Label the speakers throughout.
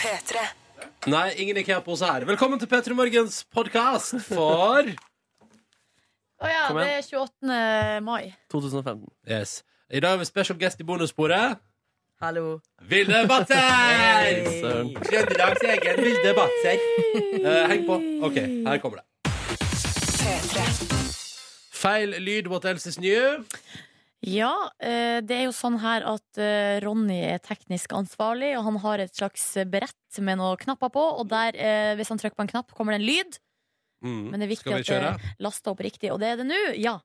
Speaker 1: P3.
Speaker 2: Nei, ingen IKEA på oss her. Velkommen til P3 Morgens podkast for
Speaker 3: Å ja,
Speaker 4: Kom
Speaker 3: det
Speaker 4: igjen.
Speaker 3: er 28. mai.
Speaker 4: 2015.
Speaker 2: Yes. I dag har vi special guest i bonussporet.
Speaker 5: Hallo.
Speaker 2: Vilde Batzer!
Speaker 4: Søren.
Speaker 2: Trøndelags egen Vilde Batzer. Eh, heng på. OK, her kommer det. Feil lyd what else is new?
Speaker 3: Ja, eh, det er jo sånn her at eh, Ronny er teknisk ansvarlig, og han har et slags eh, brett med noen knapper på, og der, eh, hvis han trykker på en knapp, kommer det en lyd.
Speaker 2: Mm.
Speaker 3: Men det er viktig
Speaker 2: Skal vi
Speaker 3: at det
Speaker 2: kjøre?
Speaker 3: er lasta opp riktig, og det er det nå. Ja.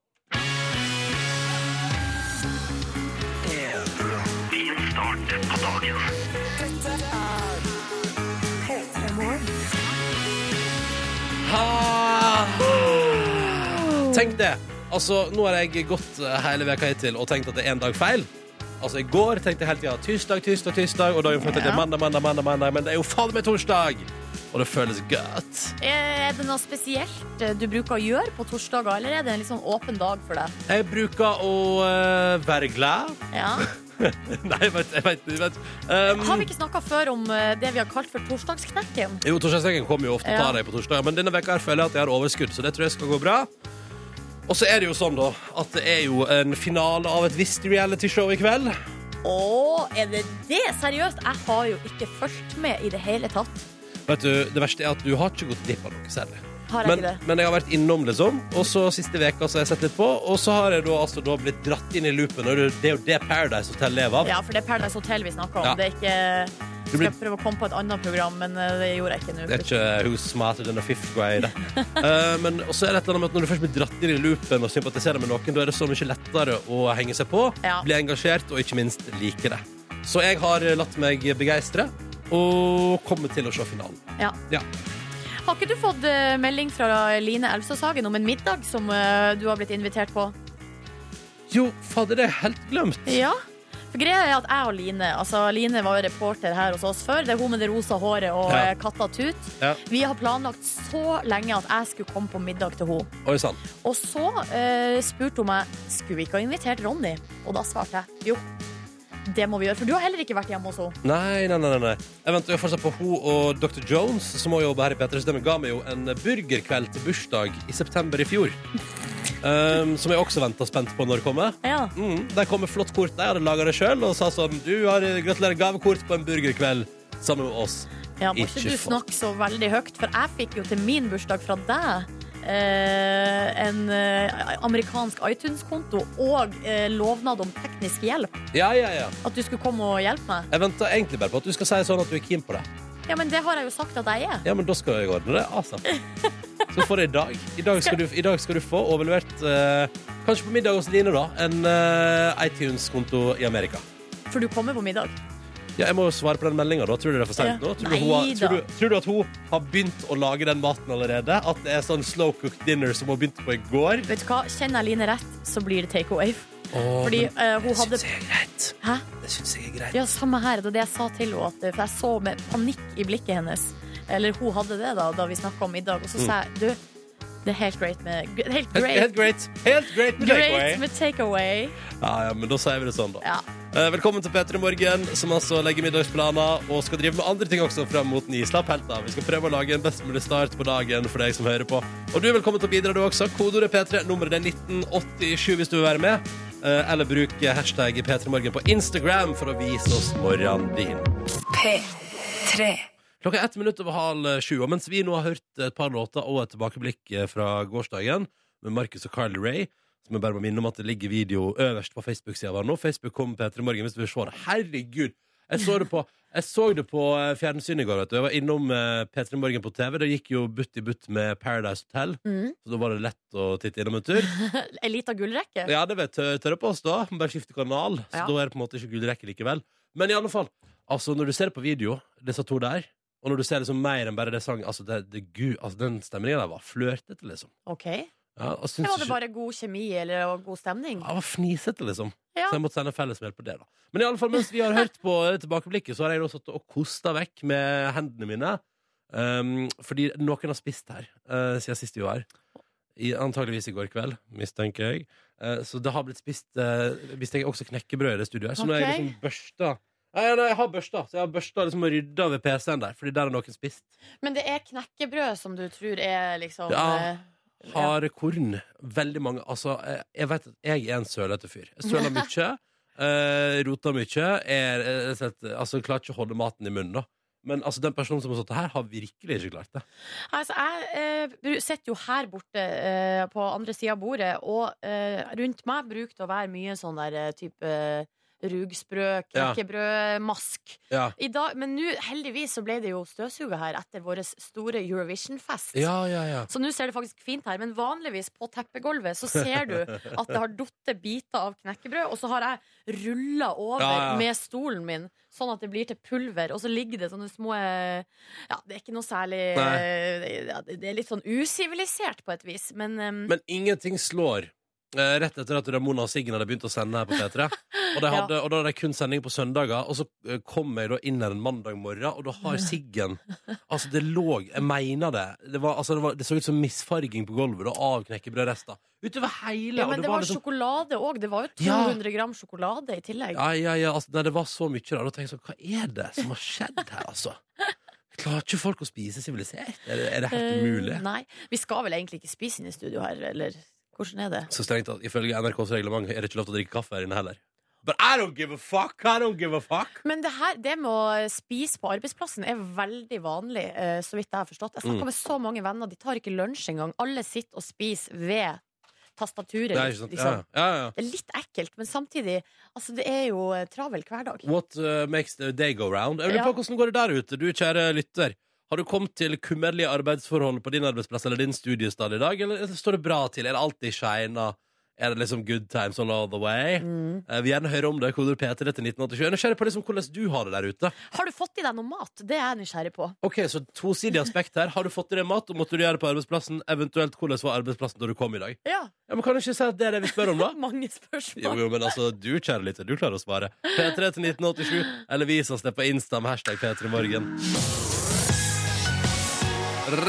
Speaker 2: Ha! Tenk det. Altså, nå har jeg gått eh, hele veka hittil og tenkt at det er en dag feil. Altså, I går tenkte jeg hele tida tirsdag, tirsdag, tirsdag, og dagen før tenkte jeg
Speaker 3: Ja.
Speaker 2: mandag, mandag, mandag, mandag, men det er jo faen meg torsdag! Og det føles godt.
Speaker 3: Eh, Er det noe spesielt eh, du bruker å gjøre på torsdager, eller er det en litt sånn åpen dag for deg?
Speaker 2: Jeg bruker å eh, være glad.
Speaker 3: Ja.
Speaker 2: Nei, jeg vet, jeg vet, jeg vet. Um,
Speaker 3: Har vi ikke snakka før om eh, det vi har kalt for torsdagsknekken?
Speaker 2: Jo, torsdagssengen kommer jo ofte og
Speaker 3: Ja.
Speaker 2: tar deg på torsdag, men denne veka her føler jeg at jeg har overskudd, så det tror jeg skal gå bra. Og så er det jo sånn, da, at det er jo en finale av et visst realityshow i kveld.
Speaker 3: Å, er det det? Seriøst? Jeg har jo ikke fulgt med i det hele tatt.
Speaker 2: Vet du, Det verste er at du har ikke gått glipp av noe særlig.
Speaker 3: Har jeg
Speaker 2: Men,
Speaker 3: ikke det?
Speaker 2: men jeg har vært innom, liksom. Og så siste veka så har jeg sett litt på, og så har jeg da, altså, da blitt dratt inn i loopen. Og det det er jo det Paradise Hotel lever av.
Speaker 3: Ja, for det er Paradise Hotel vi snakker om.
Speaker 2: Ja.
Speaker 3: Det er ikke
Speaker 2: Det
Speaker 3: Skal
Speaker 2: blir-
Speaker 3: jeg prøve å komme på et annet program, men eh, det gjorde jeg ikke nå.
Speaker 2: Det er ikke who's smarter than a fifth grade. Eh, men også er det et eller annet med at når du først blir dratt inn i loopen og sympatiserer med noen, da er det så mye lettere å henge seg på,
Speaker 3: Ja.
Speaker 2: bli engasjert og ikke minst like det. Så jeg har latt meg begeistre og kommer til å se finalen.
Speaker 3: Ja.
Speaker 2: Ja.
Speaker 3: Har ikke du fått eh, melding fra Line Elvsås Hagen om en middag som eh, du har blitt invitert på?
Speaker 2: Jo, fader, det er helt glemt.
Speaker 3: Ja. For greia er at jeg og Line altså Line var jo reporter her hos oss før. Det er hun med det rosa håret og
Speaker 2: Ja.
Speaker 3: eh, katta Tut.
Speaker 2: Ja.
Speaker 3: Vi har planlagt så lenge at jeg skulle komme på middag til henne.
Speaker 2: Oi sann.
Speaker 3: Og så eh, spurte hun meg skulle vi ikke ha invitert Ronny. Og da svarte jeg jo, det må vi gjøre. For du har heller ikke vært hjemme hos henne.
Speaker 2: Nei, nei, nei. nei, nei. Jeg venter jo fortsatt på hun og Dr. Jones, som også jobber her i P3. Så de ga meg jo en burgerkveld til bursdag i september i fjor. Um, som jeg også venter spent på når kommer.
Speaker 3: Ja.
Speaker 2: Mm, der kom et flott kort der, jeg hadde laga det sjøl, og sa sånn Du har gratulerer gavekort på en burgerkveld sammen med oss.
Speaker 3: Ja, må
Speaker 2: Ikke
Speaker 3: ikke du
Speaker 2: faen.
Speaker 3: snakke så veldig høyt, for jeg fikk jo til min bursdag fra deg eh, en eh, amerikansk iTunes-konto og eh, lovnad om teknisk hjelp.
Speaker 2: Ja, ja, ja.
Speaker 3: At du skulle komme og hjelpe meg.
Speaker 2: Jeg venter egentlig bare på at du skal si sånn at du er keen på det.
Speaker 3: Ja, men det har jeg jo sagt at jeg er.
Speaker 2: Ja, men da skal jeg ordne det. Altså. Så får jeg i dag. I dag skal du, i dag skal du få overlevert, eh, kanskje på middag hos Line, da, en eh, iTunes-konto i Amerika.
Speaker 3: For du kommer på middag.
Speaker 2: Ja, jeg må jo svare på den meldinga, da. Tror du det er for seint
Speaker 3: Ja.
Speaker 2: nå? Tror du, hun har,
Speaker 3: Neida.
Speaker 2: tror, du, tror du at hun har begynt å lage den maten allerede? At det er sånn slow cooked dinner som hun begynte på i går?
Speaker 3: Vet du hva, Kjenner jeg Line rett, så blir det take away.
Speaker 2: Åh,
Speaker 3: Fordi
Speaker 2: men
Speaker 3: eh, hun
Speaker 2: det
Speaker 3: hadde
Speaker 2: syns jeg er greit.
Speaker 3: Hæ?
Speaker 2: Det syns jeg er greit.
Speaker 3: Ja, samme her. Det var det jeg sa til henne. At, eh, for jeg så med panikk i blikket hennes. Eller hun hadde det da, da vi snakka om middag. Og så
Speaker 2: Mm.
Speaker 3: sa jeg du, det er helt great med Helt
Speaker 2: Helt, helt
Speaker 3: great,
Speaker 2: great. Helt great med takeaway.
Speaker 3: great med takeaway.
Speaker 2: Ja, ja, men da sier vi det sånn, da.
Speaker 3: Ja.
Speaker 2: Eh, Velkommen til P3 Morgen, som altså legger middagsplaner og skal drive med andre ting også fram mot ni. Slapp helt av. Vi skal prøve å lage en best mulig start på dagen for deg som hører på. Og du er velkommen til å bidra, du også. Kodeordet P3, nummeret er 1987 hvis du vil være med. Eh, Eller bruk hashtag P3morgen på Instagram for å vise oss morgenen din.
Speaker 1: P3.
Speaker 2: Klokka er ett minutt over halv eh, sju, og mens vi nå har hørt et par låter og et tilbakeblikk eh, fra gårsdagen med Markus og Carly Ray, som jeg bare må minne om at det ligger video øverst på Facebook-sida vår nå. Facebook kom P3 Morgen hvis du vil se det. Herregud! Jeg så det på, jeg så det på eh, fjernsyn i går, vet du. Jeg var innom eh, P3 Morgen på TV. Det gikk jo butt i butt med Paradise Hotel,
Speaker 3: Mm.
Speaker 2: så da var det lett å titte innom en tur.
Speaker 3: Ei lita gullrekke.
Speaker 2: Ja, det vet jeg tørre på oss da. Må Bare skifte kanal. Så
Speaker 3: Ja.
Speaker 2: da er det på en måte ikke gullrekke likevel. Men i alle fall, altså når du ser det på video, disse to der, og når du ser liksom mer enn bare det sang Altså, det, det, gud, altså den stemningen der var flørtete, liksom.
Speaker 3: OK.
Speaker 2: Ja, og syns
Speaker 3: Eller var det
Speaker 2: ikke-
Speaker 3: bare god kjemi eller og god stemning?
Speaker 2: Ja, det var fnisete, liksom.
Speaker 3: Ja.
Speaker 2: Så jeg måtte sende fellesmeld på det, da. Men i alle fall, mens vi har hørt på eh, tilbakeblikket, så har jeg da satt og kosta vekk med hendene mine. Um, fordi noen har spist her eh, siden sist vi var her. I, antageligvis i går kveld, mistenker eh, jeg. Eh, så det har blitt spist uh, mistenker jeg også knekkebrød i det studioet her. Så nå har jeg
Speaker 3: Ok.
Speaker 2: liksom børsta Nei, nei, jeg har børsta, så jeg har børsta liksom og rydda ved PC-en der, fordi der har noen spist.
Speaker 3: Men det er knekkebrød som du tror er liksom
Speaker 2: Ja.
Speaker 3: eh,
Speaker 2: Harde korn. Veldig mange. Altså, jeg, jeg vet at jeg er en sølete fyr. Jeg søler mye, uh, roter mye. Er, er, altså, jeg klarer ikke å holde maten i munnen, da. Men altså, den personen som har stått her, har virkelig ikke klart det.
Speaker 3: Altså, jeg eh, bru- sitter jo her borte eh, på andre sida av bordet, og eh, rundt meg bruker det å være mye sånn der eh, type eh, rugsprø,
Speaker 2: Ja.
Speaker 3: knekkebrød, mask.
Speaker 2: Ja,
Speaker 3: I dag, men nå, heldigvis, så ble det jo støvsuga her etter vår store Eurovision-fest.
Speaker 2: ja, ja. ja.
Speaker 3: Så nå ser det faktisk fint her, men vanligvis på teppegulvet så ser du at det har datt biter av knekkebrød, og så har jeg rulla over
Speaker 2: Ja, ja.
Speaker 3: med stolen min, sånn at det blir til pulver, og så ligger det sånne små eh, Ja, det er ikke noe særlig
Speaker 2: Nei.
Speaker 3: eh, ja, Det det er litt sånn usivilisert på et vis, men, ehm,
Speaker 2: Men ingenting slår eh, rett etter at Ramona og Siggen hadde begynt å sende her på P3. Og, de hadde, og da hadde de kun sending på søndager, og så eh, kom jeg da inn her en mandag morgen, og da har Siggen Altså, det lå Jeg mener det. Det, var, altså, det, var, det så ut som misfarging på gulvet da, av knekkebrødrester. Utover hele.
Speaker 3: ja,
Speaker 2: og
Speaker 3: men det var
Speaker 2: liksom-
Speaker 3: sjokolade òg. Det var jo
Speaker 2: Ja.
Speaker 3: 200 gram sjokolade i tillegg.
Speaker 2: Ja, ja, ja, altså, nei, det var så mye da. Da tenkte jeg sånn, hva er det som har skjedd her, altså? Klarer ikke folk å spise sivilisert? Er, det- er det helt
Speaker 3: Eh,
Speaker 2: umulig?
Speaker 3: Nei. Vi skal vel egentlig ikke spise inne i studio her, eller hvordan er det?
Speaker 2: Så strengt tatt, ifølge NRKs reglement er det ikke lov til å drikke kaffe her inne heller. But I don't give a fuck! I don't give a fuck!
Speaker 3: Men det her, det med å spise på arbeidsplassen er veldig vanlig, eh, så vidt jeg har forstått. Jeg
Speaker 2: Mm.
Speaker 3: snakker med så mange venner, de tar ikke lunsj engang. Alle sitter og spiser ved tastaturet.
Speaker 2: Det er ikke sant. Ja,
Speaker 3: liksom.
Speaker 2: ja, ja.
Speaker 3: Det er litt ekkelt, men samtidig Altså, det er jo eh, travel hverdag.
Speaker 2: What uh, makes the day go round? Jeg lurer
Speaker 3: Ja.
Speaker 2: på hvordan går det der ute, du kjære lytter. Har du kommet til kummerlige arbeidsforhold på din arbeidsplass eller din studiestad i dag, eller står det bra til? Er det alltid shina? Er det liksom good times all the way?
Speaker 3: Mm.
Speaker 2: Eh, Vi vil gjerne høre om det. Koder P3 til 1987. Jeg er nysgjerrig på liksom hvordan du har det der ute.
Speaker 3: Har du fått i deg noe mat? Det er jeg nysgjerrig på.
Speaker 2: Ok, så Tosidig aspekt her. Har du fått i deg mat, og måtte du gjøre det på arbeidsplassen? Eventuelt, hvordan var arbeidsplassen da du kom i dag?
Speaker 3: Ja,
Speaker 2: Ja, men Kan du ikke si at det er det vi spør om, da?
Speaker 3: mange
Speaker 2: Jo,
Speaker 3: spørsmål.
Speaker 2: jo, men altså, du kjære lytter, du klarer å svare. P3 til 1987, eller vis oss det på Insta med hashtag P3morgen.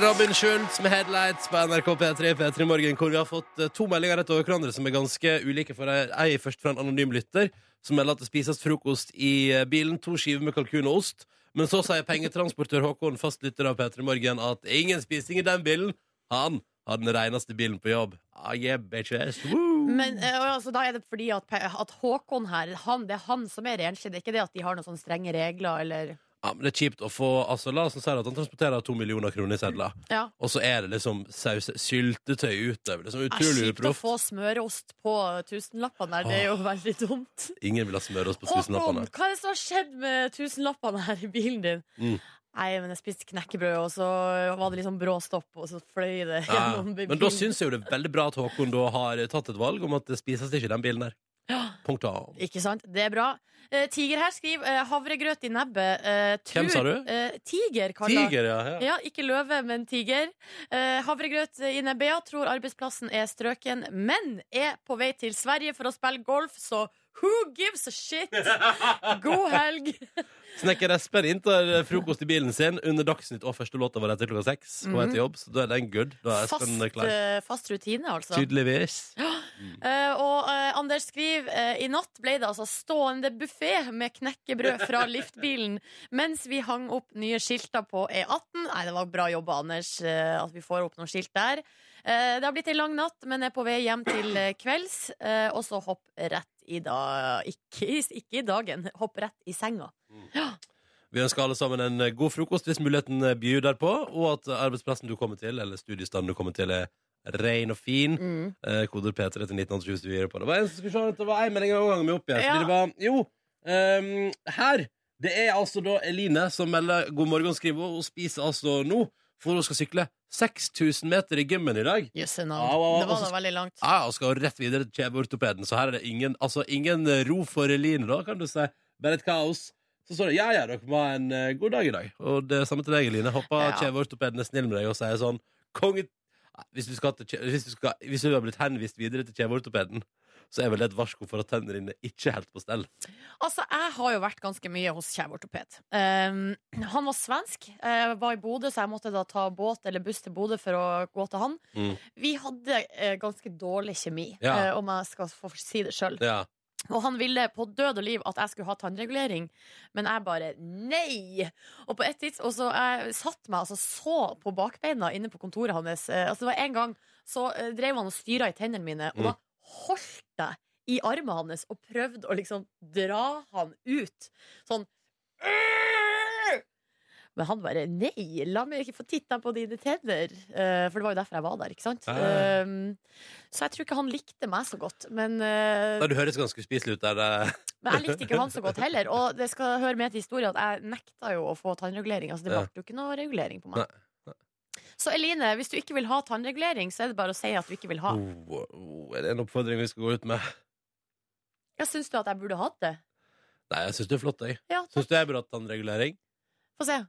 Speaker 2: Robin Schultz med Headlights på NRK P3 P3 Morgen, hvor vi har fått eh, to meldinger rett over hverandre som er ganske ulike for ei, ei først fra en anonym lytter, som melder at det spises frokost i eh, bilen, to skiver med kalkun og ost. Men så sier pengetransportør Håkon, fastlytter av P3 Morgen, at ingen spising i den bilen. Han har den reneste bilen på jobb. Ah, yeah, bitches. Woo!
Speaker 3: Men eh, og altså, da er det fordi at, pe- at Håkon her, han, det er han som er renslig. Det er ikke det at de har noen sånne strenge regler eller
Speaker 2: Ja, men det er kjipt å få altså, La oss si at han transporterer to millioner kroner i sedler,
Speaker 3: Ja.
Speaker 2: og så er det liksom saus, syltetøy utover. Liksom,
Speaker 3: Det er
Speaker 2: utrolig
Speaker 3: kjipt å
Speaker 2: uproft.
Speaker 3: få smøreost på tusenlappene der. Det
Speaker 2: Ah.
Speaker 3: er jo veldig dumt.
Speaker 2: Ingen vil ha smørost på
Speaker 3: Håkon,
Speaker 2: tusenlappene.
Speaker 3: hva er det som har skjedd med tusenlappene her i bilen din?
Speaker 2: Mm.
Speaker 3: Nei, men jeg spiste knekkebrød, og så var det liksom brå stopp, og så fløy det
Speaker 2: Ja.
Speaker 3: gjennom bilen.
Speaker 2: Ah, Men da syns jeg jo det er veldig bra at Håkon da har tatt et valg om at det spises ikke i den bilen der. Punktum.
Speaker 3: Ikke sant? Det er bra. Eh, tiger her skriver eh, havregrøt i nebbet. Eh, tur-
Speaker 2: Hvem sa du?
Speaker 3: Eh, tiger, kaller
Speaker 2: Tiger, ja. ja.
Speaker 3: Ja, ikke løve, men tiger. Eh, havregrøt i nebbet tror arbeidsplassen er strøken, men er på vei til Sverige for å spille golf, så who gives a shit? God helg!
Speaker 2: Snekker Espen inntar frokost i bilen sin under Dagsnytt og første låta var etter klokka seks. På vei til jobb, så da er den good. Da er
Speaker 3: Fast,
Speaker 2: Espen klar.
Speaker 3: eh, fast rutine, altså.
Speaker 2: Tydeligvis.
Speaker 3: Eh, og eh, Anders skriver eh, I natt ble det altså stående buffé med knekkebrød fra liftbilen mens vi hang opp nye skilter på E18. Nei, det var bra jobba, Anders, eh, at vi får opp noen skilt der. Eh, det har blitt en lang natt, men er på vei hjem til eh, kvelds. eh, og så hopp rett i dag ikke, i- ikke i dagen, hopp rett i senga.
Speaker 2: Vi ønsker alle sammen en eh, god frokost hvis muligheten eh, byr derpå, og at eh, arbeidsplassen du kommer til, eller studiestanden du kommer til, er ren og fin. Eh, koder P3 til 1987 hvis du gir deg på det. Hva er det som skulle se at det var en melding av gangen med opp igjen?
Speaker 3: Ja.
Speaker 2: Fordi det var, jo, ehm, her, det er altså da Eline som melder god morgen, skriver hun, og spiser altså nå, for hun skal sykle 6000 meter i gymmen i dag.
Speaker 3: Jøsse navn.
Speaker 2: Au, au, au.
Speaker 3: Det var da veldig langt.
Speaker 2: Ah, Ja, og skal rett videre til kjeveortopeden, så her er det ingen, altså, ingen eh, ro for Eline, da, kan du si. Bare et kaos. Så står det ja, ja, dere må ha en eh, god dag i dag. Og det er samme til deg, Eline. Håper
Speaker 3: Ja.
Speaker 2: kjeveortopeden er snill med deg og sier sånn Konge... Nei, Hvis du, skal, til kje- hvis, du skal, hvis du har blitt henvist videre til kjeveortopeden, så er vel det et varsko for at tennene dine ikke er helt på stell.
Speaker 3: Altså, jeg har jo vært ganske mye hos kjeveortoped. Um, han var svensk, eh, var i Bodø, så jeg måtte da ta båt eller buss til Bodø for å gå til han.
Speaker 2: Mm.
Speaker 3: Vi hadde eh, ganske dårlig kjemi,
Speaker 2: Ja.
Speaker 3: eh, om jeg skal få si det sjøl.
Speaker 2: Ja.
Speaker 3: Og han ville på død og liv at jeg skulle ha tannregulering, men jeg bare nei! Og på et tids, og så jeg satt meg altså så på bakbeina inne på kontoret hans. Eh, Altså det var en gang så eh, drev han og styra i tennene mine, og da holdt jeg i armen hans og prøvde å liksom dra han ut. Sånn «Åh!» Men han bare nei, la meg ikke få titta på dine tenner. Eh, For det var jo derfor jeg var der, ikke sant?
Speaker 2: Ja.
Speaker 3: Eh, Så jeg tror ikke han likte meg så godt, men eh,
Speaker 2: Nei, Du høres ganske uspiselig ut der. eh.
Speaker 3: men jeg likte ikke han så godt heller. Og det skal høre med til historien at jeg nekta jo å få tannregulering. Altså det
Speaker 2: Ja.
Speaker 3: ble jo ikke noe regulering på meg.
Speaker 2: Nei,
Speaker 3: Så Eline, hvis du ikke vil ha tannregulering, så er det bare å si at du ikke vil ha.
Speaker 2: Oh, oh, er det en oppfordring vi skal gå ut med?
Speaker 3: Ja, Syns du at jeg burde hatt det?
Speaker 2: Nei, jeg syns det er flott, jeg.
Speaker 3: Ja,
Speaker 2: Syns du jeg burde hatt tannregulering?
Speaker 3: få se.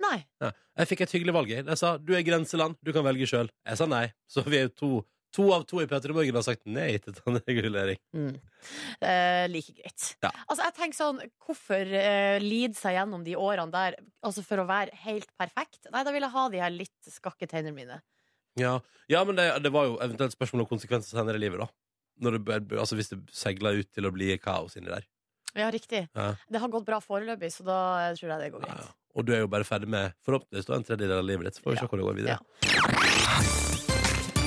Speaker 3: Nei.
Speaker 2: Ja. Jeg fikk et hyggelig valg. Jeg Jeg sa du er grenseland, du kan velge sjøl. Jeg sa nei. Så vi er jo to. To av to i P3 Morgen har sagt nei til tannregulering.
Speaker 3: Mm. Eh, like greit.
Speaker 2: Ja.
Speaker 3: Altså, jeg tenker sånn, Hvorfor eh, lide seg gjennom de årene der Altså for å være helt perfekt? Nei, da vil jeg ha de her litt skakke tennene mine.
Speaker 2: Ja, ja men det, det var jo eventuelt spørsmål om konsekvenser senere i livet, da. Når det, bør- altså, hvis det segler ut til å bli kaos inni der.
Speaker 3: Ja, riktig.
Speaker 2: Ja.
Speaker 3: Det har gått bra foreløpig, så da eh, tror jeg det
Speaker 2: Ja,
Speaker 3: går greit.
Speaker 2: ja. Og du er jo bare ferdig med forhåpentligvis da, en tredjedel av livet ditt. Så får vi se hvor det går videre.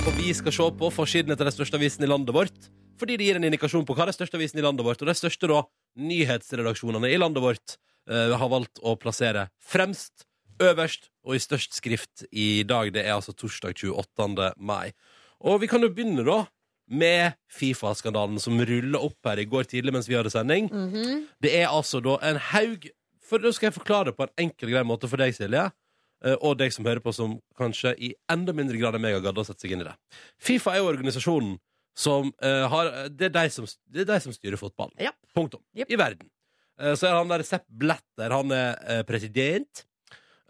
Speaker 2: Og vi skal se på forsidene til den største avisen i landet vårt. Fordi det gir en indikasjon på hva den største avisen i landet vårt, og de største da, nyhetsredaksjonene i landet vårt, eh, har valgt å plassere fremst, øverst og i størst skrift i dag. Det er altså torsdag 28. mai. Og vi kan jo begynne da med Fifa-skandalen som ruller opp her i går tidlig mens vi hadde sending.
Speaker 3: Mhm.
Speaker 2: Det er altså da en haug For nå skal jeg forklare det på en enkel grei måte for deg, Silje. eh, Og deg som hører på, som kanskje i enda mindre grad enn meg har gadd å sette seg inn i det. Fifa er jo organisasjonen som eh, har Det er de som, det er de som styrer fotballen.
Speaker 3: Japp.
Speaker 2: Punktum.
Speaker 3: Jepp.
Speaker 2: I verden. Eh, Så er han der Sepp Blatter, han er eh, president.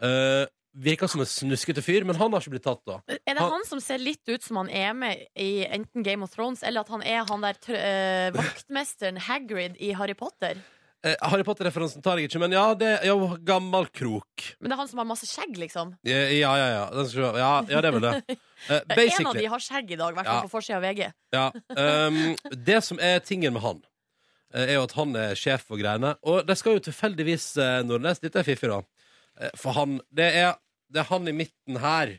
Speaker 2: Eh, Virker som en snuskete fyr, men han har ikke blitt tatt, da.
Speaker 3: Er det
Speaker 2: Han-
Speaker 3: han, som ser litt ut som han er med i enten Game of Thrones, eller at han er han der tr eh, vaktmesteren Hagrid i Harry Potter?
Speaker 2: Eh, Harry Potter-referansen tar jeg ikke, men ja, det er jo gammel krok.
Speaker 3: Men det er han som har masse skjegg, liksom.
Speaker 2: Ja, ja, ja. Den skal, vi- ja, ja det er vel det. Eh,
Speaker 3: Ja, En av
Speaker 2: Basically.
Speaker 3: de har skjegg i dag, i hvert
Speaker 2: Ja.
Speaker 3: fall på forsida av VG.
Speaker 2: Ja, ehm, Det som er tingen med han, eh, er jo at han er sjef for greiene. Og det skal jo tilfeldigvis eh, Nordnes Dette er fiffig, da. Eh, For han Det er, det er han i midten her.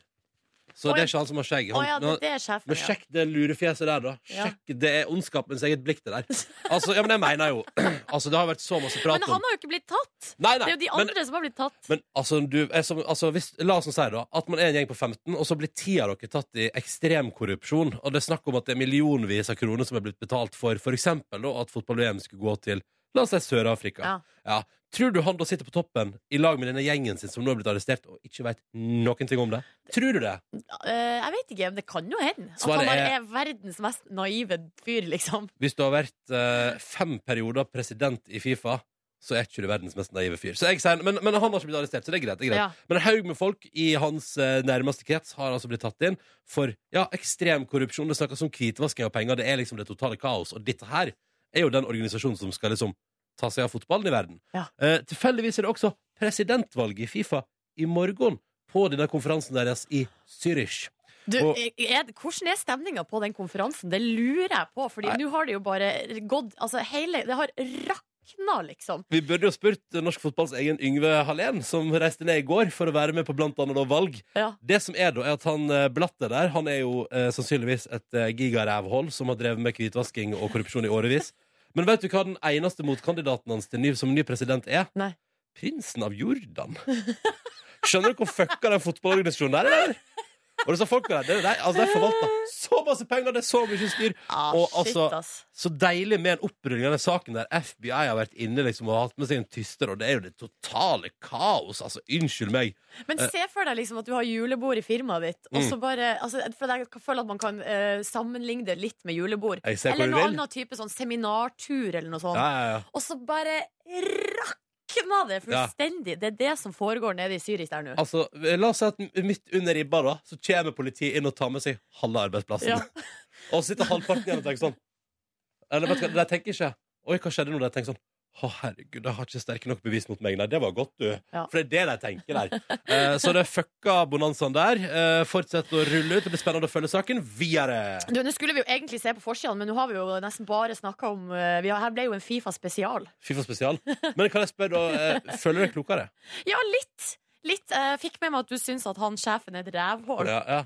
Speaker 2: Så
Speaker 3: Oi.
Speaker 2: det er ikke han som har skjegg.
Speaker 3: Å
Speaker 2: Han,
Speaker 3: ja, det,
Speaker 2: men han-
Speaker 3: det er sjefen,
Speaker 2: men sjekk det lurefjeset der, da.
Speaker 3: Ja.
Speaker 2: Sjekk, Det er ondskapens eget blikk, det der. Altså, ja, Men jeg mener jo Altså, Det har vært så masse
Speaker 3: ja.
Speaker 2: prat
Speaker 3: Men
Speaker 2: om
Speaker 3: han har jo ikke blitt tatt!
Speaker 2: Nei,
Speaker 3: Det
Speaker 2: nei,
Speaker 3: er jo de
Speaker 2: men-
Speaker 3: andre som har blitt tatt.
Speaker 2: men altså, du, er som, altså hvis, la oss nå si da at man er en gjeng på 15, og så blir ti av dere tatt i ekstrem korrupsjon. Og det er snakk om at det er millionvis av kroner som er blitt betalt for f.eks. at fotball-VM skulle gå til la oss si Sør-Afrika.
Speaker 3: Ja.
Speaker 2: Tror du han da sitter på toppen i lag med denne gjengen sin som nå er blitt arrestert og ikke veit noen ting om det? Tror du det?
Speaker 3: Eh, jeg vet ikke, men det kan jo hende. At
Speaker 2: Svaret
Speaker 3: han bare
Speaker 2: er-
Speaker 3: er verdens mest naive fyr, liksom.
Speaker 2: Hvis du har vært eh, fem perioder president i Fifa, så er ikke du verdens mest naive fyr. Så jeg sier, men, men han har ikke blitt arrestert, så det er greit. Det er greit.
Speaker 3: Ja.
Speaker 2: Men en haug med folk i hans eh, nærmeste krets har altså blitt tatt inn for ja, ekstrem korrupsjon. Det snakkes om hvitvasking av penger. Det er liksom det totale kaos. Og dette her er jo den organisasjonen som skal liksom ta seg av fotballen i verden.
Speaker 3: Ja.
Speaker 2: Eh, tilfeldigvis er det også presidentvalget i Fifa i morgen på denne konferansen deres i Zürich.
Speaker 3: Du,
Speaker 2: Og-
Speaker 3: er, det- hvordan er stemninga på den konferansen? Det lurer jeg på, Fordi
Speaker 2: Nei.
Speaker 3: nå har det jo bare gått altså hele, Det har rakna, liksom.
Speaker 2: Vi burde jo spurt eh, norsk fotballs egen Yngve Hallén, som reiste ned i går for å være med på blant annet da valg.
Speaker 3: Ja.
Speaker 2: Det som er da, er at han eh, Blatter der, han er jo eh, sannsynligvis et eh, gigarevhold som har drevet med hvitvasking og korrupsjon i årevis. Men vet du hva den eneste motkandidaten hans til ny, som ny president er?
Speaker 3: Nei.
Speaker 2: Prinsen av Jordan. Skjønner du hvor fucka den fotballorganisasjonen der er? eller? Og det sa folk der, det, det, altså, de forvalter så masse penger, det er så mye styr.
Speaker 3: Ah,
Speaker 2: Og
Speaker 3: shit,
Speaker 2: altså-
Speaker 3: ass.
Speaker 2: Så deilig med en opprulling av den saken der FBI har vært inne liksom, og hatt med seg en tyster, og det er jo det totale kaos. Altså, unnskyld meg.
Speaker 3: Men se for deg liksom at du har julebord i firmaet ditt. Og
Speaker 2: Mm.
Speaker 3: så bare, altså, for jeg føler at man kan eh, sammenligne det litt med julebord.
Speaker 2: Jeg ser
Speaker 3: Eller
Speaker 2: hvor du
Speaker 3: noe
Speaker 2: vil.
Speaker 3: annet type sånn seminartur eller noe sånt.
Speaker 2: Ja, ja, ja.
Speaker 3: Og så bare rakna det
Speaker 2: Ja.
Speaker 3: fullstendig! Det er det som foregår nede i Syris der nå.
Speaker 2: Altså, La oss si at midt under ribba da Så kommer politiet inn og tar med seg halve arbeidsplassen.
Speaker 3: Ja.
Speaker 2: og så sitter halvparten igjen og tenker sånn. Eller vet du hva, De tenker ikke Oi, hva skjedde nå? De tenker sånn Å, herregud, jeg har ikke sterke nok bevis mot meg. Nei, det var godt, du.
Speaker 3: Ja.
Speaker 2: For det er det de tenker der. Eh, så det fucka bonanzaen der. Eh, fortsett å rulle ut. Det blir spennende å følge saken videre.
Speaker 3: Du, Nå skulle vi jo egentlig se på forsidene, men nå har vi jo nesten bare snakka om eh, vi har, Her ble jo en Fifa-spesial.
Speaker 2: Fifa spesial. Men kan jeg spørre, da, eh, føler du deg klokere?
Speaker 3: Ja, litt! Litt. Jeg fikk med meg at du syns at han sjefen er et rævhål.
Speaker 2: Ja, ja.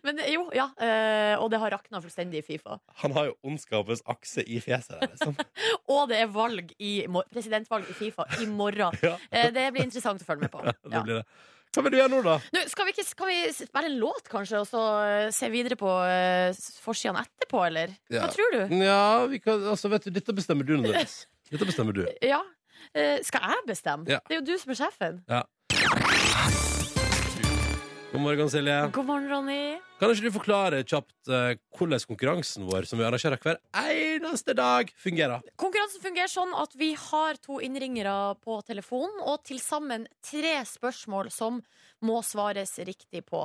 Speaker 3: Men eh, jo, ja. eh, og det har rakna fullstendig i Fifa.
Speaker 2: Han har jo ondskapens akse i fjeset der, liksom.
Speaker 3: Og det er valg i, mor- presidentvalg i Fifa i morgen.
Speaker 2: Ja,
Speaker 3: Eh, Det blir interessant å følge med på.
Speaker 2: det
Speaker 3: Ja.
Speaker 2: blir det. Hva vil du gjøre nå, da?
Speaker 3: Nå, skal vi ikke skal vi spille en låt, kanskje, og så eh, se videre på uh, forsidene etterpå, eller?
Speaker 2: Ja.
Speaker 3: Hva tror du?
Speaker 2: Ja, vi kan, altså, vet du, dette bestemmer du, Nordnes. Dette bestemmer du.
Speaker 3: Ja. Eh, skal jeg bestemme?
Speaker 2: Ja.
Speaker 3: Det er jo du som er sjefen.
Speaker 2: God morgen, Silje.
Speaker 3: God morgen, Ronny.
Speaker 2: Kan ikke du forklare kjapt eh, hvordan konkurransen vår, som vi arrangerer hver eneste dag, fungerer?
Speaker 3: Konkurransen fungerer sånn at vi har to innringere på telefonen, og til sammen tre spørsmål som må svares riktig på.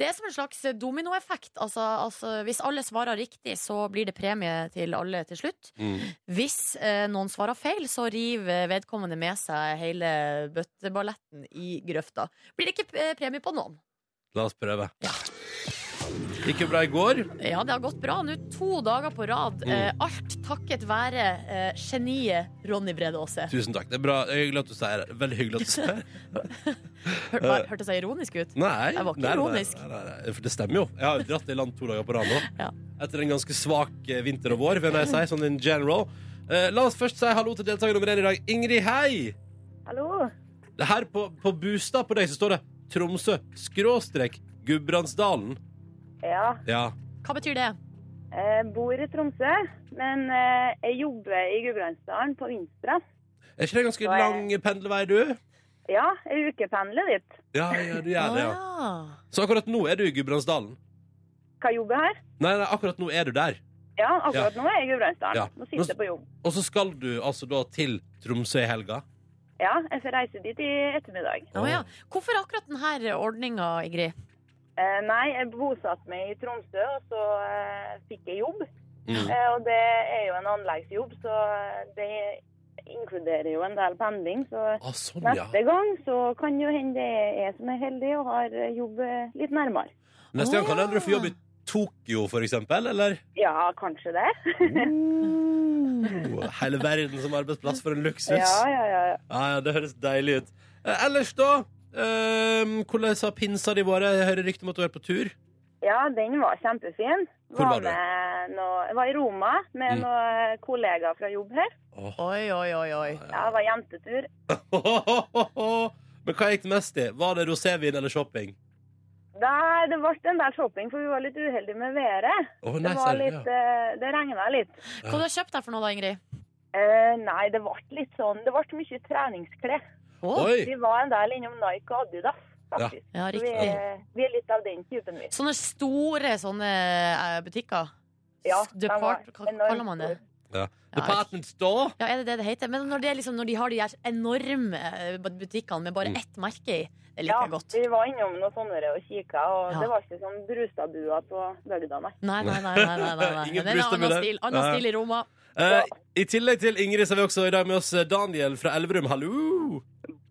Speaker 3: Det er som en slags dominoeffekt. Altså, altså, hvis alle svarer riktig, så blir det premie til alle til slutt.
Speaker 2: Mm.
Speaker 3: Hvis eh, noen svarer feil, så river vedkommende med seg hele bøtteballetten i grøfta. Blir det ikke eh, premie på noen?
Speaker 2: La oss prøve. Gikk jo bra i går.
Speaker 3: Ja, det har gått bra nå to dager på rad. Eh, alt takket være eh, geniet Ronny Brede Aase.
Speaker 2: Tusen takk. Det er bra. Det er Hyggelig at du sier det. Veldig hyggelig at du sier det.
Speaker 3: Hør, hva- Hørtes jeg ironisk ut?
Speaker 2: Nei,
Speaker 3: Jeg var ikke
Speaker 2: nei, nei,
Speaker 3: ironisk.
Speaker 2: Nei, nei, nei, For det stemmer jo. Jeg har jo dratt i land to dager på rad nå.
Speaker 3: Ja.
Speaker 2: Etter en ganske svak eh, vinter og vår, vil jeg si, sånn in general. Eh, la oss først si hallo til deltaker nummer én i dag. Ingrid, hei!
Speaker 4: Hallo.
Speaker 2: Det her på, på Bustad på deg så står det Tromsø skråstrek Gudbrandsdalen.
Speaker 4: Ja,
Speaker 2: Ja.
Speaker 3: Hva betyr det?
Speaker 4: jeg bor i Tromsø, men eh, jeg jobber i Gudbrandsdalen på Vinstra.
Speaker 2: Er ikke det ganske
Speaker 4: Nei.
Speaker 2: lang pendlevei, du?
Speaker 4: Ja, jeg ukependler litt.
Speaker 2: Ja, ja, du gjør det, ja.
Speaker 3: Ah.
Speaker 2: Så akkurat nå er du i Gudbrandsdalen?
Speaker 4: Hva jobber jeg her?
Speaker 2: Nei, nei, akkurat nå er du der.
Speaker 4: Ja, akkurat nå er jeg i Gudbrandsdalen.
Speaker 2: Ja.
Speaker 4: Nå sitter jeg på jobb.
Speaker 2: Og så skal du altså da til Tromsø i helga?
Speaker 4: Ja, jeg får reise dit i ettermiddag.
Speaker 3: Å ja. Hvorfor akkurat denne ordninga, Ingrid?
Speaker 4: Eh, nei, jeg bosatte meg i Tromsø, og så eh, fikk jeg jobb.
Speaker 2: Mm.
Speaker 4: Eh, og det er jo en anleggsjobb, så eh, det inkluderer jo en del pendling. Så
Speaker 2: Ah, sånn, ja.
Speaker 4: neste gang så kan jo hende det er jeg som er heldig og har eh, jobb eh, litt nærmere.
Speaker 2: Neste gang kan det hende du får jobb
Speaker 3: Å,
Speaker 2: i Tokyo, for eksempel, eller?
Speaker 4: Ja, kanskje det.
Speaker 2: Oh, hele verden som arbeidsplass for en luksus.
Speaker 4: Ja, ja, ja. ja.
Speaker 2: Ja, ja, det høres deilig ut. Eh, ellers, da? Eh, hvordan har pinsa di vært? Jeg hører rykter om at du er på tur.
Speaker 4: Ja, den var kjempefin.
Speaker 2: Hvor var du?
Speaker 4: med noe- jeg var i Roma med
Speaker 2: Mm.
Speaker 4: noen kollegaer fra jobb her.
Speaker 2: Åh.
Speaker 3: Oi, oi, oi, oi.
Speaker 4: Ja, det var jentetur.
Speaker 2: Men hva gikk det mest i? Var det rosévin eller shopping?
Speaker 4: Da, det ble en del shopping, for vi var litt uheldige med været.
Speaker 2: Åh,
Speaker 4: Det,
Speaker 2: nei,
Speaker 4: var
Speaker 2: ser-
Speaker 4: litt,
Speaker 2: ja.
Speaker 4: eh, det regna litt.
Speaker 3: Hva har du kjøpt deg for noe da, Ingrid?
Speaker 4: Eh, nei, det ble litt sånn Det ble mye treningsklær.
Speaker 3: Å,
Speaker 2: Oi!
Speaker 4: Vi var en del innom Nike og Adidas, faktisk.
Speaker 3: ja,
Speaker 4: Så vi,
Speaker 3: riktig.
Speaker 4: er- vi er litt av den typen, vi.
Speaker 3: Sånne store sånne eh, butikker?
Speaker 4: Ja, de var
Speaker 3: Depart, hva
Speaker 4: enormt
Speaker 3: kaller man det?
Speaker 4: store.
Speaker 2: Department store.
Speaker 3: Ja, er det det det heter? Men når, det er liksom, når de har de her enorme eh, butikkene med bare
Speaker 2: Mm.
Speaker 3: ett merke i, det liker
Speaker 4: Ja,
Speaker 3: jeg godt.
Speaker 4: vi var innom noen sånne og kikka, og
Speaker 3: Ja.
Speaker 4: det var ikke sånn Brustadbua på bygda, nei.
Speaker 3: Nei, nei, nei. nei, nei, nei, nei.
Speaker 2: Ingen
Speaker 3: Det er en
Speaker 2: brystebud
Speaker 3: annen
Speaker 2: der.
Speaker 3: stil, annen
Speaker 2: Nei.
Speaker 3: stil i Roma.
Speaker 2: Eh, I tillegg til Ingrid så har vi også i dag med oss Daniel fra Elverum. Hallo!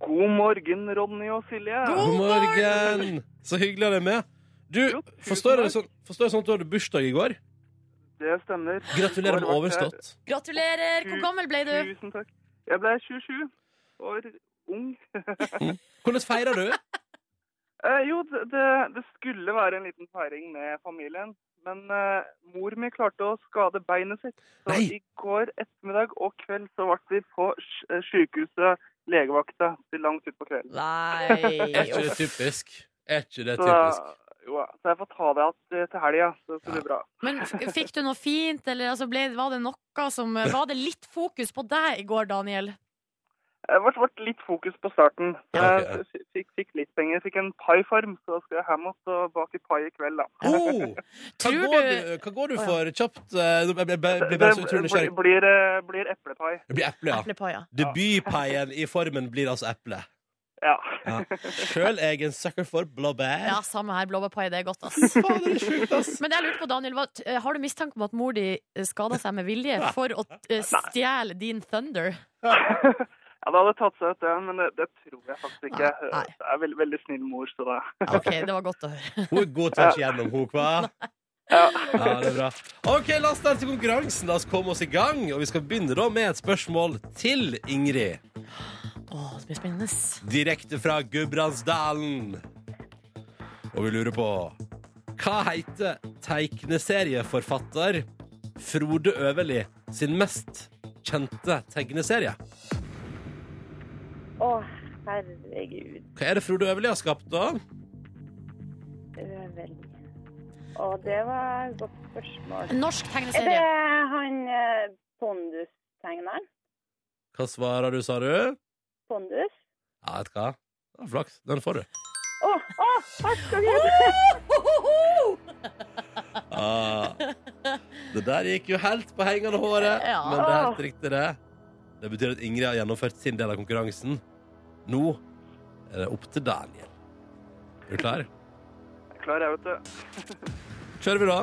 Speaker 5: God morgen, Ronny og Silje.
Speaker 2: God morgen! Så hyggelig å ha deg med. Du,
Speaker 5: Jo, tusen
Speaker 2: forstår jeg det
Speaker 5: takk.
Speaker 2: sånn, forstår jeg sånn at du hadde bursdag i går?
Speaker 5: Det stemmer.
Speaker 2: Gratulerer med
Speaker 5: Går det bra?
Speaker 2: overstått.
Speaker 3: Gratulerer! Hvor gammel ble du?
Speaker 5: Tusen takk. Jeg ble 27 år ung.
Speaker 2: Hvordan feirer du?
Speaker 5: Eh, jo, det, det- det skulle være en liten feiring med familien. Men eh, mor mi klarte å skade beinet sitt. Så
Speaker 2: Nei.
Speaker 5: i går ettermiddag og kveld så ble vi på sj- eh, sykehuset legevakta til langt utpå kvelden.
Speaker 2: Er
Speaker 3: Nei
Speaker 2: ikke det
Speaker 3: uff.
Speaker 2: typisk? Er ikke det
Speaker 5: Så,
Speaker 2: typisk?
Speaker 5: jo, ja. så jeg får ta det igjen til helga, så det blir bra.
Speaker 3: Men f- fikk du noe fint, eller altså ble, var det noe som eh, Var det litt fokus på deg i går, Daniel?
Speaker 5: Det ble, ble litt fokus på starten.
Speaker 2: Ja, ok,
Speaker 5: Jeg f- fikk, fikk litt penger. Fikk en paifarm, så skal jeg hjem og så bake pai i kveld, da.
Speaker 2: Oh, hva,
Speaker 3: Tror
Speaker 2: går du,
Speaker 3: du-
Speaker 2: hva går du
Speaker 3: Å, ja.
Speaker 2: for kjapt? Eh, Jeg blir bare blir bare så utrolig
Speaker 5: blir,
Speaker 2: nysgjerrig.
Speaker 5: blir, eh, blir eplepai.
Speaker 2: Det blir eple, ja.
Speaker 3: Eplepai, ja.
Speaker 2: Debutpaien i formen blir altså eple.
Speaker 5: Ja.
Speaker 2: Ja. Sjøl er jeg en sucker for blåbær.
Speaker 3: Ja, samme her. Blåbærpai, det er godt, ass.
Speaker 2: Faen, det er sjukt, ass.
Speaker 3: Men det jeg lurte på, Daniel, var, t- eh, har du mistanke om at mor di skada seg med vilje for å eh, stjele din thunder?
Speaker 5: ja, det hadde tatt seg ut, det, men det, det tror jeg faktisk ikke.
Speaker 3: Nei, nei.
Speaker 5: Det er veldig, veldig snill mor, så det
Speaker 3: Ja, OK, det var godt å høre.
Speaker 2: Hun er god tvers igjennom, hun, hva?
Speaker 5: ja.
Speaker 2: Ja, det er bra. OK, la oss starte konkurransen. La oss komme oss i gang. Og vi skal begynne da med et spørsmål til Ingrid.
Speaker 3: Å, så mye spennende.
Speaker 2: Direkte fra Gudbrandsdalen. Og vi lurer på Hva heter tegneserieforfatter Frode Øverli sin mest kjente tegneserie?
Speaker 4: Å, herregud.
Speaker 2: Hva er det Frode Øverli har skapt, da?
Speaker 4: Øverli. Å, det var et godt spørsmål.
Speaker 3: Norsk
Speaker 4: Er det
Speaker 3: tegneserie.
Speaker 4: han eh, Pondus-tegneren?
Speaker 2: Hva svarer du, sa du? Ja,
Speaker 4: Pondus?
Speaker 2: vet du hva? Det var flaks. Den får du.
Speaker 4: Å, å, takk skal du ha!
Speaker 2: Ah, det der gikk jo helt på hengende håret,
Speaker 3: Ja.
Speaker 2: men det er helt riktig, det. Det betyr at Ingrid har gjennomført sin del av konkurransen. Nå er det opp til Daniel. Er du klar?
Speaker 5: Jeg er klar, jeg, vet du.
Speaker 2: Kjører vi da.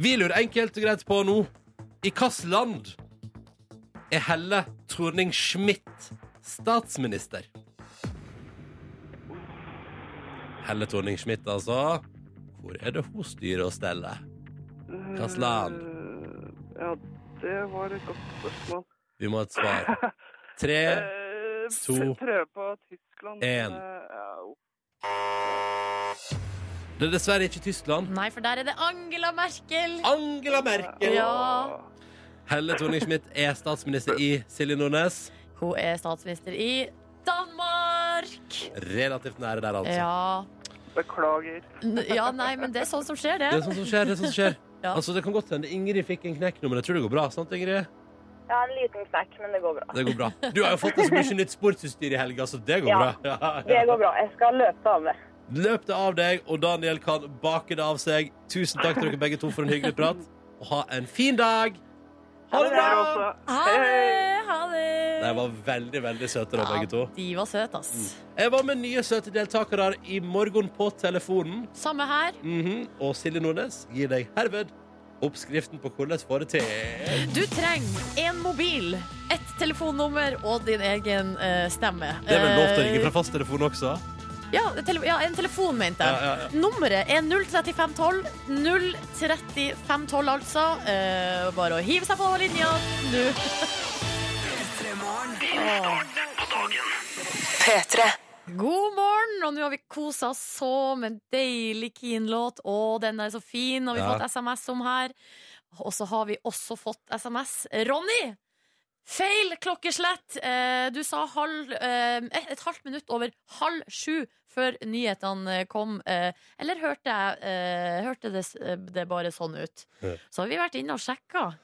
Speaker 2: Vi lurer enkelt og greit på nå I hvilket land er Helle Thorning-Schmidt statsminister? Helle Thorning-Schmidt, altså. Hvor er det hun styrer og steller? Hvilket land?
Speaker 5: Eh, Ja, det var et godt spørsmål.
Speaker 2: Vi må ha et svar. Tre
Speaker 5: Eh,
Speaker 2: to,
Speaker 5: pr- Prøve på Tyskland.
Speaker 2: en.
Speaker 5: Eh, ja, jo.
Speaker 2: Det er dessverre ikke Tyskland.
Speaker 3: Nei, for der er det Angela Merkel.
Speaker 2: Angela Merkel!
Speaker 3: Ja.
Speaker 2: Helle Thorning-Schmidt er statsminister i Silje Nordnes.
Speaker 3: Hun er statsminister i Danmark!
Speaker 2: Relativt nære der, altså.
Speaker 3: Ja.
Speaker 5: Beklager.
Speaker 3: N- ja, nei, men det er sånn som skjer,
Speaker 2: Det er
Speaker 3: det.
Speaker 2: sånn som skjer. Det er sånn som skjer.
Speaker 3: Ja.
Speaker 2: Altså, det kan godt hende Ingrid fikk en knekk nå, men jeg tror det går bra. sant, Ingrid?
Speaker 4: Ja, en liten knekk, men det går bra.
Speaker 2: Det går bra. Du har jo fått deg så mye nytt sportsutstyr i helga, så det går
Speaker 4: Ja.
Speaker 2: bra.
Speaker 4: Det går bra. Jeg skal løpe av det.
Speaker 2: Løp det av deg, og Daniel kan bake det av seg. Tusen takk til dere begge to for en hyggelig prat, og ha en fin dag! Ha det
Speaker 5: Dere
Speaker 2: bra!
Speaker 5: også.
Speaker 3: Ha det! Ha det!
Speaker 2: De var veldig, veldig søte, da, begge to. Mm.
Speaker 3: Ja, de var søte, ass.
Speaker 2: Jeg var med nye søte deltakere i morgen på telefonen.
Speaker 3: Samme her.
Speaker 2: Mhm. Og Silje Nordnes gir deg herved oppskriften på hvordan få det til.
Speaker 3: Du trenger en mobil, ett telefonnummer og din egen eh, stemme. Eh,
Speaker 2: Det er vel lov til å ringe fra fasttelefonen også?
Speaker 3: Ja, tele ja, en telefon, mente jeg.
Speaker 2: Ja, ja,
Speaker 3: Nummeret er 03512. 03512, altså. Eh, bare å hive seg på linja nå.
Speaker 1: P3.
Speaker 3: God morgen, og nå har vi kosa oss så med en deilig Keen-låt. Å, den er så fin, og vi har
Speaker 2: Ja.
Speaker 3: fått SMS om her. Og så har vi også fått SMS. Ronny! Feil klokkeslett! Eh, du sa halv, eh, et, et halvt minutt over halv sju før nyhetene eh, kom. Eh, eller hørte jeg eh, Hørte det, s- eh, det bare sånn ut?
Speaker 2: Ja.
Speaker 3: Så har vi vært inne og sjekka.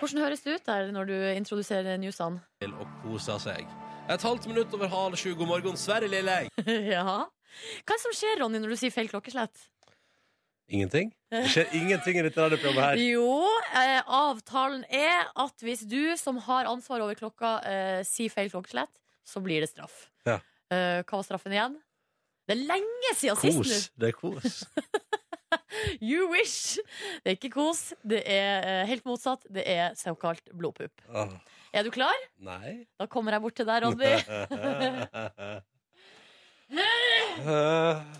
Speaker 3: Hvordan høres det ut der når du introduserer newsene?
Speaker 2: til å kose seg. Et halvt minutt over halv sju. God morgen, Sverre Lille.
Speaker 3: ja. Hva er det som skjer, Ronny, når du sier feil klokkeslett?
Speaker 2: Ingenting? Det skjer ingenting i dette radioprogrammet her.
Speaker 3: Jo, eh, avtalen er at hvis du som har ansvar over klokka, eh, sier feil klokkeslett, så blir det straff.
Speaker 2: Ja.
Speaker 3: Eh, hva var straffen igjen? Det er lenge siden
Speaker 2: Kos.
Speaker 3: sist
Speaker 2: Det er kos.
Speaker 3: nå! You wish! Det er ikke kos, det er eh, helt motsatt. Det er såkalt blodpupp.
Speaker 2: Ah,
Speaker 3: Er du klar?
Speaker 2: nei.
Speaker 3: Da kommer jeg bort til deg, Ronny.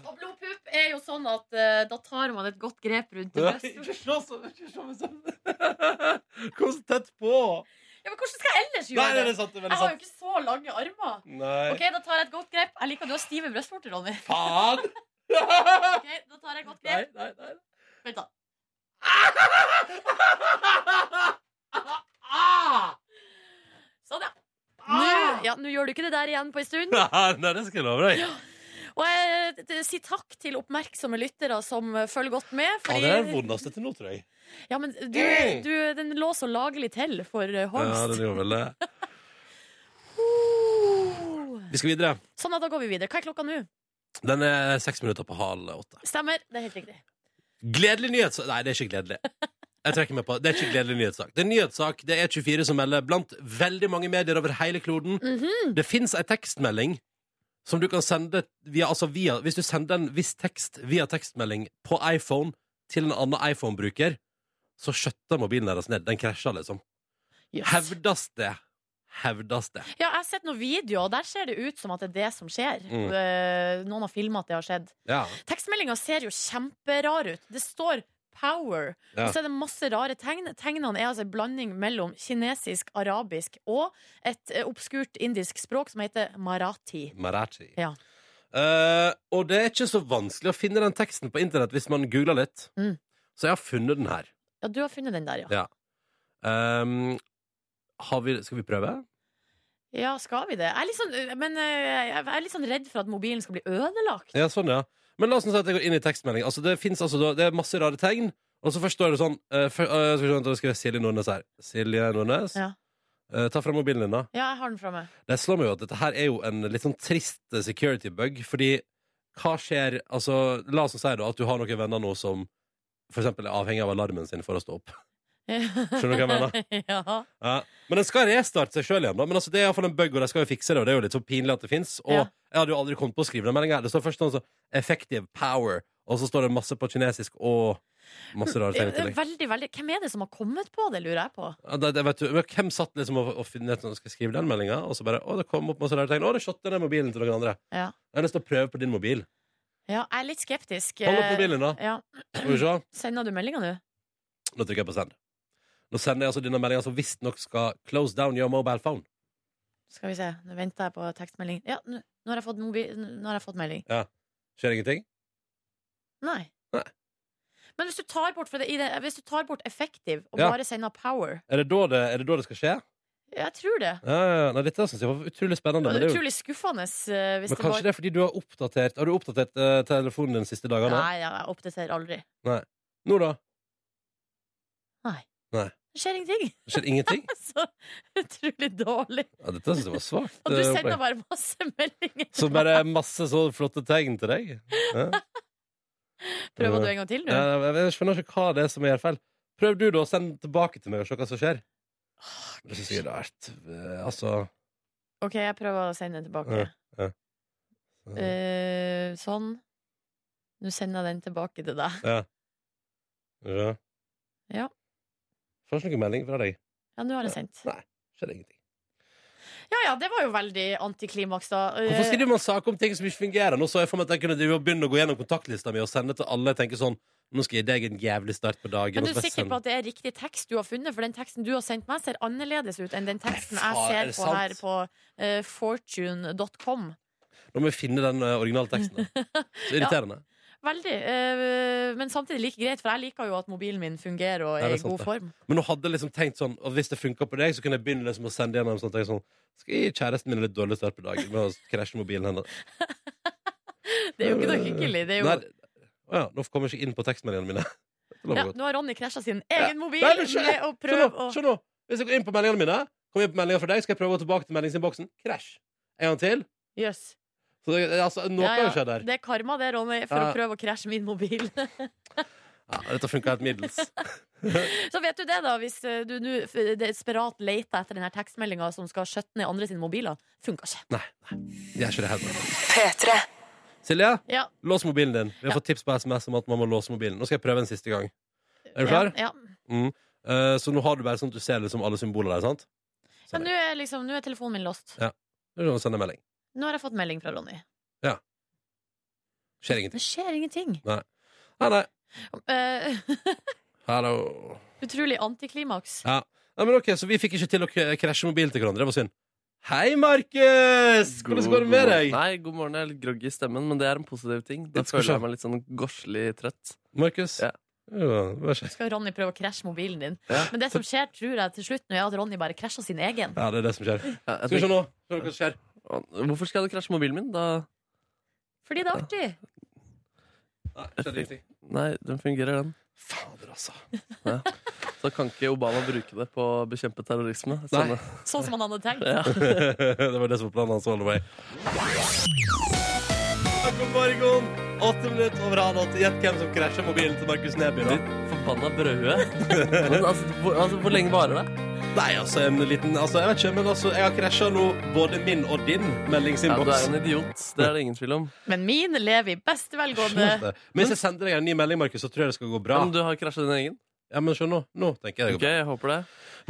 Speaker 3: Og blodpupp er jo sånn at eh, da tar man et godt grep rundt det brystet.
Speaker 2: Ikke slå sånn! Ikke slå meg sånn! Kom så tett på!
Speaker 3: Ja, men hvordan skal jeg ellers
Speaker 2: Nei,
Speaker 3: gjøre
Speaker 2: det er
Speaker 3: det?
Speaker 2: sant. Det er
Speaker 3: Jeg
Speaker 2: veldig
Speaker 3: har jo
Speaker 2: sant.
Speaker 3: ikke så lange armer. Ok,
Speaker 2: Nei.
Speaker 3: da tar jeg et godt grep. Jeg liker at du har stive brystvorter, Ronny.
Speaker 2: Faen!
Speaker 3: Ok, da tar jeg et godt
Speaker 2: Nei,
Speaker 3: grep.
Speaker 2: nei, nei.
Speaker 3: Vent, da. Sånn, ja. Nå,
Speaker 2: Ah!
Speaker 3: ja, nå gjør du ikke det der igjen på en stund.
Speaker 2: Nei, det skal jeg love deg.
Speaker 3: Og jeg eh, t- t- sier takk til oppmerksomme lyttere som eh, følger godt med.
Speaker 2: Ja,
Speaker 3: Fordi,
Speaker 2: det er den vondeste til nå, tror jeg.
Speaker 3: Ja, men du, du, den lå så lagelig til for eh,
Speaker 2: Ja,
Speaker 3: Holmst.
Speaker 2: den gjorde vel det.
Speaker 3: Oh.
Speaker 2: Vi skal videre.
Speaker 3: Sånn, ja, da går vi videre. Hva er klokka nå?
Speaker 2: Den er seks minutter på halv åtte.
Speaker 3: Stemmer. Det er helt riktig.
Speaker 2: Gledelig nyhet! så- Nei, det er ikke gledelig. Jeg trekker meg på. Det er ikke gledelig nyhetssak. Det er en nyhetssak. Det er 24 som melder blant veldig mange medier over hele kloden.
Speaker 3: Mm.
Speaker 2: Det fins ei tekstmelding som du kan sende via, altså via Hvis du sender en viss tekst via tekstmelding på iPhone til en annen iPhone-bruker, så skjøtter mobilen deres ned. Den krasjer, liksom.
Speaker 3: Yes.
Speaker 2: Hevdes det. Hevdes det.
Speaker 3: Ja, jeg har sett noen videoer, og der ser det ut som at det er det som skjer.
Speaker 2: Mm.
Speaker 3: Eh, Noen har filma at det har skjedd.
Speaker 2: Ja.
Speaker 3: Tekstmeldinga ser jo kjemperar ut. Det står 'power',
Speaker 2: Ja.
Speaker 3: og så er det masse rare tegn. Tegnene er altså en blanding mellom kinesisk, arabisk og et eh, obskurt indisk språk som heter marathi.
Speaker 2: Marathi.
Speaker 3: Ja.
Speaker 2: Eh, og det er ikke så vanskelig å finne den teksten på internett hvis man googler litt.
Speaker 3: Mm.
Speaker 2: Så jeg har funnet den her.
Speaker 3: Ja, du har funnet den der, ja.
Speaker 2: Ja. Ehm, har vi, skal vi prøve?
Speaker 3: Ja, skal vi det? Jeg er litt sånn, eh, men eh, jeg er litt sånn redd for at mobilen skal bli ødelagt.
Speaker 2: Ja, sånn, ja. Men la oss nå si at jeg går inn i tekstmelding. Altså, det, finnes, altså, da- det er masse rare tegn, og så forstår du sånn eh, for, eh, Skal vi se, da skriver jeg Silje Nordnes her. Silje Nordnes,
Speaker 3: Ja.
Speaker 2: eh, ta fram mobilen din, da.
Speaker 3: Ja, jeg har den fra meg.
Speaker 2: Det slår meg jo at dette her er jo en litt sånn trist eh, security bug, fordi hva skjer Altså, la oss nå si da at du har noen venner nå som for eksempel er avhengig av alarmen sin for å stå opp.
Speaker 3: Skjønner
Speaker 2: du hva jeg mener?
Speaker 3: ja.
Speaker 2: Ja. Men den skal restarte seg sjøl igjen, da. Men altså, det er iallfall en bug, og de skal jo fikse det. Og det er jo litt så pinlig at det fins. Og
Speaker 3: Ja.
Speaker 2: jeg hadde jo aldri kommet på å skrive den meldinga. Det står først sånn så, 'effective power', og så står det masse på kinesisk og masse rare ting i tillegg.
Speaker 3: Veldig, veldig. Hvem er det som har kommet på det, lurer jeg på.
Speaker 2: Ja, det, det, vet du, men hvem satt liksom og, og finnet ut når skal jeg skrive den meldinga, og så bare 'Å, det kom opp masse rare tegn'. 'Å, det shotta ned mobilen til noen andre'.
Speaker 3: Ja.
Speaker 2: Jeg har lyst til å prøve på din mobil.
Speaker 3: Ja, jeg er litt skeptisk. Eh,
Speaker 2: Hold opp mobilen, da.
Speaker 3: Ja.
Speaker 2: Skal vi se.
Speaker 3: Sender du meldinga nå?
Speaker 2: Nå trykker jeg på send. Nå sender jeg altså denne meldinga som visstnok skal 'close down your mobile phone'.
Speaker 3: Skal vi se. Nå venter jeg på tekstmelding. Ja, nå nå har jeg fått, mobi nå har jeg fått melding.
Speaker 2: Skjer ingenting?
Speaker 3: Nei.
Speaker 2: Nei.
Speaker 3: Men hvis du tar bort, for det, i det, hvis du tar bort effektiv og
Speaker 2: Ja.
Speaker 3: bare sender power
Speaker 2: Er det da det, er det, da det skal skje?
Speaker 3: Jeg tror det.
Speaker 2: Ja, ja, ja. Nei, dette syns jeg var utrolig spennende. Men det er jo
Speaker 3: Utrolig skuffende eh, hvis
Speaker 2: Men
Speaker 3: det var
Speaker 2: kanskje det er fordi du har oppdatert Har du oppdatert eh, telefonen den siste dagene?
Speaker 3: Nei, ja, jeg oppdaterer aldri.
Speaker 2: Nå da?
Speaker 3: Det skjer ingenting.
Speaker 2: Det skjer ingenting?
Speaker 3: Så utrolig dårlig.
Speaker 2: Ja, dette synes jeg var svakt.
Speaker 3: Og du
Speaker 2: eh,
Speaker 3: sender
Speaker 2: opplegg.
Speaker 3: bare masse meldinger.
Speaker 2: Så bare masse så flotte tegn til deg. Ja. Eh,
Speaker 3: Prøver du en gang til, du?
Speaker 2: Ja, jeg- jeg skjønner ikke hva det er som gjør feil. Prøv du, da, å sende tilbake til meg og se hva som skjer. Det synes jeg er rart. Eh, Altså
Speaker 3: OK, jeg prøver å sende den tilbake.
Speaker 2: Ja, ja.
Speaker 3: Eh, sånn. Nå sender jeg den tilbake til deg.
Speaker 2: ja.
Speaker 3: Ja.
Speaker 2: Får ikke noen melding fra deg.
Speaker 3: Ja, nå har jeg sendt.
Speaker 2: Skjer ingenting.
Speaker 3: Ja ja, det var jo veldig antiklimaks, da. Eh,
Speaker 2: Hvorfor skriver man saker om ting som ikke fungerer? Nå så jeg for meg at jeg kunne drive og begynne å gå gjennom kontaktlista mi og sende til alle. Jeg tenker sånn Nå skal jeg gi deg en jævlig start på dagen.
Speaker 3: men du
Speaker 2: og
Speaker 3: er
Speaker 2: så bare
Speaker 3: sikker
Speaker 2: sende-
Speaker 3: på at det er riktig tekst du har funnet? For den teksten du har sendt meg, ser annerledes ut enn den teksten
Speaker 2: Nei, faen, er
Speaker 3: jeg
Speaker 2: det
Speaker 3: ser på her
Speaker 2: sant?
Speaker 3: på eh, fortune.com.
Speaker 2: Nå må vi finne den eh, originale teksten. da. Så irriterende.
Speaker 3: Veldig. eh, men samtidig like greit, for jeg liker jo at mobilen min fungerer og
Speaker 2: Ja,
Speaker 3: er
Speaker 2: det er
Speaker 3: i
Speaker 2: sant
Speaker 3: god
Speaker 2: det.
Speaker 3: form.
Speaker 2: Men nå hadde jeg liksom tenkt sånn at hvis det funka på deg, så kunne jeg begynne liksom å sende gjennom sånn at jeg sånn Skal jeg gi kjæresten min en litt dårlig start på dagen med å krasje mobilen hennes?
Speaker 3: Det er jo ikke noe hyggelig. Det er jo...
Speaker 2: Nei, å ja, nå kommer jeg ikke inn på tekstmeldingene mine. Det lover
Speaker 3: Ja,
Speaker 2: godt.
Speaker 3: nå har Ronny krasja sin egen mobil
Speaker 2: Nei, men skjø-
Speaker 3: med å
Speaker 2: Se
Speaker 3: prøve
Speaker 2: nå,
Speaker 3: å
Speaker 2: se nå! Hvis jeg går inn på meldingene mine, kommer jeg på meldinga fra deg, skal jeg prøve å gå tilbake til meldingsinnboksen. Krasj. En gang til.
Speaker 3: Jøs.
Speaker 2: Så det, altså, noe
Speaker 3: Ja,
Speaker 2: har
Speaker 3: ja,
Speaker 2: jo skjedd her.
Speaker 3: Det er karma, det, Ronny, for
Speaker 2: Ja.
Speaker 3: å prøve å krasje min mobil.
Speaker 2: Ja, dette funka helt middels.
Speaker 3: Så vet du det, da, hvis eh, du nå f- desperat leter etter denne tekstmeldinga som skal skjøtte ned andre sine mobiler. Funka ikke.
Speaker 2: Nei, nei. Jeg gjør ikke det heller.
Speaker 1: P3.
Speaker 2: Silje,
Speaker 3: Ja.
Speaker 2: lås mobilen din. Vi har
Speaker 3: Ja.
Speaker 2: fått tips på SMS om at man må låse mobilen. Nå skal jeg prøve en siste gang. Er du klar?
Speaker 3: Ja.
Speaker 2: Eh, så nå har du bare sånn at du ser liksom alle symboler der, sant?
Speaker 3: ja. Men nå er, liksom, nå er telefonen min låst.
Speaker 2: Ja. Nå kan du sende melding.
Speaker 3: Nå har jeg fått melding fra Ronny.
Speaker 2: Skjer ingenting.
Speaker 3: Det skjer ingenting.
Speaker 2: Nei, nei.
Speaker 3: Eh,
Speaker 2: Hallo.
Speaker 3: utrolig antiklimaks.
Speaker 2: Ja. Nei, men ok, så vi fikk ikke til å k- krasje mobilen til hverandre. Det var synd. Hei, Markus! Hvordan går det med
Speaker 6: morgen.
Speaker 2: deg?
Speaker 6: Nei, god morgen. Jeg er litt groggy i stemmen, men det er en positiv ting. Da
Speaker 2: Det skal
Speaker 6: føler
Speaker 2: skje.
Speaker 6: jeg meg litt sånn gorslig trøtt.
Speaker 2: Markus?
Speaker 6: Ja.
Speaker 2: Ja, hva skjer?
Speaker 3: Skal Ronny prøve å krasje mobilen din?
Speaker 6: Ja.
Speaker 3: Men det som skjer, tror jeg til slutt, nå er at Ronny bare krasja sin egen.
Speaker 2: Ja, det er det som skjer.
Speaker 6: Ja, jeg
Speaker 2: Skal vi se
Speaker 6: tenker,
Speaker 2: nå. Se hva som skjer.
Speaker 6: hvorfor skal jeg krasje mobilen min? Da
Speaker 3: Fordi det er artig.
Speaker 2: Nei, skjer ingenting.
Speaker 6: Nei, den fungerer, den.
Speaker 2: Fader, altså.
Speaker 6: Så kan ikke Obama bruke det på å bekjempe terrorisme.
Speaker 2: Nei.
Speaker 6: Sånn-
Speaker 3: Sånn som han hadde tenkt.
Speaker 6: ja.
Speaker 2: det var det som var planen hans all the way. God morgen. Åtte minutter over halv åtte. Gjett hvem som krasjer mobilen til Markus Neby. da.
Speaker 6: Ditt forbanna brødhue. Men altså hvor, altså, hvor lenge varer det?
Speaker 2: Nei, altså, en liten altså, Jeg vet ikke, men altså, jeg har krasja nå både min og din
Speaker 6: Ja, du er
Speaker 2: meldingsinnboks.
Speaker 6: en idiot. Det er det ingen tvil om.
Speaker 3: Men min lever i beste velgående.
Speaker 2: men hvis jeg sender deg en ny melding, Markus, så tror jeg det skal gå bra.
Speaker 6: Men du har krasja din egen?
Speaker 2: Ja, men skjønn nå. Nå tenker jeg det
Speaker 6: Ok,
Speaker 2: går bra.
Speaker 6: jeg håper det.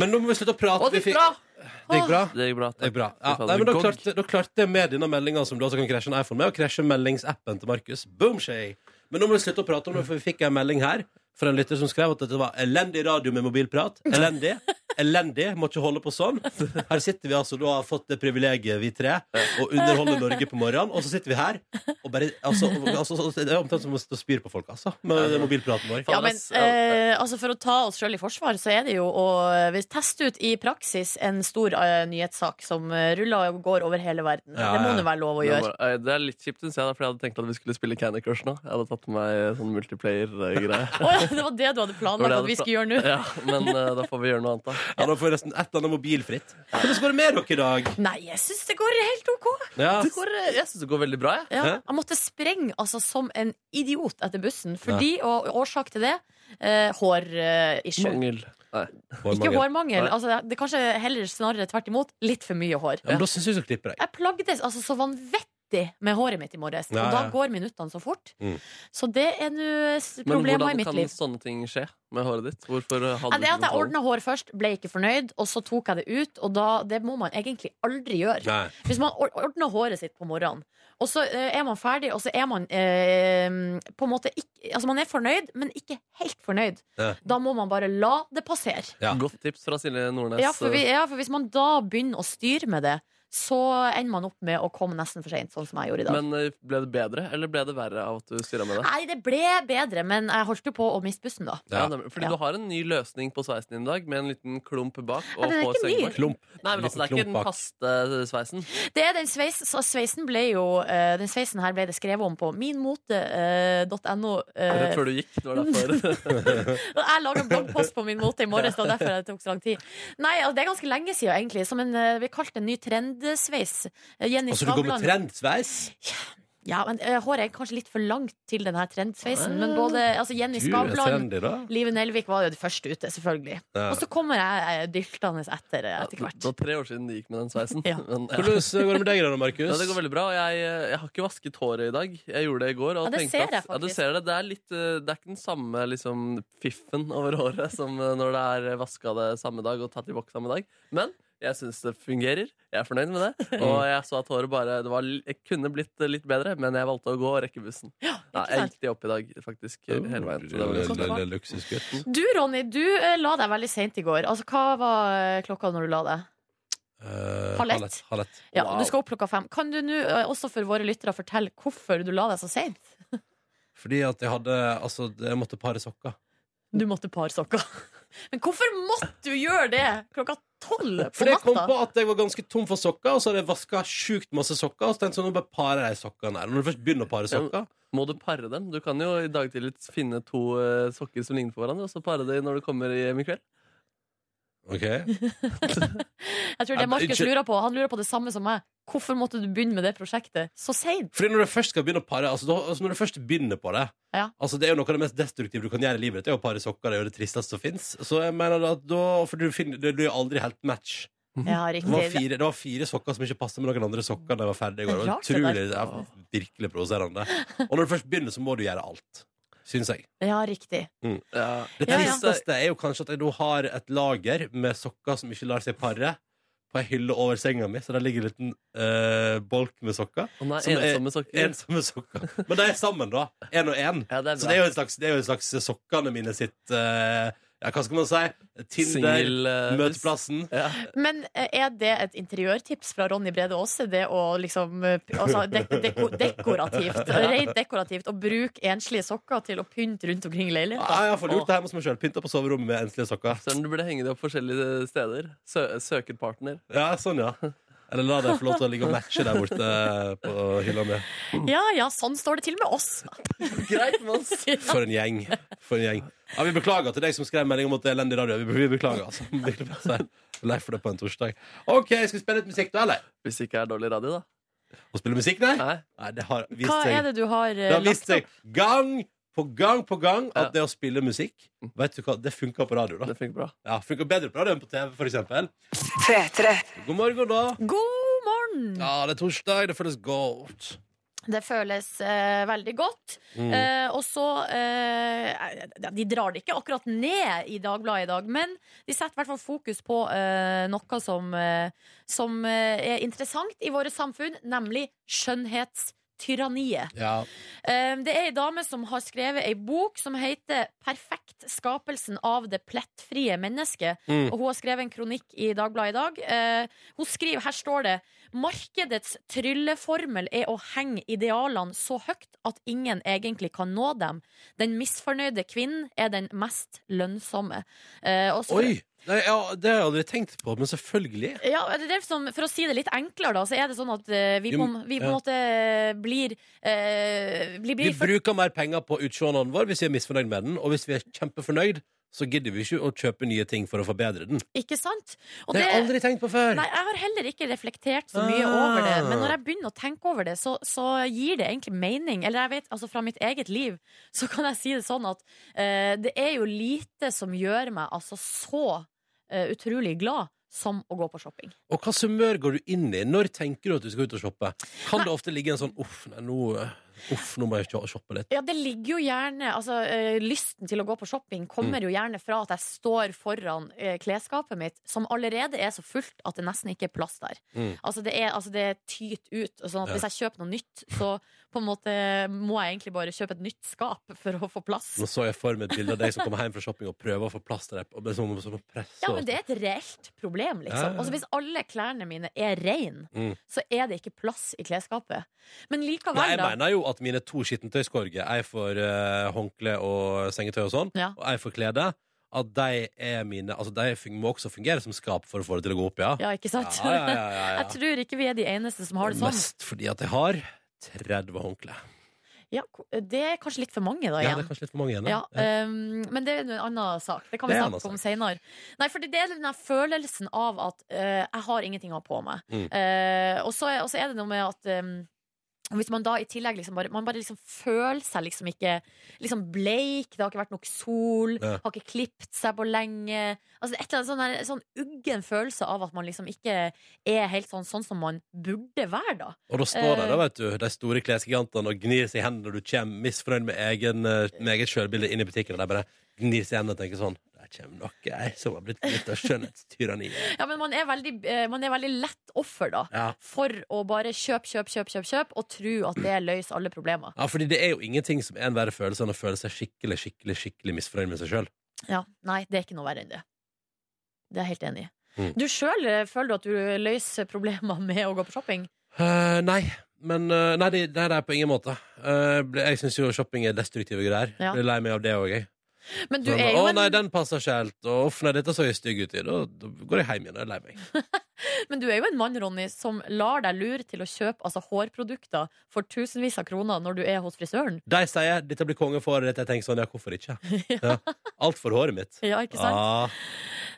Speaker 2: Men nå må vi slutte å prate.
Speaker 6: Å, det gikk
Speaker 2: Vi fikk-
Speaker 6: bra!
Speaker 2: Det gikk bra?
Speaker 6: Det gikk bra.
Speaker 2: Det gikk bra.
Speaker 6: Fy
Speaker 2: Ja,
Speaker 6: fader,
Speaker 2: nei, men da
Speaker 6: gogg.
Speaker 2: klarte, da klarte jeg med denne meldinga som du også kan krasje en iPhone med, å krasje meldingsappen til Markus. Boom, shay. Men nå må vi slutte å prate om det, for vi fikk en melding her fra en lytter som skrev at dette var elendig radio med mobilprat. Elendig. Elendig. Må ikke holde på sånn. Her sitter vi altså, du har fått det privilegiet, vi tre, å underholde Norge på morgenen, og så sitter vi her og bare altså, altså, Det er omtrent som å sitte og spyre på folk, altså, med mobilpraten vår.
Speaker 3: Ja, men
Speaker 6: ass.
Speaker 3: eh, altså For å ta oss sjøl i forsvar, så er det jo å eh, teste ut i praksis en stor eh, nyhetssak som eh, ruller og går over hele verden.
Speaker 2: Ja,
Speaker 3: Det må
Speaker 2: ja.
Speaker 3: nå være lov å
Speaker 6: Det
Speaker 3: gjøre.
Speaker 6: var- eh, Det er litt kjipt, syns jeg, da, for jeg hadde tenkt at vi skulle spille Candy Crush nå. Jeg hadde tatt med meg sånn multiplayer-greie.
Speaker 3: Å ja, det var det du hadde
Speaker 6: Det var det
Speaker 3: planlagt
Speaker 6: jeg
Speaker 3: at vi
Speaker 6: hadde
Speaker 3: skulle gjøre nå?
Speaker 6: Ja, men eh, da får vi gjøre noe annet, da.
Speaker 2: Ja, da får vi nesten et eller annet mobilfritt. Hvordan går det med dere i dag?
Speaker 3: Nei, jeg syns det går helt OK.
Speaker 2: Ja.
Speaker 6: Det går, eh, jeg syns det går veldig bra, jeg.
Speaker 3: Ja,
Speaker 2: Hæ?
Speaker 3: jeg måtte sprenge altså, som en idiot etter bussen, fordi, og årsak til det, eh, hårissue.
Speaker 6: Mangel. Nei.
Speaker 3: ikke hårmangel.
Speaker 6: Nei.
Speaker 3: Altså, det- det er kanskje heller snarere tvert imot litt for mye hår.
Speaker 2: Ja, men da syns jeg du skal klippe deg.
Speaker 3: Jeg plagdes altså så vanvittig med håret mitt i morges,
Speaker 2: Ja,
Speaker 3: og da
Speaker 2: ja.
Speaker 3: går minuttene så fort.
Speaker 2: Mm.
Speaker 3: Så det er nå s-
Speaker 6: Men
Speaker 3: problemer i
Speaker 6: hvordan
Speaker 3: mitt
Speaker 6: kan
Speaker 3: liv.
Speaker 6: sånne ting skje med håret ditt? Hvorfor eh,
Speaker 3: Ja,
Speaker 6: hadde
Speaker 3: det er at jeg
Speaker 6: kontroll?
Speaker 3: ordna hår først, ble ikke fornøyd, og så tok jeg det ut. Og da, det må man egentlig aldri gjøre.
Speaker 2: Nei.
Speaker 3: Hvis man or- ordner håret sitt på morgenen, og så eh, er man ferdig, og så er man eh, på en måte ikke Altså, man er fornøyd, men ikke helt fornøyd.
Speaker 2: Ja.
Speaker 3: Da må man bare la det passere.
Speaker 2: Ja.
Speaker 6: Godt tips fra Silje Nordnes.
Speaker 3: Ja for, vi, ja, for hvis man da begynner å styre med det, så ender man opp med å komme nesten for seint, sånn som jeg gjorde i dag.
Speaker 6: Men eh, ble det bedre, eller ble det verre av at du styra med det?
Speaker 3: Nei, det ble bedre, men jeg holdt jo på å miste bussen, da.
Speaker 2: Ja.
Speaker 6: Ja, nemlig. fordi
Speaker 3: Ja.
Speaker 6: du har en ny løsning på sveisen din i dag, med en liten klump bak. Og
Speaker 3: Ja, den er
Speaker 6: få
Speaker 3: ikke
Speaker 6: sengebak.
Speaker 3: ny.
Speaker 2: Klump.
Speaker 6: Nei, men altså, det er
Speaker 2: Liten
Speaker 6: ikke
Speaker 2: klump
Speaker 6: den
Speaker 2: bak.
Speaker 6: faste eh, sveisen.
Speaker 3: Det er den, sveis, så sveisen ble jo, eh, den sveisen her ble det skrevet om på eh, minmote.no.
Speaker 6: Rett før du gikk. Det var derfor.
Speaker 3: Og Jeg laga bloggpost på min måte i morges, det var derfor det tok så lang tid. Nei, altså, Det er ganske lenge siden, egentlig. Som en, eh, vi kalte det en ny trendsveis. Eh, Jenny
Speaker 2: Altså, du går med
Speaker 3: Skavlan-
Speaker 2: trendsveis?
Speaker 3: Ja, men eh, Håret er kanskje litt for langt til den her trendsveisen. Men både altså, Jenny
Speaker 2: Ah, Du er
Speaker 3: Skavlan
Speaker 2: trendy, da.
Speaker 3: Live Nelvik var jo det første ute, selvfølgelig.
Speaker 2: Ja.
Speaker 3: Og så kommer jeg eh, dyltende etter eh, etter
Speaker 6: Det var
Speaker 3: hvert.
Speaker 6: tre år siden du gikk med den sveisen.
Speaker 3: Ja.
Speaker 6: Men, ja.
Speaker 2: Hvordan går det med deg, da, Markus?
Speaker 6: Ja, det går veldig bra. og Jeg, eh, jeg har ikke vasket håret i dag. Jeg gjorde det i går. Og
Speaker 3: Ja, det
Speaker 6: tenkte
Speaker 3: ser
Speaker 6: at,
Speaker 3: jeg
Speaker 6: Ja, du
Speaker 3: faktisk.
Speaker 6: ser det. Det er, litt, eh, det er ikke den samme liksom, fiffen over håret som eh, når det er vaska det samme dag og tatt i voks samme dag. Men jeg syns det fungerer. Jeg er fornøyd med det. Og jeg så at håret bare det var, l- jeg kunne blitt eh, litt bedre, men jeg valgte å gå og rekke bussen. Ja,
Speaker 3: ikke
Speaker 6: jeg
Speaker 3: sant?
Speaker 6: gikk det opp i dag, faktisk. eh, Hele veien. Så det var
Speaker 3: det-
Speaker 6: litt-
Speaker 3: det-
Speaker 2: Luksusgutt.
Speaker 3: Du, Ronny, du eh, la deg veldig seint i går. Altså, Hva var eh, klokka når du la deg?
Speaker 2: Eh,
Speaker 3: Halv ett.
Speaker 2: Halv ett.
Speaker 3: Ja,
Speaker 6: Wow.
Speaker 3: Du skal opp klokka fem. Kan du nå eh, også for våre lyttere fortelle hvorfor du la deg så seint?
Speaker 2: Fordi at jeg hadde Altså, jeg måtte pare sokker.
Speaker 3: Du måtte pare sokker. Men hvorfor måtte du gjøre det klokka tolv på
Speaker 2: Fordi jeg kom
Speaker 3: natta?
Speaker 2: på at jeg var ganske tom for sokker, og så hadde jeg vaska sjukt masse sokker. Og så tenkte jeg sånn, nå bare parer jeg sokkene her. Når du først begynner å pare sokker
Speaker 6: Må du pare dem? Du kan jo i dag tidlig finne to eh, sokker som ligner på hverandre, og så pare dem når du kommer hjem i kveld.
Speaker 2: Ok
Speaker 3: Jeg tror det
Speaker 2: Ja,
Speaker 3: Markus
Speaker 2: unnskyld.
Speaker 3: lurer på. Han lurer på det samme som meg. Hvorfor måtte du begynne med det prosjektet så seint?
Speaker 2: Fordi når du først skal begynne å pare Altså, da, altså når du først begynner på det
Speaker 3: Ja.
Speaker 2: Altså Det er jo noe av det mest destruktive du kan gjøre i livet ditt. Det er å pare sokker. Det er jo det tristeste som fins. Så jeg mener da at da For du finner Du er aldri helt match.
Speaker 3: Ja,
Speaker 2: Mhm. Det var,
Speaker 3: riktig.
Speaker 2: fire, det var fire sokker som ikke passet med noen andre sokker da jeg var ferdig i går. Det var
Speaker 3: Det er rart,
Speaker 2: utrolig,
Speaker 3: det
Speaker 2: det er virkelig provoserende. Og når du først begynner, så må du gjøre alt. Syns jeg.
Speaker 3: Ja, riktig.
Speaker 6: Ja.
Speaker 2: Det
Speaker 3: Ja, ja.
Speaker 2: tristeste er jo kanskje at jeg nå har et lager med sokker som ikke lar seg pare, på ei hylle over senga mi, så der ligger en liten eh, bolk med sokker.
Speaker 6: Han er
Speaker 2: Som er-
Speaker 6: ensomme sokker.
Speaker 2: Ensomme sokker. Men de er sammen, da. Én og én.
Speaker 6: Ja, det er
Speaker 2: Så det er jo en slags, det er jo en slags sokkene mine sitt eh, Ja, hva skal man si? Tinder,
Speaker 6: eh,
Speaker 2: møteplassen.
Speaker 6: Ja.
Speaker 3: Men eh, er det et interiørtips fra Ronny Brede Aase, det å liksom eh, p- altså, dek deko dekorativt, rent dekorativt, å bruke enslige sokker til å pynte rundt omkring
Speaker 2: Ja,
Speaker 3: i leiligheta?
Speaker 2: jeg har fått gjort det hjemme hos meg sjøl. Pynta på soverommet med enslige sokker.
Speaker 6: Søren, du burde henge det opp forskjellige steder. Sø søker partner.
Speaker 2: Ja, sånn, ja. Eller la dem få lov til å ligge og matche der borte eh, på hylla mi.
Speaker 3: Ja ja, sånn står det til med oss.
Speaker 6: Greit, Mons.
Speaker 2: For en gjeng. For en gjeng. Ja, vi beklager til deg som skrev melding om at det er elendig radio. Vi be- Vi beklager, altså. Virkelig bare si. Lei for det på en torsdag. OK, skal vi spille litt musikk da, eller?
Speaker 6: Hvis det ikke er dårlig radio, da.
Speaker 2: Å spille musikk, nei?
Speaker 6: Nei.
Speaker 2: Nei, det har vist
Speaker 3: Hva
Speaker 2: seg.
Speaker 3: er det du har eh,
Speaker 2: Det har vist
Speaker 3: lagt opp?
Speaker 2: seg gang på gang på gang at
Speaker 6: Ja.
Speaker 2: det å spille musikk Vet du hva, det funker på radio. da
Speaker 6: Det funker bra.
Speaker 2: Ja, Funker bedre på radio enn på TV, for eksempel.
Speaker 1: P3.
Speaker 2: God morgen, da.
Speaker 3: God morgen!
Speaker 2: Ja, det er torsdag. Det føles godt.
Speaker 3: Det føles eh, veldig godt.
Speaker 2: Mm.
Speaker 3: Eh, og så eh, De drar det ikke akkurat ned i Dagbladet i dag, men de setter i hvert fall fokus på eh, noe som, eh, som eh, er interessant i våre samfunn, nemlig skjønnhetstyranniet.
Speaker 2: Ja.
Speaker 3: Eh, Det er ei dame som har skrevet ei bok som heter 'Perfekt skapelsen av det plettfrie mennesket'.
Speaker 2: Mm.
Speaker 3: Og hun har skrevet en kronikk i Dagbladet i dag. Eh, Hun skriver, Her står det 'Markedets trylleformel er å henge idealene så høyt at ingen egentlig kan nå dem'. 'Den misfornøyde kvinnen er den mest lønnsomme'. Eh, og så-
Speaker 2: Oi! Nei, ja, det har jeg aldri tenkt på, men selvfølgelig.
Speaker 3: ja, det er sånn, For å si det litt enklere, da, så er det sånn at eh, vi
Speaker 2: Jo,
Speaker 3: på, en- vi på en
Speaker 2: ja.
Speaker 3: måte eh, blir, eh, blir,
Speaker 2: Vi
Speaker 3: blir for
Speaker 2: bruker mer penger på utseendet vår hvis vi er misfornøyd med den. Og hvis vi er kjempefornøyd, så gidder vi ikke å kjøpe nye ting for å forbedre den.
Speaker 3: Ikke sant? Og
Speaker 2: det har jeg aldri tenkt på før.
Speaker 3: Nei, jeg har heller ikke reflektert så mye
Speaker 2: Ah.
Speaker 3: over det. Men når jeg begynner å tenke over det, så, så gir det egentlig mening. Eller jeg vet, altså fra mitt eget liv, så kan jeg si det sånn at eh, det er jo lite som gjør meg altså så eh, utrolig glad som å gå på shopping.
Speaker 2: Og hva humør går du inn i? Når tenker du at du skal ut og shoppe? Kan det ofte ligge en sånn uff, nei, nå, eh, uff, nå må jeg kjø- shoppe litt.
Speaker 3: Ja, det ligger jo gjerne Altså, eh, lysten til å gå på shopping
Speaker 2: Mm.
Speaker 3: kommer jo gjerne fra at jeg står foran eh, klesskapet mitt, som allerede er så fullt at det nesten ikke er plass der.
Speaker 2: Mm.
Speaker 3: Altså, det er altså, det tyt ut. og Sånn at
Speaker 2: Ja.
Speaker 3: hvis jeg kjøper noe nytt, så på en måte må jeg egentlig bare kjøpe et nytt skap for å få plass.
Speaker 2: Nå så jeg for meg et bilde av deg som kommer hjem fra shopping og prøver å få plass til deg. Og med sånn, sånn press,
Speaker 3: Ja,
Speaker 2: og-
Speaker 3: men det er et reelt problem,
Speaker 2: Ja, ja,
Speaker 3: liksom.
Speaker 2: ja.
Speaker 3: Altså, hvis alle klærne mine er reine,
Speaker 2: Mm.
Speaker 3: så er det ikke plass i klesskapet. Men likevel,
Speaker 2: Nei, jeg
Speaker 3: da.
Speaker 2: mener jo at mine to skittentøyskorger, ei for eh, håndkle og sengetøy og sånn,
Speaker 3: Ja.
Speaker 2: og ei for klede, at de er mine Altså, de fun- må også fungere som skap for å få det til å gå opp, ja.
Speaker 3: Ja, ikke sant?
Speaker 2: Ja, ja, ja, ja, ja.
Speaker 3: Jeg tror ikke vi er de eneste som har det sånn.
Speaker 2: Mest fordi at jeg har 30 håndklær.
Speaker 3: Ja, ko- eh, det er kanskje litt for mange, da,
Speaker 2: Ja, det
Speaker 3: igjen.
Speaker 2: er kanskje litt for mange igjen.
Speaker 3: Ja,
Speaker 2: da. Ja.
Speaker 3: um, men det er en annen sak. Det kan vi
Speaker 2: Det er en
Speaker 3: snakke om
Speaker 2: annen
Speaker 3: senere. Nei, fordi det er den der følelsen av at eh, jeg har ingenting å ha på meg.
Speaker 2: Mm.
Speaker 3: Eh, og, så er, og så er det noe med at um, hvis man da i tillegg liksom bare, man bare liksom føler seg liksom ikke liksom bleik, det har ikke vært nok sol,
Speaker 2: Ja.
Speaker 3: har ikke klipt seg på lenge Altså et eller annet sånn, der, sånn uggen følelse av at man liksom ikke er helt sånn, sånn som man burde være, da.
Speaker 2: Og da står de
Speaker 3: eh,
Speaker 2: der, vet du, de store klesgigantene og gnir seg i hendene når du kommer misfornøyd med, egen, eh, med eget sjølbilde inn i butikken, og de bare gnir seg i hendene og tenker sånn Der kommer nok ei som har blitt litt av skjønnhetstyranniet.
Speaker 3: Ja, men man er veldig, eh, man er veldig lett offer, da.
Speaker 2: Ja.
Speaker 3: for å bare kjøpe, kjøpe, kjøpe, kjøpe, kjøpe og tro at det løser alle problemer.
Speaker 2: ja, fordi det er jo ingenting som er en verre følelse enn å føle seg skikkelig, skikkelig, skikkelig misfornøyd med seg sjøl.
Speaker 3: Ja, Nei, det er ikke noe verre enn det. Det er jeg helt enig i.
Speaker 2: Mm.
Speaker 3: Du sjøl føler du at du løser problemer med å gå på shopping?
Speaker 2: Eh, nei. Men eh, nei, det, nei, det er på ingen måte. Eh, ble- jeg syns jo shopping er destruktive greier.
Speaker 3: Ja.
Speaker 2: Blir lei meg av det òg, jeg.
Speaker 3: Men du
Speaker 2: Sånn,
Speaker 3: er
Speaker 2: Å
Speaker 3: jo en,
Speaker 2: nei, den passer ikke helt. Og uff, nei, dette så jeg stygg ut i. Da, da går jeg hjem igjen og er lei meg.
Speaker 3: men du er jo en mann, Ronny, som lar deg lure til å kjøpe altså, hårprodukter for tusenvis av kroner når du er hos frisøren.
Speaker 2: De sier 'dette blir konge for håret ditt'. Jeg tenker sånn, ja, hvorfor ikke? Ja. Alt for håret mitt.
Speaker 3: Ja, ikke sant?
Speaker 2: Ah,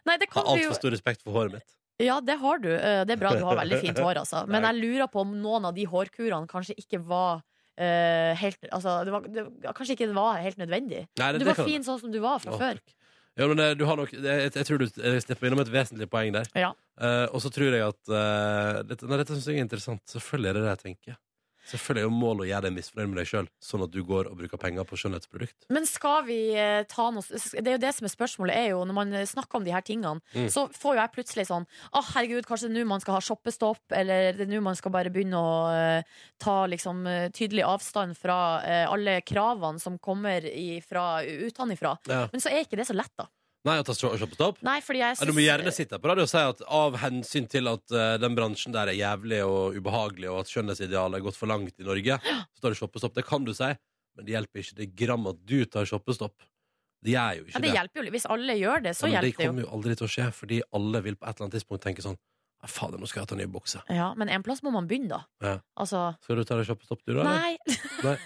Speaker 3: Nei, det
Speaker 2: har
Speaker 3: kan du jo
Speaker 2: altfor stor respekt for håret mitt.
Speaker 3: Ja, det har du. Eh, Det er bra du har veldig fint hår, altså. Men jeg lurer på om noen av de hårkurene kanskje ikke var eh, helt Altså, det var, det, kanskje ikke var helt nødvendig.
Speaker 2: Nei, det-
Speaker 3: du
Speaker 2: det
Speaker 3: var
Speaker 2: kan
Speaker 3: fin sånn som du var fra
Speaker 2: Å,
Speaker 3: før.
Speaker 2: takk. Ja, men eh, du har nok, jeg, jeg tror du eh, slipper innom et vesentlig poeng der.
Speaker 3: Ja.
Speaker 2: Eh, og så tror jeg at eh, dette, nei, dette synes jeg er interessant. Selvfølgelig er det det jeg tenker. Selvfølgelig er jo målet å gjøre deg misfornøyd med deg sjøl, sånn at du går og bruker penger på skjønnhetsprodukt.
Speaker 3: Men skal vi eh, ta noe Det er jo det som er spørsmålet, er jo når man eh, snakker om de her tingene,
Speaker 2: Mm.
Speaker 3: så får jo jeg plutselig sånn Å, herregud, kanskje det er nå man skal ha shoppestopp, eller det er nå man skal bare begynne å eh, ta liksom eh, tydelig avstand fra eh, alle kravene som kommer ifra- utenifra.
Speaker 2: Ja.
Speaker 3: Men så er ikke det så lett, da.
Speaker 2: Nei, å ta shop- shoppestopp?
Speaker 3: Nei, fordi jeg
Speaker 2: Ja, du må gjerne sitte på radio og si at av hensyn til at eh, den bransjen der er jævlig og ubehagelig, og at skjønnhetsidealet er gått for langt i Norge, så tar du shoppestopp. Det kan du si, men det hjelper ikke det gram at du tar shoppestopp. Det gjør jo
Speaker 3: Ja,
Speaker 2: ikke
Speaker 3: det
Speaker 2: det.
Speaker 3: hjelper jo litt. Hvis alle gjør det, så
Speaker 2: Ja, men
Speaker 3: hjelper det jo.
Speaker 2: kommer jo aldri til å skje, fordi alle vil på et eller annet tidspunkt tenke sånn «Nei, Fader, nå skal jeg ta nye bukser.
Speaker 3: Ja, men en plass må man begynne, da.
Speaker 2: Ja.
Speaker 3: Altså
Speaker 2: Skal du ta deg shoppestopp, du, da? eller?
Speaker 3: Nei!
Speaker 2: Nei.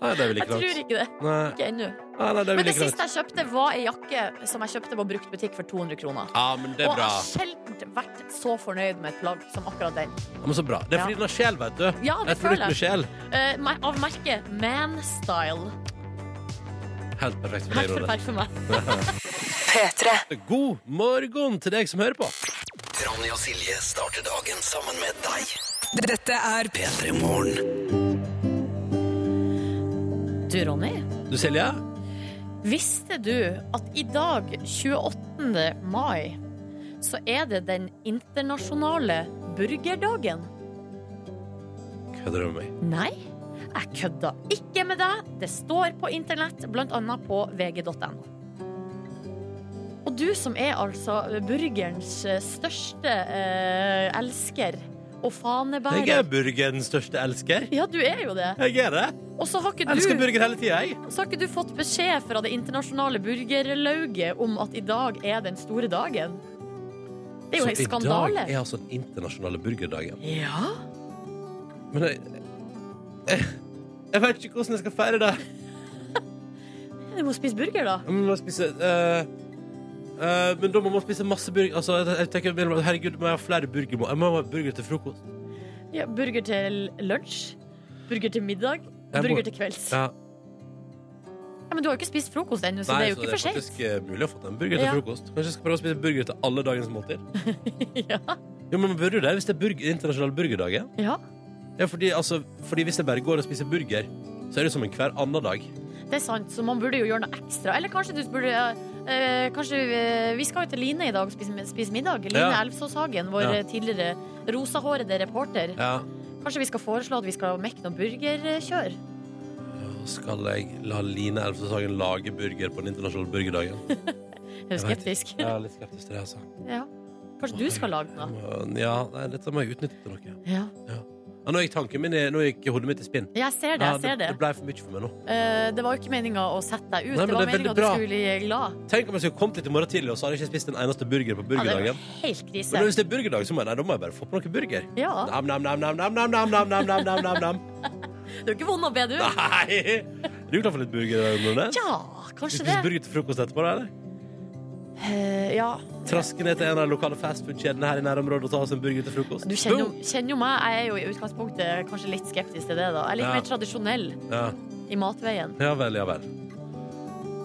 Speaker 2: Nei, det er vel
Speaker 3: Jeg
Speaker 2: ikke
Speaker 3: tror
Speaker 2: langt.
Speaker 3: ikke det.
Speaker 2: Nei,
Speaker 3: Ikke ennå.
Speaker 2: nei, nei, det er
Speaker 3: Men
Speaker 2: vel
Speaker 3: det
Speaker 2: ikke langt.
Speaker 3: siste jeg kjøpte, var ei jakke som jeg kjøpte på brukt butikk for 200 kroner.
Speaker 2: Ja, men det er
Speaker 3: Og jeg
Speaker 2: bra.
Speaker 3: har sjelden vært så fornøyd med et plagg som akkurat den.
Speaker 2: Ja, men så bra. Det er fordi den har sjel, vet du.
Speaker 3: Ja, det
Speaker 2: Et produkt
Speaker 3: føler
Speaker 2: med
Speaker 3: jeg.
Speaker 2: sjel.
Speaker 3: Eh, mer- av merket Manstyle.
Speaker 2: Helt perfekt for
Speaker 3: Helt
Speaker 2: deg, Ronny.
Speaker 3: perfekt for meg.
Speaker 1: P3.
Speaker 2: God morgen til deg som hører på.
Speaker 7: Ronny og Silje starter dagen sammen med deg.
Speaker 1: Dette er
Speaker 7: P3 Morgen.
Speaker 3: Du, Ronny,
Speaker 2: Du, Silje?
Speaker 3: visste du at i dag, 28. mai, så er det den internasjonale burgerdagen?
Speaker 2: Kødder du med meg?
Speaker 3: Nei, jeg kødda ikke med deg. Det står på internett, blant annet på vg.no. Og du som er altså burgerens eh, største eh, elsker og
Speaker 2: Jeg er
Speaker 3: fanebærer.
Speaker 2: burgerens største elsker.
Speaker 3: Ja, du er jo det.
Speaker 2: Jeg er det.
Speaker 3: Og så har ikke
Speaker 2: Jeg elsker
Speaker 3: du,
Speaker 2: burger hele tida, jeg.
Speaker 3: så har ikke du fått beskjed fra det internasjonale burgerlauget om at i dag er den store dagen. Det er jo en skandale.
Speaker 2: Så i dag er altså den internasjonale burgerdagen.
Speaker 3: Ja.
Speaker 2: Men jeg Jeg, jeg vet ikke hvordan jeg skal feire det.
Speaker 3: Du må spise burger, da.
Speaker 2: Jeg må spise eh, eh, Men da må man spise masse burger. Altså, jeg, jeg tenker, mellom- herregud, må jeg ha flere burger? må- Jeg må ha burger til frokost.
Speaker 3: Ja, burger til lunsj. Burger til middag.
Speaker 2: Jeg må-
Speaker 3: Burger til kvelds.
Speaker 2: Ja.
Speaker 3: Ja, men du har jo ikke spist frokost ennå, så
Speaker 2: Nei,
Speaker 3: Altså, det er jo ikke
Speaker 2: det
Speaker 3: for
Speaker 2: er
Speaker 3: sent.
Speaker 2: faktisk eh, mulig å få en burger til
Speaker 3: Ja.
Speaker 2: frokost. Kanskje jeg skal prøve å spise burger til alle dagens måltider.
Speaker 3: ja.
Speaker 2: Jo, men man burde jo det hvis det er burger, internasjonal burgerdag. Ja.
Speaker 3: ja.
Speaker 2: Ja, fordi, altså, fordi hvis jeg bare går og spiser burger, så er det som en hver annen dag.
Speaker 3: Det er sant, så man burde jo gjøre noe ekstra. Eller kanskje du burde eh, Kanskje eh, Vi skal jo til Line i dag og spise, spise middag. Line
Speaker 2: Ja.
Speaker 3: Elvsåshagen, vår
Speaker 2: Ja.
Speaker 3: eh, tidligere rosahårede reporter.
Speaker 2: Ja.
Speaker 3: Kanskje vi skal foreslå at vi skal mekke noe burgerkjør?
Speaker 2: Da skal jeg la Line Elvsåshagen lage burger på den internasjonale burgerdagen.
Speaker 3: Er du
Speaker 2: Jeg vet
Speaker 3: skeptisk?
Speaker 2: Jeg er litt skeptisk til det, altså.
Speaker 3: ja. Kanskje du skal lage noe?
Speaker 2: Men, Ja, nei, dette må jeg utnytte til noe.
Speaker 3: Ja.
Speaker 2: Ja, nå gikk tanken min, i- nå gikk hodet mitt i spinn.
Speaker 3: Jeg ser det.
Speaker 2: Ja,
Speaker 3: jeg ser
Speaker 2: det,
Speaker 3: det.
Speaker 2: det ble for mye for meg nå.
Speaker 3: Eh, det var jo ikke meninga å sette deg ut.
Speaker 2: Nei, men
Speaker 3: det
Speaker 2: det
Speaker 3: var
Speaker 2: er veldig
Speaker 3: meninga at du
Speaker 2: bra.
Speaker 3: skulle bli glad.
Speaker 2: Tenk om jeg skulle kommet hit i morgen tidlig, og så hadde jeg ikke spist en eneste burger på
Speaker 3: Ja, det var
Speaker 2: burgerdagen.
Speaker 3: helt krise.
Speaker 2: Men hvis det er burgerdag, så må jeg, nei, da må jeg bare få på noe burger.
Speaker 3: Ja.
Speaker 2: Nam, nam, nam, nam, nam, nam, nam, nam, nam, nam, nam, nam.
Speaker 3: Du er ikke vond å be, du.
Speaker 2: Nei! Er du klar for litt burger? Rune?
Speaker 3: Ja,
Speaker 2: Skal
Speaker 3: kanskje
Speaker 2: du spise
Speaker 3: det.
Speaker 2: burger til frokost etterpå, da, eller?
Speaker 3: Eh, ja.
Speaker 2: Traske ned til en av de lokale fastfood-kjedene her i nærområdet og ta oss en burger til frokost.
Speaker 3: Du kjenner jo,
Speaker 2: Boom!
Speaker 3: kjenner jo meg. Jeg er jo i utgangspunktet kanskje litt skeptisk til det. da Jeg er litt
Speaker 2: Ja.
Speaker 3: mer tradisjonell
Speaker 2: ja.
Speaker 3: i matveien.
Speaker 2: ja vel, ja vel.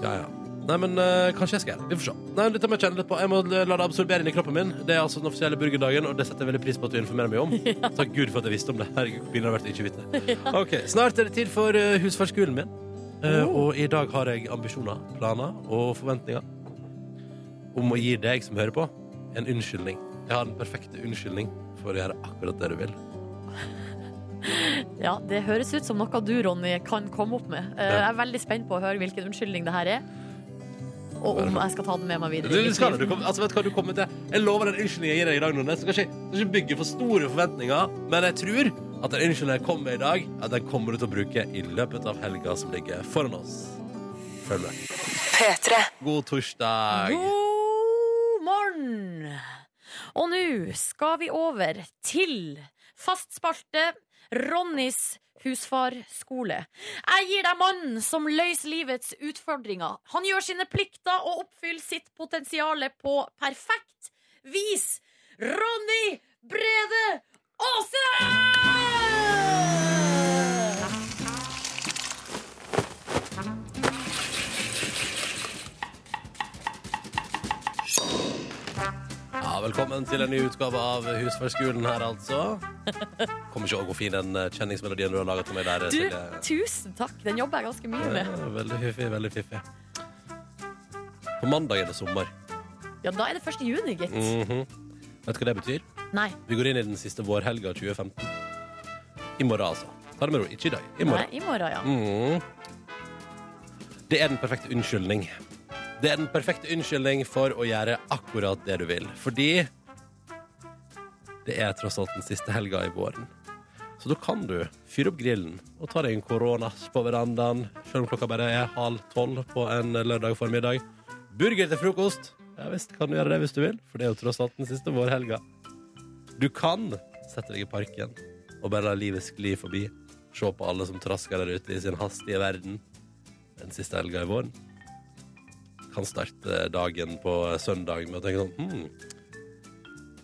Speaker 2: Ja, ja. Nei, men eh, kanskje jeg skal gjøre det. Vi får se. Nei, dette må jeg kjenne litt på. Jeg må la det absorbere inn i kroppen min. Det er altså den offisielle burgerdagen, og det setter jeg veldig pris på at du informerer meg om. Takk Gud for at jeg visste om det. Herregud, hvor pinlig det har vært å ikke vite det. Ok, Snart er det tid for uh, husfarskolen min. Eh, Og i dag har jeg ambisjoner, planer og forventninger om å gi deg som hører på, en unnskyldning. Jeg har den perfekte unnskyldning for å gjøre akkurat det du vil.
Speaker 3: Ja, Det høres ut som noe du, Ronny, kan komme opp med. Eh,
Speaker 2: Ja.
Speaker 3: Jeg er veldig spent på å høre hvilken unnskyldning det her er. Og om jeg skal ta den med meg
Speaker 2: Du,
Speaker 3: videre. i
Speaker 2: du
Speaker 3: mitt
Speaker 2: skal,
Speaker 3: liv.
Speaker 2: det. du kommer- altså, vet du hva du kommer til? Jeg lover den unnskyldningen jeg gir deg i dag, Nordnes. Du skal ikke, du skal ikke bygge for store forventninger, men jeg tror at den unnskyldningen jeg kommer med i dag, at den kommer du til å bruke i løpet av helga som ligger foran oss. Følg med.
Speaker 1: P3.
Speaker 2: God torsdag.
Speaker 3: God morgen! Og nå skal vi over til fast spalte Ronnys husfarskole. Jeg gir deg mannen som løser livets utfordringer. Han gjør sine plikter og oppfyller sitt potensial på perfekt vis. Ronny Brede Aase!
Speaker 2: Ja, velkommen til en ny utgave av Husfarskolen her, altså. Kommer ikke å gå fin den eh, kjenningsmelodien du har laget til meg der.
Speaker 3: Du,
Speaker 2: Silje.
Speaker 3: tusen takk. Den jobber jeg ganske mye med.
Speaker 2: Ja, Veldig fiffig, veldig fiffig. På mandag er det sommer.
Speaker 3: Ja, da er det 1. juni, gitt.
Speaker 2: Mhm. Vet du hva det betyr?
Speaker 3: Nei.
Speaker 2: Vi går inn i den siste vårhelga 2015. I morgen, altså. Ta det med ro. Ikke i dag. I
Speaker 3: Nei,
Speaker 2: morgen.
Speaker 3: I morgen, ja.
Speaker 2: Mm. Det er den perfekte unnskyldning. Det er den perfekte unnskyldning for å gjøre akkurat det du vil. Fordi det er tross alt den siste helga i våren. Så da kan du fyre opp grillen og ta deg en koronas på verandaen, selv om klokka bare er halv tolv på en lørdag formiddag. Burger til frokost. Ja visst kan du gjøre det hvis du vil, for det er jo tross alt den siste vårhelga. Du kan sette deg i parken og bare la livet skli forbi. Se på alle som trasker der ute i sin hastige verden den siste helga i våren. Kan starte dagen på søndag med å tenke sånn hmm,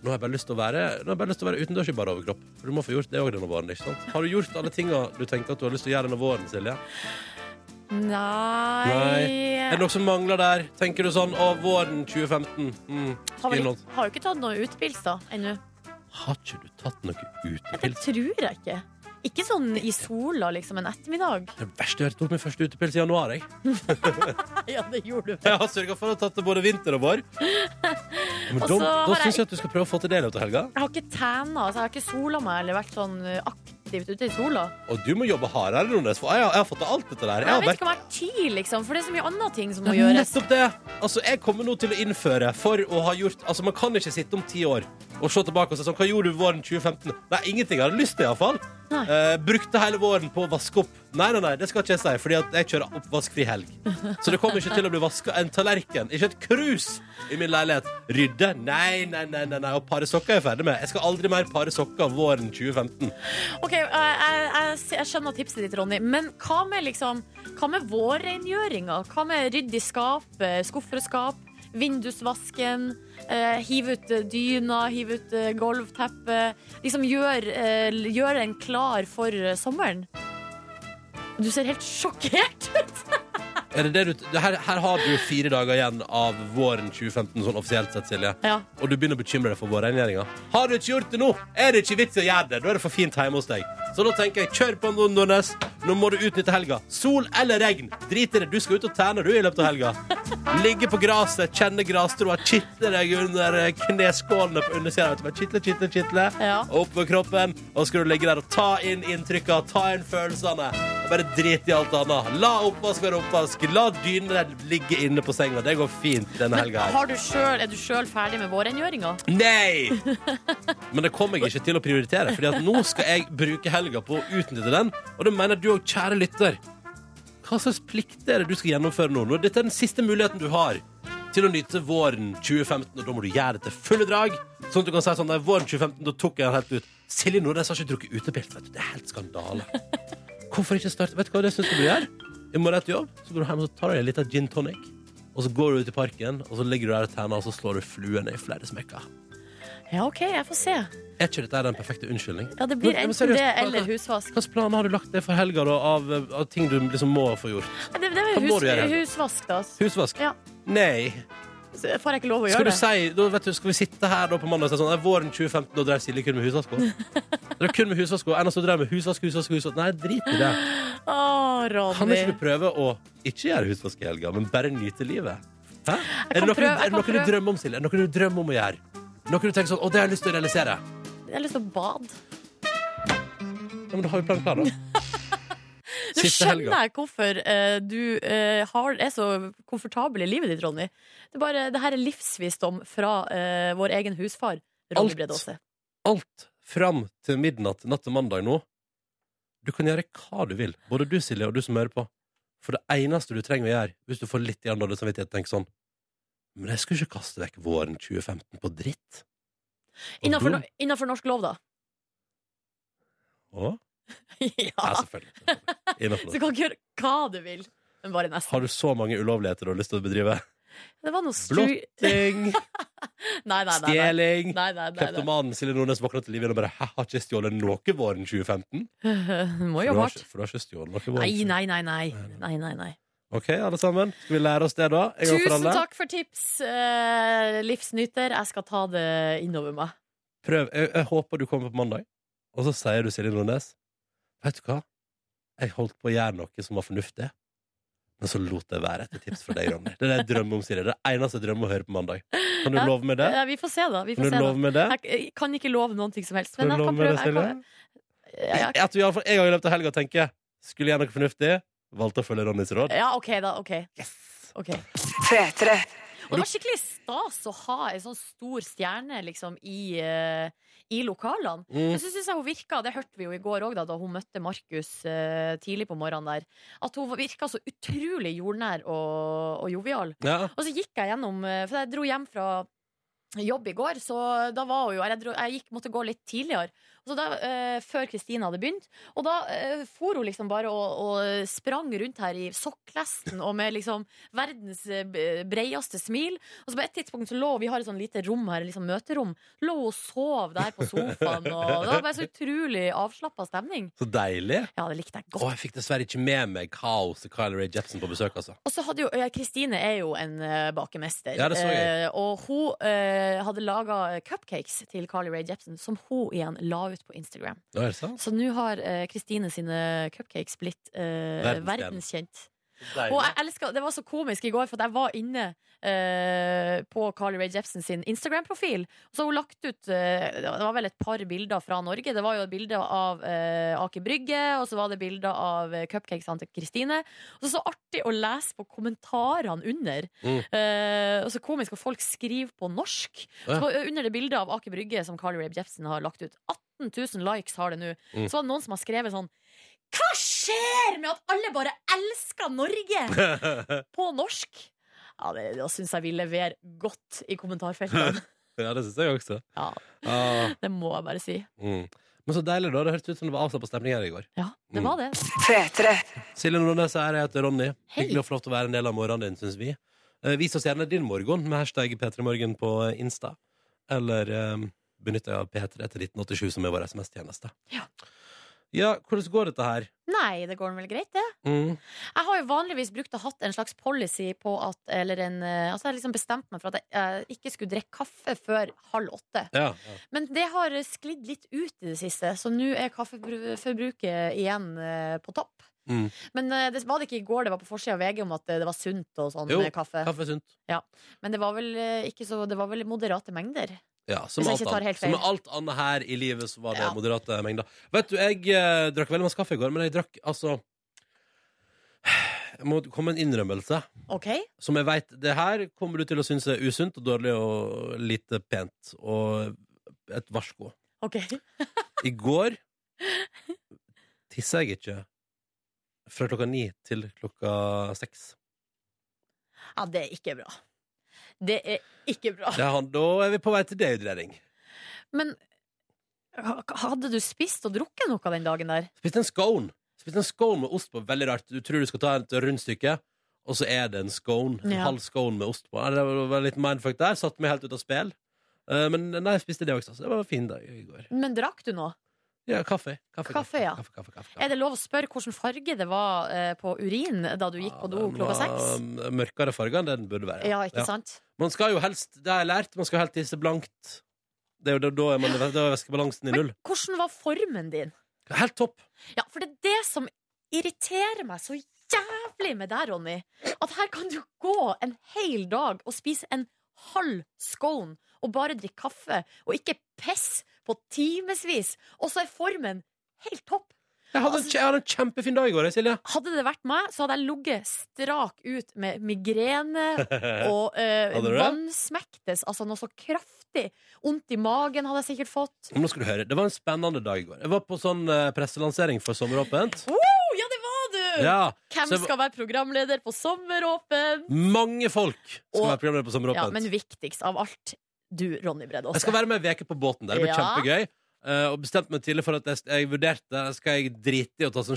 Speaker 2: Nå har jeg bare lyst til å være Nå har jeg bare lyst til å være utendørs i bare overkropp. For du må få gjort det òg denne våren. ikke sant? Har du gjort alle tinga du tenker at du har lyst til å gjøre denne våren, Silje?
Speaker 3: Nei,
Speaker 2: Er det noe som mangler der? Tenker du sånn Å, våren 2015. Mm,
Speaker 3: Har, vel,
Speaker 2: skriv noe.
Speaker 3: ikke- har jo ikke tatt noe utpils da, ennå.
Speaker 2: Har ikke du tatt noe
Speaker 3: Det
Speaker 2: utepils?
Speaker 3: tror jeg ikke. Ikke sånn i sola, liksom, en ettermiddag.
Speaker 2: Det verste jeg har tok min første utepils i januar. Jeg,
Speaker 3: Ja, det gjorde du
Speaker 2: jeg har sørga for å ha tatt det både vinter og vår. Men da
Speaker 3: Og så har
Speaker 2: da
Speaker 3: jeg-
Speaker 2: syns jeg at du skal prøve å få til det i løpet av helga.
Speaker 3: Jeg har ikke tæna, altså, jeg har ikke sola meg eller vært sånn eh, aktivt ute i sola.
Speaker 2: Og du må jobbe hardere, Nordnes, for jeg har, jeg har fått til alt dette der.
Speaker 3: Jeg,
Speaker 2: Jeg har
Speaker 3: vet
Speaker 2: vært
Speaker 3: ikke om jeg har tid, liksom, for det er så mye andre ting som må
Speaker 2: Ja,
Speaker 3: gjøres.
Speaker 2: Nettopp det. Altså, jeg kommer nå til å innføre for å ha gjort Altså, man kan ikke sitte om ti år og se tilbake og si sånn Hva gjorde du våren 2015? Nei, ingenting. Jeg hadde lyst til, iallfall.
Speaker 3: Nei.
Speaker 2: Eh, brukte hele våren på å vaske opp. Nei, nei, nei, det skal ikke jeg si, fordi at jeg kjører oppvaskfri helg. Så det kommer ikke til å bli vaska en tallerken, ikke et krus, i min leilighet. Rydde? Nei, nei, nei. nei, nei. Og pare sokker er jeg ferdig med. Jeg skal aldri mer pare sokker våren 2015.
Speaker 3: Ok, jeg, jeg, jeg, jeg skjønner tipset ditt, Ronny, men hva med, liksom, hva med vårrengjøringa? Hva med rydde i skap, eh, skuffer og skap, vindusvasken, eh, hive ut eh, dyna, hive ut eh, gulvteppet? Liksom gjør, eh, gjør en klar for eh, sommeren. Du ser helt sjokkert ut!
Speaker 2: Er det det du, det her, her har du fire dager igjen av våren 2015, sånn offisielt sett, Silje.
Speaker 3: Ja.
Speaker 2: Og du begynner å bekymre deg for vårrengjøringa. Har du ikke gjort det nå, er det ikke vits i å gjøre det. Da er det for fint hjemme hos deg. Så da tenker jeg, kjør på, Nordnes. Nå må du utnytte helga. Sol eller regn. Drit i det. Du skal ut og terne, du, i løpet av helga. Ligge på gresset, kjenne grasstråa, kitle deg under eh, kneskålene på undersida. vet du. Bare Kitle, kitle, kitle.
Speaker 3: Ja.
Speaker 2: Opp med kroppen. Og så skal du ligge der og ta inn inntrykka, ta inn følelsene. Og bare drit i alt annet. La oppvask være oppvask. La dynene ligge inne på senga. Det går fint denne
Speaker 3: Men
Speaker 2: helga. her.
Speaker 3: har du selv, er du sjøl ferdig med vårrengjøringa?
Speaker 2: Nei! Men det kommer jeg ikke til å prioritere, Fordi at nå skal jeg bruke helga på å utnytte den. Og det mener du òg, kjære lytter. Hva slags plikt er det du skal gjennomføre nå? Nå- Dette er den siste muligheten du har til å nyte våren 2015, og da må du gjøre det til fulle drag. Sånn at du kan si sånn Nei, våren 2015, da tok jeg den helt ut. Silje Nordnes har ikke drukket utepils. vet du. Det er helt skandale. Hvorfor ikke starte Vet du hva det syns du bør gjøre? I morgen etter jobb så går du hjem og så tar du deg litt av gin tonic. Og så går du ut i parken, og så ligger du der og tenner, og så slår du fluene i flere smekker.
Speaker 3: Ja, OK, jeg får se.
Speaker 2: Er ikke dette den perfekte unnskyldning?
Speaker 3: Ja, Det blir
Speaker 2: Men- men
Speaker 3: enten
Speaker 2: seriøst,
Speaker 3: det
Speaker 2: hva-
Speaker 3: eller
Speaker 2: hva-
Speaker 3: husvask.
Speaker 2: Hvilke planer har du lagt deg for helga da, av, av ting du liksom må få gjort?
Speaker 3: Det, det
Speaker 2: Hva
Speaker 3: er
Speaker 2: må
Speaker 3: hus,
Speaker 2: du gjøre?
Speaker 3: husvask, da.
Speaker 2: Husvask?
Speaker 3: Ja.
Speaker 2: Nei.
Speaker 3: Så Får jeg ikke lov å
Speaker 2: Skal
Speaker 3: gjøre
Speaker 2: du
Speaker 3: det?
Speaker 2: si, da, vet du, skal vi sitte her da på mandag og si sånn «Nei, Våren 2015, da drev Silje kun med husvask også». Det er kun med husvask også. Ennå så drev jeg med husvask, husvask, husvask. Nei, drit i det.
Speaker 3: Å,
Speaker 2: Kan
Speaker 3: Ronny.
Speaker 2: ikke du prøve å ikke gjøre husvask i helga, men bare nyte livet? Hæ? Er det
Speaker 3: kan
Speaker 2: noe, du-
Speaker 3: prøve, jeg
Speaker 2: er det noe
Speaker 3: kan
Speaker 2: du sånn,
Speaker 3: prøve. eh, eh,
Speaker 2: sånn. Mm,
Speaker 3: eh, Eh, sånn liksom, eh, eh, eh, Og så da, eh, før Kristina hadde begynt. Og da eh, for hun liksom bare og, og sprang rundt her i sokklesten og med liksom verdens eh, b- breieste smil. Og så på et tidspunkt så lå vi har et sånn lite rom her, liksom møterom. Lå hun og sov der på sofaen. Og det var bare så utrolig avslappa stemning.
Speaker 2: Så deilig.
Speaker 3: Ja, det likte jeg godt.
Speaker 2: Å, jeg fikk dessverre ikke med meg kaoset Kyle Ray Jepsen på besøk, altså.
Speaker 3: Og så hadde jo eh, Kristine er jo en eh, bakemester.
Speaker 2: Ja, det så jeg.
Speaker 3: Eh, og hun eh, hadde laga cupcakes til Carly Rae Jepsen, som hun igjen la ut på Instagram.
Speaker 2: Nå er det sant?
Speaker 3: Så nå har eh, Kristine sine cupcakes blitt eh,
Speaker 2: Verdensstjerne.
Speaker 3: verdenskjent. Og jeg elsker, Det var så komisk i går, for at jeg var inne eh, på Carly Rae Jepsen sin Instagram-profil. Og så har hun lagt ut eh, Det var vel et par bilder fra Norge. Det var jo et bilde av eh, Aker Brygge, og så var det bilder av eh, cupcakesene til Kristine. Og så så artig å lese på kommentarene under.
Speaker 2: Mm.
Speaker 3: Eh, og så komisk at folk skriver på norsk.
Speaker 2: Ja.
Speaker 3: Så, eh, under det bildet av Aker Brygge som Carly Rae Jepsen har lagt ut. 18 000 likes har det nå.
Speaker 2: Mm.
Speaker 3: Så var det noen som har skrevet sånn Hva skjer med at alle bare elsker Norge? på norsk. Ja, det, Da syns jeg vi leverer godt i kommentarfeltene.
Speaker 2: ja, det syns jeg også.
Speaker 3: Ja,
Speaker 2: Ah,
Speaker 3: det må jeg bare si.
Speaker 2: mm. Men så deilig, da. Det hørtes ut som det var avslappa stemning her i går.
Speaker 3: Ja, det
Speaker 2: Mm.
Speaker 3: var det.
Speaker 1: P3.
Speaker 2: Silje Nordnes her, jeg heter Ronny.
Speaker 3: Hei.
Speaker 2: Hyggelig og flott å være en del av morgenen din, syns vi. Eh, Vis oss gjerne din morgen med hashtag P3morgen på Insta. Eller eh, benytt deg av P3 etter 1987, som er vår SMS-tjeneste.
Speaker 3: Ja.
Speaker 2: ja, hvordan går dette her?
Speaker 3: Nei, det går vel greit, det.
Speaker 2: Mm.
Speaker 3: Jeg har jo vanligvis brukt og hatt en slags policy på at Eller en eh, Altså, jeg har liksom bestemt meg for at jeg eh, ikke skulle drikke kaffe før halv åtte.
Speaker 2: Ja, ja.
Speaker 3: Men det har sklidd litt ut i det siste, så nå er kaffeforbruket igjen eh, på topp.
Speaker 2: Mm.
Speaker 3: Men eh, det var det ikke i går det var på forsida av VG om at eh, det var sunt og sånn
Speaker 2: Jo,
Speaker 3: eh, kaffe.
Speaker 2: Kaffe er sunt.
Speaker 3: Men det var vel eh, ikke så Det var vel moderate mengder.
Speaker 2: Ja, som,
Speaker 3: Hvis
Speaker 2: alt
Speaker 3: jeg ikke tar
Speaker 2: annet,
Speaker 3: helt
Speaker 2: som
Speaker 3: feil.
Speaker 2: med alt annet her i livet, så var det
Speaker 3: Ja.
Speaker 2: moderate mengder. Vet du, jeg eh, drakk veldig masse kaffe i går, men jeg drakk altså Jeg må komme med en innrømmelse.
Speaker 3: OK?
Speaker 2: Som jeg veit, det her kommer du til å synes er usunt og dårlig og lite pent. Og et varsko.
Speaker 3: OK.
Speaker 2: I går tissa jeg ikke fra klokka ni til klokka seks.
Speaker 3: Ja, det er ikke bra. Det er ikke bra.
Speaker 2: Det er han, da er vi på vei til dehydrering.
Speaker 3: Men ha- hadde du spist og drukket noe den dagen der?
Speaker 2: Spiste en scone. Spiste en scone med ost på. Veldig rart. Du tror du skal ta et rundstykke, og så er det en scone. En
Speaker 3: Ja.
Speaker 2: halv scone med ost på. Nei, Det var- var litt mindfuck der. Satte meg helt ut av spill. Eh, Men nei, jeg spiste det også, så det var en fin dag i går.
Speaker 3: Men drakk du noe?
Speaker 2: Ja, kaffe. Kaffe,
Speaker 3: Kaffe, ja.
Speaker 2: Kaffe, kaffe, kaffe, kaffe.
Speaker 3: Er det lov å spørre hvilken farge det var eh, på urin da du gikk på do klokka seks?
Speaker 2: Den var eh, Mørkere farge enn det den burde være.
Speaker 3: Ja, ikke sant?
Speaker 2: Man skal jo helst, det har jeg lært, man skal helst tisse blankt. Det er jo da, da er, man, da er væskebalansen i null.
Speaker 3: Men hvordan var formen din?
Speaker 2: Helt topp.
Speaker 3: Ja, for det er det som irriterer meg så jævlig med deg, Ronny. At her kan du gå en hel dag og spise en halv scone og bare drikke kaffe, og ikke piss på timevis, og så er formen helt topp.
Speaker 2: Jeg hadde, en,
Speaker 3: Altså-
Speaker 2: kje- jeg hadde en kjempefin dag i går, jeg, Silje.
Speaker 3: Hadde det vært meg, så hadde jeg ligget strak ut med migrene og eh,
Speaker 2: Hadde du det?
Speaker 3: vannsmektes. Altså noe så kraftig. Vondt i magen hadde jeg sikkert fått.
Speaker 2: Men nå skal du høre, Det var en spennende dag i går. Jeg var på sånn eh, presselansering for Sommeråpent.
Speaker 3: Å, ja, det var du!
Speaker 2: Ja,
Speaker 3: Hvem
Speaker 2: så jeg-
Speaker 3: skal være programleder på Sommeråpen?
Speaker 2: Mange folk skal
Speaker 3: Og-
Speaker 2: være programleder på
Speaker 3: Ja,
Speaker 2: Sommeråpent.
Speaker 3: men viktigst av alt, du, Ronny Bredd
Speaker 2: Jeg skal være med ei uke på båten der. Det blir
Speaker 3: Ja.
Speaker 2: kjempegøy. Eh, og bestemte meg tidlig for at jeg, jeg vurderte Skal jeg drite i å ta sånn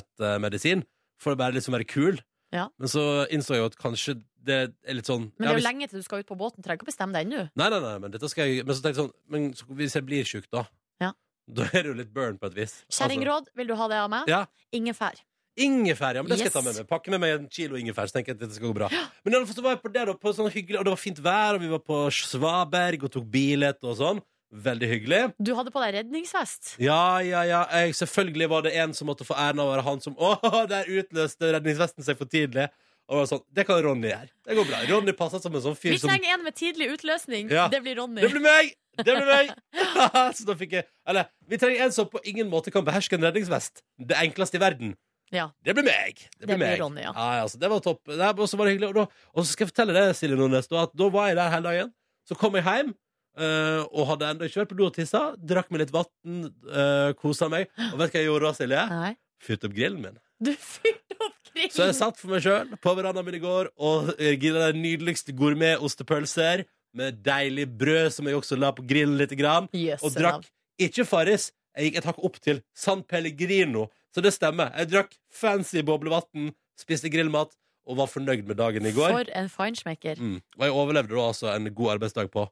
Speaker 2: sjøsjuketablettmedisin for å bare liksom være kul.
Speaker 3: Ja.
Speaker 2: Men så innså jeg jo at kanskje det er litt sånn
Speaker 3: Men det
Speaker 2: ja,
Speaker 3: er jo
Speaker 2: hvis-
Speaker 3: lenge til du skal ut på båten. Trenger ikke å bestemme deg ennå.
Speaker 2: Nei, nei, nei, men dette skal jeg Men så tenkte jeg sånn Men så, hvis jeg blir sjuk, da?
Speaker 3: Ja.
Speaker 2: Da er det jo litt burn på et vis.
Speaker 3: Kjerringråd, vil du ha det av meg?
Speaker 2: Altså- Ja.
Speaker 3: Ingefær.
Speaker 2: Ingefær, ja, men det skal jeg ta
Speaker 3: Yes.
Speaker 2: med meg. Pakke med meg en kilo ingefær, så tenker jeg at dette skal gå bra. Men i alle fall så var jeg på det da, på sånn hyggelig, og det var fint vær, og vi var på Svaberg og tok billett og sånn. Veldig hyggelig.
Speaker 3: Du hadde på deg redningsvest.
Speaker 2: Ja, ja, ja, jeg, selvfølgelig var det en som måtte få æren av å være han som Åh, der utløste redningsvesten seg for tidlig. Og var sånn, det kan Ronny gjøre. Det går bra. Ronny passer som en sånn fyr
Speaker 3: Vi
Speaker 2: som
Speaker 3: trenger en med tidlig utløsning.
Speaker 2: Ja.
Speaker 3: Det blir Ronny.
Speaker 2: Det blir meg! Det blir meg! så da fikk jeg Eller, vi trenger en som på ingen måte kan beherske en redningsvest. Det enkleste i verden.
Speaker 3: Ja.
Speaker 2: Det blir meg. Det
Speaker 3: blir
Speaker 2: meg.
Speaker 3: Ronny, ja.
Speaker 2: altså, det var topp. Det her også var det hyggelig. Og, da, og så skal jeg fortelle deg, Silje Nordnes, da, at da var jeg der hele dagen. Så kom jeg hjem. eh, og hadde ennå ikke vært på do og tissa. Drakk meg litt vann, uh, kosa meg. Og vet du hva jeg gjorde da, Silje?
Speaker 3: Nei.
Speaker 2: Fyrte opp grillen min.
Speaker 3: Du fyrte opp grillen.
Speaker 2: Så jeg satt for meg sjøl på verandaen min i går og eh, grilla de nydeligste gourmetostepølser med deilig brød som jeg også la på grillen lite grann.
Speaker 3: Jøsse
Speaker 2: Og drakk
Speaker 3: navn.
Speaker 2: Ikke Farris. Jeg gikk et hakk opp til San Pellegrino. Så det stemmer. Jeg drakk fancy boblevann, spiste grillmat og var fornøyd med dagen i går.
Speaker 3: For en feinschmecker.
Speaker 2: Mm. Og jeg overlevde da altså en god arbeidsdag på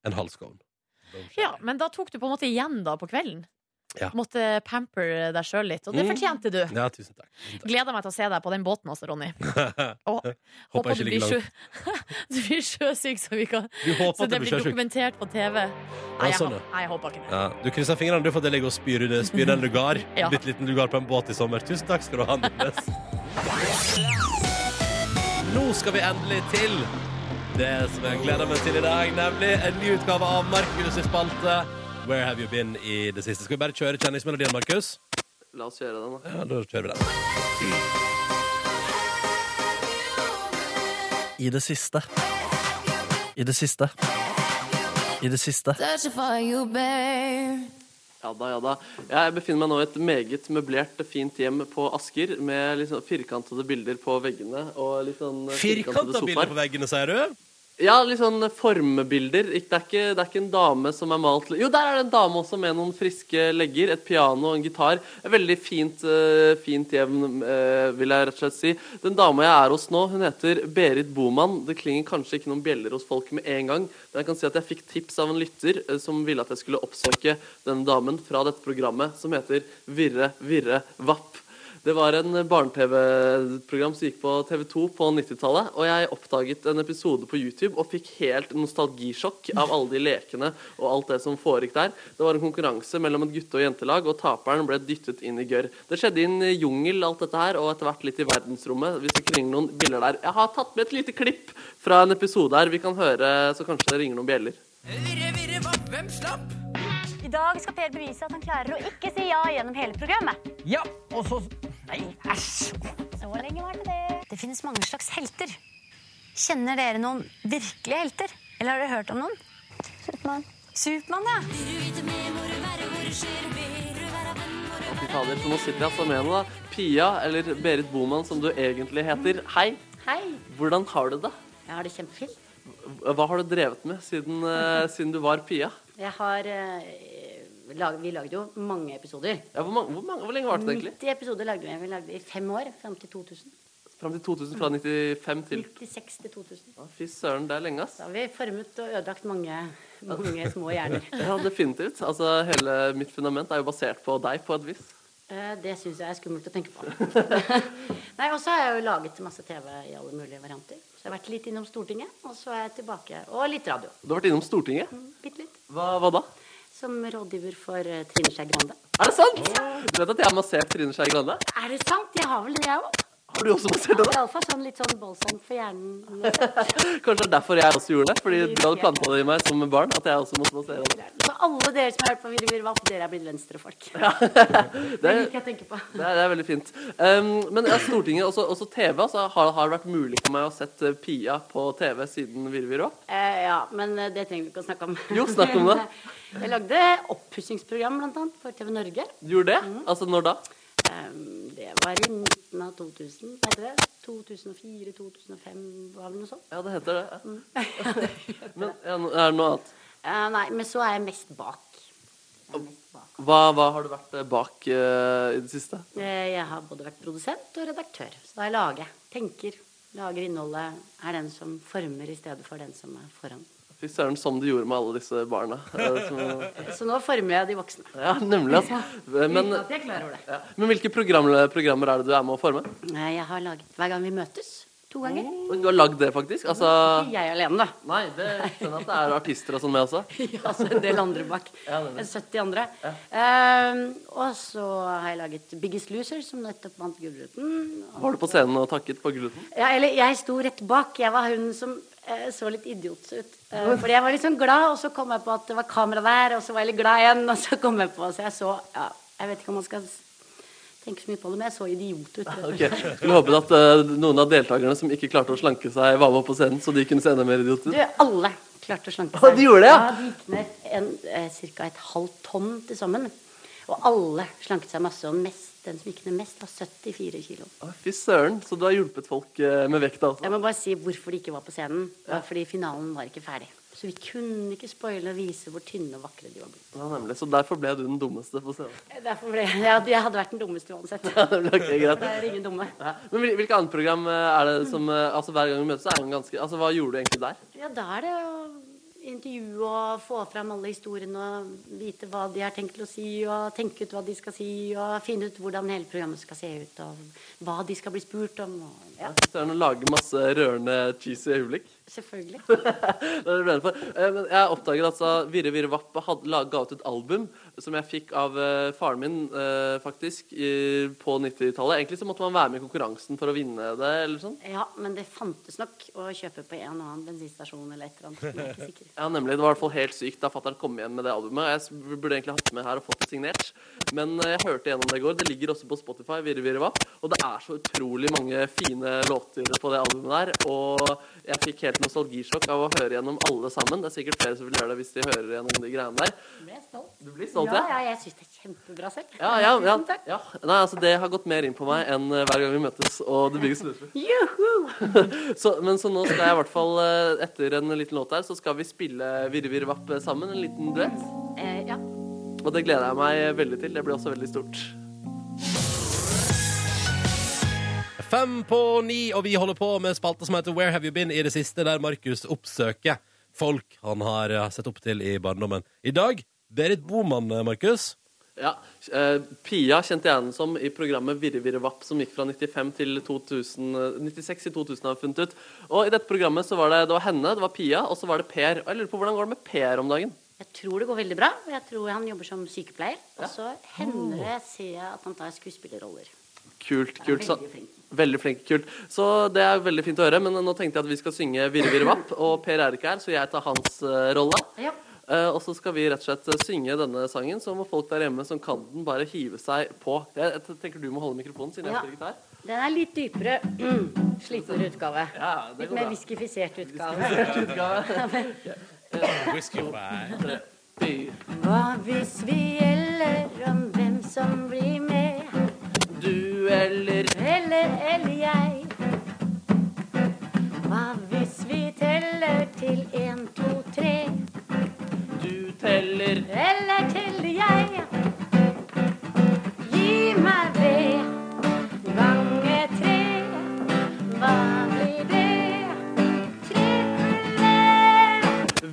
Speaker 2: en halv skål.
Speaker 3: Ja, men da tok du på en måte igjen da på kvelden.
Speaker 2: Ja.
Speaker 3: Måtte pamper deg sjøl litt, og det
Speaker 2: Mm.
Speaker 3: fortjente du.
Speaker 2: Ja, tusen takk. Tusen
Speaker 3: Gleder meg til å se deg på den båten også, Ronny.
Speaker 2: takk.
Speaker 3: Og
Speaker 2: håper
Speaker 3: håper
Speaker 2: jeg ikke
Speaker 3: du
Speaker 2: ligger
Speaker 3: blir,
Speaker 2: langt.
Speaker 3: sjø... du blir sjøsyk, så, vi kan...
Speaker 2: Du håper
Speaker 3: så
Speaker 2: at
Speaker 3: det
Speaker 2: jeg blir
Speaker 3: blir
Speaker 2: sjøsjuk.
Speaker 3: dokumentert på TV. Nei, jeg,
Speaker 2: sånn,
Speaker 3: håper- nei, jeg håper ikke det.
Speaker 2: Ja, du krysser fingrene du for at jeg ligger og spyr, i det- spyr en lugar.
Speaker 3: Ja.
Speaker 2: Bitte liten lugar på en båt i sommer. Tusen takk skal du ha, Nordnes. Nå skal vi endelig til det som jeg gleder meg til i dag, nemlig en ny utgave av Markus' i spalte. Where have you been i det siste? Skal vi bare kjøre kjenningsmelodien, Markus?
Speaker 6: La oss gjøre den, da.
Speaker 2: Ja, da kjører vi den.
Speaker 8: I det siste. I det siste. I det siste.
Speaker 6: Ja da, ja da. Jeg befinner meg nå i et meget møblert, fint hjem på Asker med litt sånn firkantede bilder på veggene og litt sånn eh,
Speaker 2: Firkanta bilder på veggene, sier du?
Speaker 6: Ja, litt sånn formbilder. Ikk- Det er, ikke, det er ikke en dame som er malt Jo, der er det en dame også med noen friske legger, et piano og en gitar. Et veldig fint, eh, fint hjem, eh, vil jeg rett og slett si. Den dama jeg er hos nå, hun heter Berit Boman. Det klinger kanskje ikke noen bjeller hos folk med en gang, men jeg kan si at jeg fikk tips av en lytter eh, som ville at jeg skulle oppsøke denne damen fra dette programmet, som heter Virre Virre Vapp. Det var en barne-TV-program som gikk på TV2 på 90-tallet. Og jeg oppdaget en episode på YouTube og fikk helt nostalgisjokk av alle de lekene og alt det som foregikk der. Det var en konkurranse mellom et gutte- og jentelag, og taperen ble dyttet inn i gørr. Det skjedde i en jungel, alt dette her, og etter hvert litt i verdensrommet. Hvis det kringer noen biller der. Jeg har tatt med et lite klipp fra en episode her. Vi kan høre, så kanskje det ringer noen bjeller.
Speaker 9: I dag skal Per bevise at han klarer å ikke si ja gjennom hele programmet.
Speaker 10: Ja, og så Nei, æsj!
Speaker 9: Så lenge var det det. Det finnes mange slags helter. Kjenner dere noen virkelige helter? Eller har dere hørt om noen? Supermann. Supermann, ja.
Speaker 6: Fy fader, så nå sitter jeg altså med henne, da. Pia, eller Berit Boman, som du egentlig heter. Hei.
Speaker 11: Hei.
Speaker 6: Hvordan har du det?
Speaker 11: Jeg har det kjempefint.
Speaker 6: Hva har du drevet med siden, eh, siden du var Pia?
Speaker 11: Jeg har eh, lag, Vi lagde jo mange episoder.
Speaker 6: Ja, hvor, mange, hvor, mange, hvor lenge varte det egentlig?
Speaker 11: 90 episoder lagde vi. Vi lagde i fem år, fram til 2000.
Speaker 6: Fram til 2000? Fra 95 til
Speaker 11: 96 til 2000.
Speaker 6: Å, Fy søren, det er lenge, ass.
Speaker 11: Da har vi formet og ødelagt mange, mange små hjerner.
Speaker 6: Ja, definitivt. Altså, hele mitt fundament er jo basert på deg, på et vis.
Speaker 11: Eh, Det syns jeg er skummelt å tenke på. Nei, Og så har jeg jo laget masse TV i alle mulige varianter. Så jeg har vært litt innom Stortinget, og så er jeg tilbake. Og litt radio. Mm,
Speaker 6: Du har vært innom Stortinget.
Speaker 11: Bitte litt.
Speaker 6: Hva, hva da?
Speaker 11: Som rådgiver for eh, Trine Skei Grande.
Speaker 6: Er det sant? Du vet at jeg har massert Trine Skei Grande?
Speaker 11: Er det sant? Jeg har vel det, jeg òg.
Speaker 6: Har du også massert henne?
Speaker 11: Iallfall sånn litt sånn balsam for hjernen. og sånn.
Speaker 6: Kanskje det er derfor jeg også gjorde det? Fordi du hadde planta det i meg som barn? At jeg også måtte massere henne?
Speaker 11: Så alle dere som har hørt på Virre Virre Vapp, dere er blitt venstrefolk. Det
Speaker 6: Det,
Speaker 11: liker jeg å tenke på.
Speaker 6: Det er, det er veldig fint. Ehm, men ja, Stortinget, også, også TV, altså, har, har det vært mulig for meg å sett eh, Pia på TV siden Virvir òg?
Speaker 11: Eh, ja, men eh, det trenger vi ikke å snakke om.
Speaker 6: Jo, snakk om det.
Speaker 11: Jeg lagde oppussingsprogram blant annet for TV Norge.
Speaker 6: Gjorde det? Altså når da?
Speaker 11: Eh, det var i midten av 2000. Hva heter det? 2004-2005, var vel noe sånt.
Speaker 6: Ja, det heter det. Men ja, nå- er det noe annet?
Speaker 11: Eh, nei, men så er jeg mest bak. Jeg er mest bak.
Speaker 6: Hva, hva har du vært eh, bak eh, i det siste?
Speaker 11: Eh, jeg har både vært produsent og redaktør. Så da lager jeg. Tenker. Lager innholdet. Er den som former i stedet for den som er foran.
Speaker 6: Fy søren, som du gjorde med alle disse barna. eh, som,
Speaker 11: Så nå former jeg de voksne.
Speaker 6: ja, nemlig, altså. Men,
Speaker 11: Uten at jeg er klar over det.
Speaker 6: ja. Men hvilke program, programmer er det du er med å forme?
Speaker 11: Nei, Jeg har laget Hver gang vi møtes. To ganger.
Speaker 6: Oi, Du har lagd det, faktisk? Altså
Speaker 11: Ikke jeg alene, da.
Speaker 6: Nei, det skjønner jeg at det er artister og sånn med også.
Speaker 11: Altså en del andre bak.
Speaker 6: Ja, det er det.
Speaker 11: 70 andre. Ehm, og så har jeg laget Biggest Loser, som nettopp vant Gullruten.
Speaker 6: Var du på scenen og takket på gluten?
Speaker 11: Ja, eller jeg sto rett bak. Jeg var hun som eh, så litt idiot ut. Eh, fordi jeg var litt sånn glad, og så kom jeg på at det var kamera der, og så var jeg litt glad igjen, og så kom jeg på Så jeg så ja, Jeg vet ikke om man skal s- tenke så mye på det, men jeg så idiot ut. rett og
Speaker 6: Ah, Ok,
Speaker 11: slett.
Speaker 6: Skulle håpet at eh, noen av deltakerne som ikke klarte å slanke seg, var med på scenen, så de kunne se enda mer idioter
Speaker 11: Du,
Speaker 6: ut.
Speaker 11: alle klarte å slanke
Speaker 6: Å,
Speaker 11: seg.
Speaker 6: de gjorde det, ja?
Speaker 11: de gikk ned en, eh, ca. et halvt tonn til sammen. Og alle slanket seg masse. Og mest, den som gikk ned mest, var 74 kilo.
Speaker 6: Å, Fy søren, så du har hjulpet folk eh, med vekta også.
Speaker 11: Jeg må bare si hvorfor de ikke var på scenen. Det var fordi finalen var ikke ferdig. Så vi kunne ikke spoile og vise hvor tynne og vakre de var blitt.
Speaker 6: Ja, nemlig. Så derfor ble du den dummeste på scenen.
Speaker 11: Derfor ble jeg, jeg hadde vært den dummeste uansett.
Speaker 6: Ja, det ble ikke greit.
Speaker 11: Det er ingen dumme.
Speaker 6: Ja. Men hvil- hvilke andre program eh, er det som eh, Altså Hver gang vi møtes, så er det ganske Altså Hva gjorde du egentlig der?
Speaker 11: Ja, da er det å intervjue og få fram alle historiene og vite hva de har tenkt til å si, og tenke ut hva de skal si, og finne ut hvordan hele programmet skal se ut, og hva de skal bli spurt om. Og, ja,
Speaker 6: Så er det å lage masse rørende, cheesy øyeblikk.
Speaker 11: selvfølgelig.
Speaker 6: Det er det du er redd for. Eh, Men jeg oppdager at altså, Virre Virre Vapp had- la- ga ut et album som jeg fikk av eh, faren min eh, faktisk i, på 90-tallet. Egentlig så måtte man være med i konkurransen for å vinne det. eller sånn.
Speaker 11: Ja, men det fantes nok å kjøpe på en og annen bensinstasjon eller et eller annet. men jeg er ikke sikker.
Speaker 6: Ja, nemlig. Det var i hvert fall helt sykt da fatter'n kom hjem med det albumet. Jeg s- burde egentlig hatt det med her og fått det signert. Men eh, jeg hørte gjennom det i går. Det ligger også på Spotify, Virre Virre Vapp. Og det er så utrolig mange fine låter på det albumet der. Og jeg fikk helt nostalgisjokk av å høre gjennom alle sammen. Det er sikkert flere som vil gjøre det hvis de hører gjennom de greiene der.
Speaker 11: Ble jeg stolt?
Speaker 6: Du blir stolt, ja.
Speaker 11: ja? Ja, jeg syns det er kjempebra selv.
Speaker 6: Ja, ja, ja,
Speaker 11: Tusen takk.
Speaker 6: ja. Nei, altså, det har gått mer inn på meg enn eh, hver gang vi møtes og det bygges musikk.
Speaker 11: Juhu!
Speaker 6: Så, men så nå skal jeg i hvert fall, eh, etter en liten låt her, så skal vi spille Virre Virre Vapp sammen, en liten duett.
Speaker 11: Eh, ja.
Speaker 6: Og det gleder jeg meg veldig til. Det blir også veldig stort.
Speaker 2: Fem på ni, og vi holder på med spalta som heter Where have you been i det siste, der Markus oppsøker folk han har eh, sett opp til i barndommen. I dag Berit Boman, eh, Markus.
Speaker 6: Ja, eh, Pia kjente jeg henne som i programmet Virre Virre Vapp, som gikk fra 95 til 2000, eh, 96 i 2000 har jeg funnet ut. Og i dette programmet så var det, det var henne, det var Pia, og så var det Per. Og jeg lurer på hvordan går det med Per om dagen?
Speaker 11: Jeg tror det går veldig bra. og Jeg tror han jobber som sykepleier. Og så hender det, ser jeg, at han tar skuespillerroller.
Speaker 6: Kult, kult. Så,
Speaker 11: Veldig flink.
Speaker 6: veldig flink, kult. Så det er veldig fint å høre, men nå tenkte jeg at vi skal synge Virre Virre Vapp, og Per er ikke her, så jeg tar hans eh, rolle.
Speaker 11: Ja.
Speaker 6: Eh, og så skal vi rett og slett eh, synge denne sangen, så må folk der hjemme som kan den, bare hive seg på. Jeg, jeg tenker du må holde mikrofonen, siden jeg
Speaker 11: Ja.
Speaker 6: spiller gitar.
Speaker 11: Den er litt dypere. Mm. Slitnere utgave.
Speaker 6: Ja, det
Speaker 11: litt
Speaker 6: går
Speaker 11: mer
Speaker 6: bra.
Speaker 11: whiskifisert
Speaker 6: Whiskifisert utgave.
Speaker 11: utgave.
Speaker 6: Whisky Tre, fire.
Speaker 11: Hva hvis vi gjelder om hvem som blir med?
Speaker 6: Du eller
Speaker 11: Eller eller jeg? Hva hvis vi teller til én, to, tre?
Speaker 6: du teller
Speaker 11: Eller teller jeg? Gi meg det. Gange tre. Hva blir det?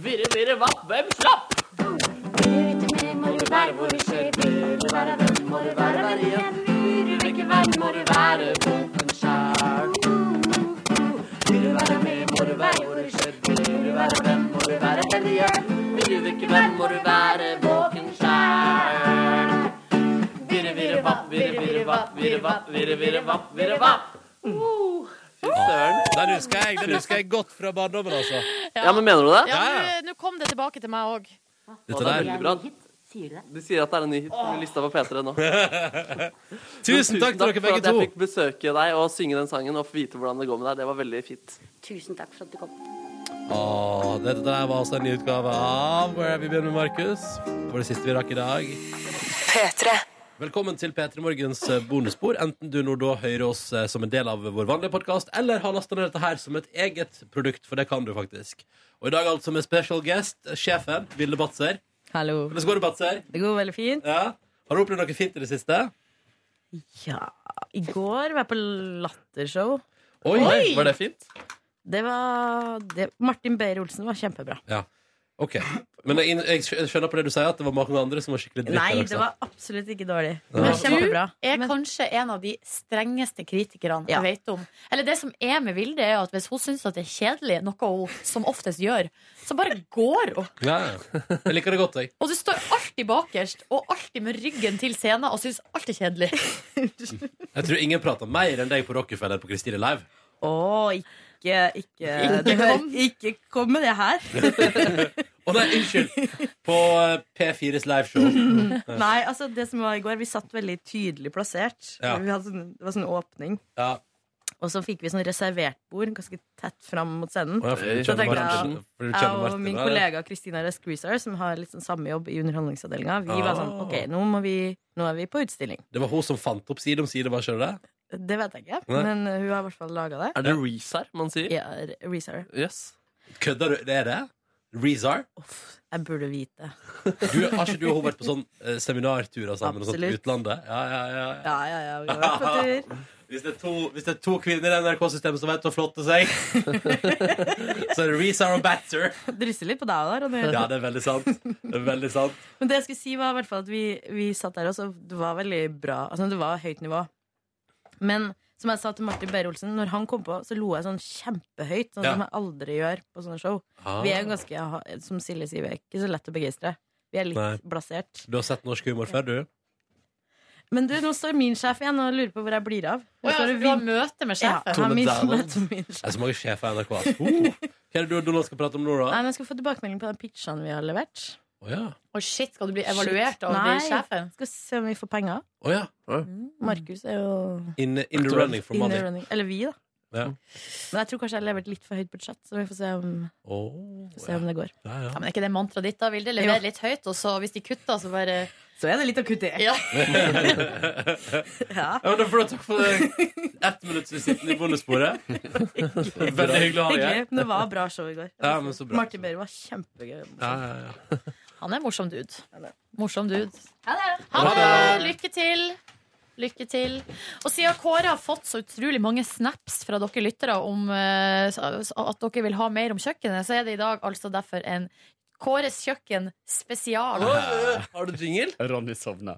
Speaker 6: Virre, virre, vapp, hvem slapp?
Speaker 11: Må du være hvor du ser, vil du være venn, må du være venn igjen. Vil du ikke være, må du være boken sjæl. Vil du være med, må du være hvor du ser, vil du være venn, må du være venn igjen. Vil du ikke være, må du være boken sjæl.
Speaker 6: Virre, virre, vapp, virre, virre, vapp, virre, vapp, virre, virre, vapp, virre, vapp. Fy søren.
Speaker 2: Den husker jeg, den husker jeg godt fra barndommen, altså.
Speaker 6: Ja. men mener du det?
Speaker 3: Ja, nå- Nå kom det tilbake til meg òg.
Speaker 6: Dette der er veldig bra.
Speaker 11: Sier du det?
Speaker 6: De sier at det er en ny hit på lista på P3 nå.
Speaker 2: Tusen takk til dere begge
Speaker 6: for at
Speaker 2: to.
Speaker 6: jeg fikk besøke deg og synge den sangen og få vite hvordan det går med deg. Det var veldig fint.
Speaker 11: Tusen takk for at du kom.
Speaker 2: Åh, dette der var altså en ny utgave av Where Have You Been med Markus. Det var det siste vi rakk i dag.
Speaker 1: P3.
Speaker 2: Velkommen til P3 Morgens eh, bonusspor. Enten du nå da hører oss eh, som en del av vår vanlige podkast, eller har lasta ned dette her som et eget produkt, for det kan du faktisk. Og i dag altså med special guest, eh, sjefen, Vilde Batzer.
Speaker 12: Hallo.
Speaker 2: Hvordan går det, Batzer?
Speaker 12: Det går veldig fint.
Speaker 2: Ja. Har du opplevd noe fint i det siste?
Speaker 12: Ja I går var jeg på Lattershow.
Speaker 2: Oi, Var det fint?
Speaker 12: Det var det, Martin Beyer-Olsen var kjempebra.
Speaker 2: Ja. OK. Men jeg, jeg skjønner på det du sier, at det var mange andre som var skikkelig dritt.
Speaker 12: Nei,
Speaker 2: der
Speaker 12: det
Speaker 2: også.
Speaker 12: var absolutt ikke dårlig.
Speaker 2: Ja.
Speaker 12: Det var kjempebra.
Speaker 3: Du er kanskje en av de strengeste kritikerne
Speaker 12: Ja.
Speaker 3: jeg vet om. Eller det som er med Vilde, er at hvis hun syns at det er kjedelig, noe hun som oftest gjør, så bare går hun.
Speaker 2: Ja, ja. Jeg liker det godt, jeg.
Speaker 3: Og du står alltid bakerst, og alltid med ryggen til scenen, og syns alt er kjedelig.
Speaker 2: Jeg tror ingen prater mer enn deg på Rockefeller på Kristine Live.
Speaker 12: Å, ikke, ikke,
Speaker 2: Ikke
Speaker 12: det hører-
Speaker 2: kom.
Speaker 12: ikke kom med det her.
Speaker 2: Å nei, unnskyld! På eh, P4s liveshow.
Speaker 12: Nei, altså det som var i går Vi satt veldig tydelig plassert.
Speaker 2: Ja.
Speaker 12: Vi hadde sånn, det var sånn åpning.
Speaker 2: Ja.
Speaker 12: Og så fikk vi sånn reservert bord ganske tett fram mot scenen.
Speaker 2: Å ja, fordi du
Speaker 12: Så
Speaker 2: kjenner
Speaker 12: tenkte
Speaker 2: Martin-
Speaker 12: jeg,
Speaker 2: fordi du
Speaker 12: jeg
Speaker 2: kjenner
Speaker 12: og
Speaker 2: Martin,
Speaker 12: min
Speaker 2: da,
Speaker 12: kollega Kristina Rescruiser, som har litt sånn samme jobb i Underholdningsavdelinga, vi var sånn
Speaker 2: Ah.
Speaker 12: OK, nå, må vi, nå er vi på utstilling.
Speaker 2: Det var hun som fant opp Side om side, var ikke det det?
Speaker 12: Det vet jeg ikke,
Speaker 2: Nei.
Speaker 12: men hun har i hvert fall laga det.
Speaker 6: Er det Reece her man sier?
Speaker 12: Ja, Reeser.
Speaker 6: Yes.
Speaker 2: Kødder du? Det er det? Rezar?
Speaker 12: Jeg burde vite.
Speaker 2: Du, har ikke du og hun vært på sånn eh, seminarturer sammen? Og sånt, i
Speaker 12: Absolutt.
Speaker 2: utlandet? Ja, ja, ja. ja.
Speaker 12: Ja, ja, ja. Vi har vært på tur.
Speaker 2: Hvis det, er to, hvis det er to kvinner i NRK-systemet som vet å flotte seg, så er det Rezar og Batter.
Speaker 12: Drysser litt på deg da, Ronny.
Speaker 2: Ja, det er veldig sant. Det er veldig sant.
Speaker 12: Men det jeg skulle si var i hvert fall at vi, vi satt der også, det var veldig bra. Altså, det var høyt nivå. Men som jeg sa til Martin Beyer-Olsen, når han kom på, så lo jeg sånn kjempehøyt. Sånn
Speaker 13: Ja.
Speaker 12: som jeg aldri gjør på sånne show.
Speaker 2: Ah.
Speaker 12: Vi er jo ganske, som Silje sier, vi er ikke så lett å begeistre. Vi er litt
Speaker 2: Nei.
Speaker 12: blasert.
Speaker 2: Du har sett norsk humor før, du?
Speaker 12: Men du, nå står min sjef igjen og lurer på hvor jeg blir av.
Speaker 3: Å ja, for du har møte med sjefen.
Speaker 12: Ja, jeg har
Speaker 2: Tone
Speaker 12: min,
Speaker 2: Damon.
Speaker 12: møte med min sjef.
Speaker 2: Det er så mange sjefer i NRK. altså. Oh. Hva er det du og Donald skal prate om nå,
Speaker 12: Nei,
Speaker 2: da?
Speaker 12: men Jeg skal få tilbakemelding på den pitchen vi har levert.
Speaker 2: Å ja.
Speaker 3: Å shit, Skal du bli evaluert av
Speaker 12: Nei.
Speaker 3: de sjefen?
Speaker 12: Skal se om vi får penger.
Speaker 2: Å ja.
Speaker 12: Markus er jo
Speaker 2: In, in the running
Speaker 12: Mm.
Speaker 2: for
Speaker 12: in the
Speaker 2: money.
Speaker 12: running. Eller vi, da.
Speaker 2: Ja.
Speaker 12: Men jeg tror kanskje jeg har levert litt for høyt budsjett, så vi får se om,
Speaker 2: Å,
Speaker 12: får se om det går.
Speaker 2: ja,
Speaker 3: Ja, men Er ikke det mantraet ditt, da, Vilde? Lever litt høyt, og så hvis de kutter, så bare
Speaker 12: Så er det litt å kutte i.
Speaker 3: Ja.
Speaker 2: ja. men da får du takk for det. ett minutts visitten i bondesporet. Veldig hyggelig å ha deg
Speaker 12: Hyggelig, men det
Speaker 2: her.
Speaker 12: var bra show i går.
Speaker 2: Ja, men så bra.
Speaker 12: Martin Beyer var kjempegøy.
Speaker 2: Ja, ja, ja.
Speaker 3: Han er morsom dude. Morsom dude.
Speaker 12: Ha det!
Speaker 3: Ha det! Lykke til. Lykke til. Og siden Kåre har fått så utrolig mange snaps fra dere lyttere om eh, at dere vil ha mer om kjøkkenet, så er det i dag altså derfor en Kåres kjøkken spesial.
Speaker 6: Har du jingle?
Speaker 14: Ronny sovna.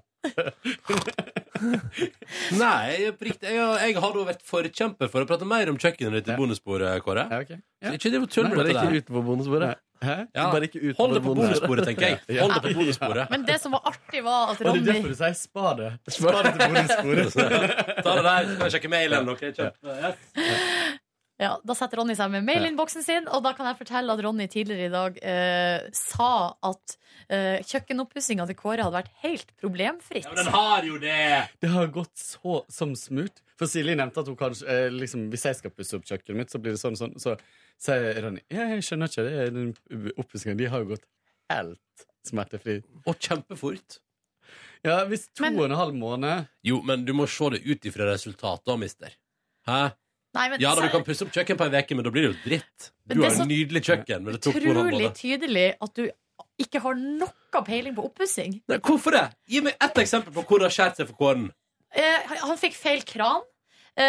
Speaker 2: Nei, jeg, på riktig, jeg, har- jeg har da vært forkjemper for å prate mer om kjøkkenet ditt i bondesporet, Kåre. Så ikke driv og tull
Speaker 6: Nei,
Speaker 2: med
Speaker 6: bare
Speaker 2: dette der.
Speaker 6: ikke utenfor bondesporet.
Speaker 2: Ja.
Speaker 6: Bare ikke utenfor
Speaker 2: Hold det på bondesporet, tenker jeg. Hold det på bondesporet.
Speaker 3: Men det som var artig, var at
Speaker 14: Og det er
Speaker 3: Ronny
Speaker 14: derfor du sier spar det. Spar det til bonusbordet.
Speaker 2: Ta det der, så kan jeg sjekke mailen. Okay, kjøpt.
Speaker 3: Ja, Da setter Ronny seg med mailinnboksen sin, og da kan jeg fortelle at Ronny tidligere i dag eh, sa at eh, kjøkkenoppussinga til Kåre hadde vært helt problemfritt.
Speaker 2: Ja, men den har jo det!
Speaker 14: Det har gått så som smurt. For Silje nevnte at hun kanskje eh, liksom, Hvis jeg skal pusse opp kjøkkenet mitt, så blir det sånn og sånn. Så sier Ronny ja, jeg skjønner ikke det. er Den oppvaskingen de har jo gått helt smertefri.
Speaker 2: Og kjempefort.
Speaker 14: Ja, hvis to og en halv måned
Speaker 2: Jo, men du må se det ut ifra resultatet, mister. Hæ?
Speaker 3: Nei, men
Speaker 2: ja da, du
Speaker 3: så-
Speaker 2: kan pusse opp kjøkken på ei uke, men da blir det jo dritt.
Speaker 3: Men
Speaker 2: Du
Speaker 3: det
Speaker 2: har
Speaker 3: er
Speaker 2: jo
Speaker 3: så
Speaker 2: nydelig kjøkken, men det tok to og en halv
Speaker 3: Utrolig
Speaker 2: måned.
Speaker 3: tydelig at du ikke har noe peiling på oppussing.
Speaker 2: Nei, Hvorfor det? Gi meg ett eksempel på hvor det har skåret seg for Kåren.
Speaker 3: Eh, han fikk feil kran. Eh,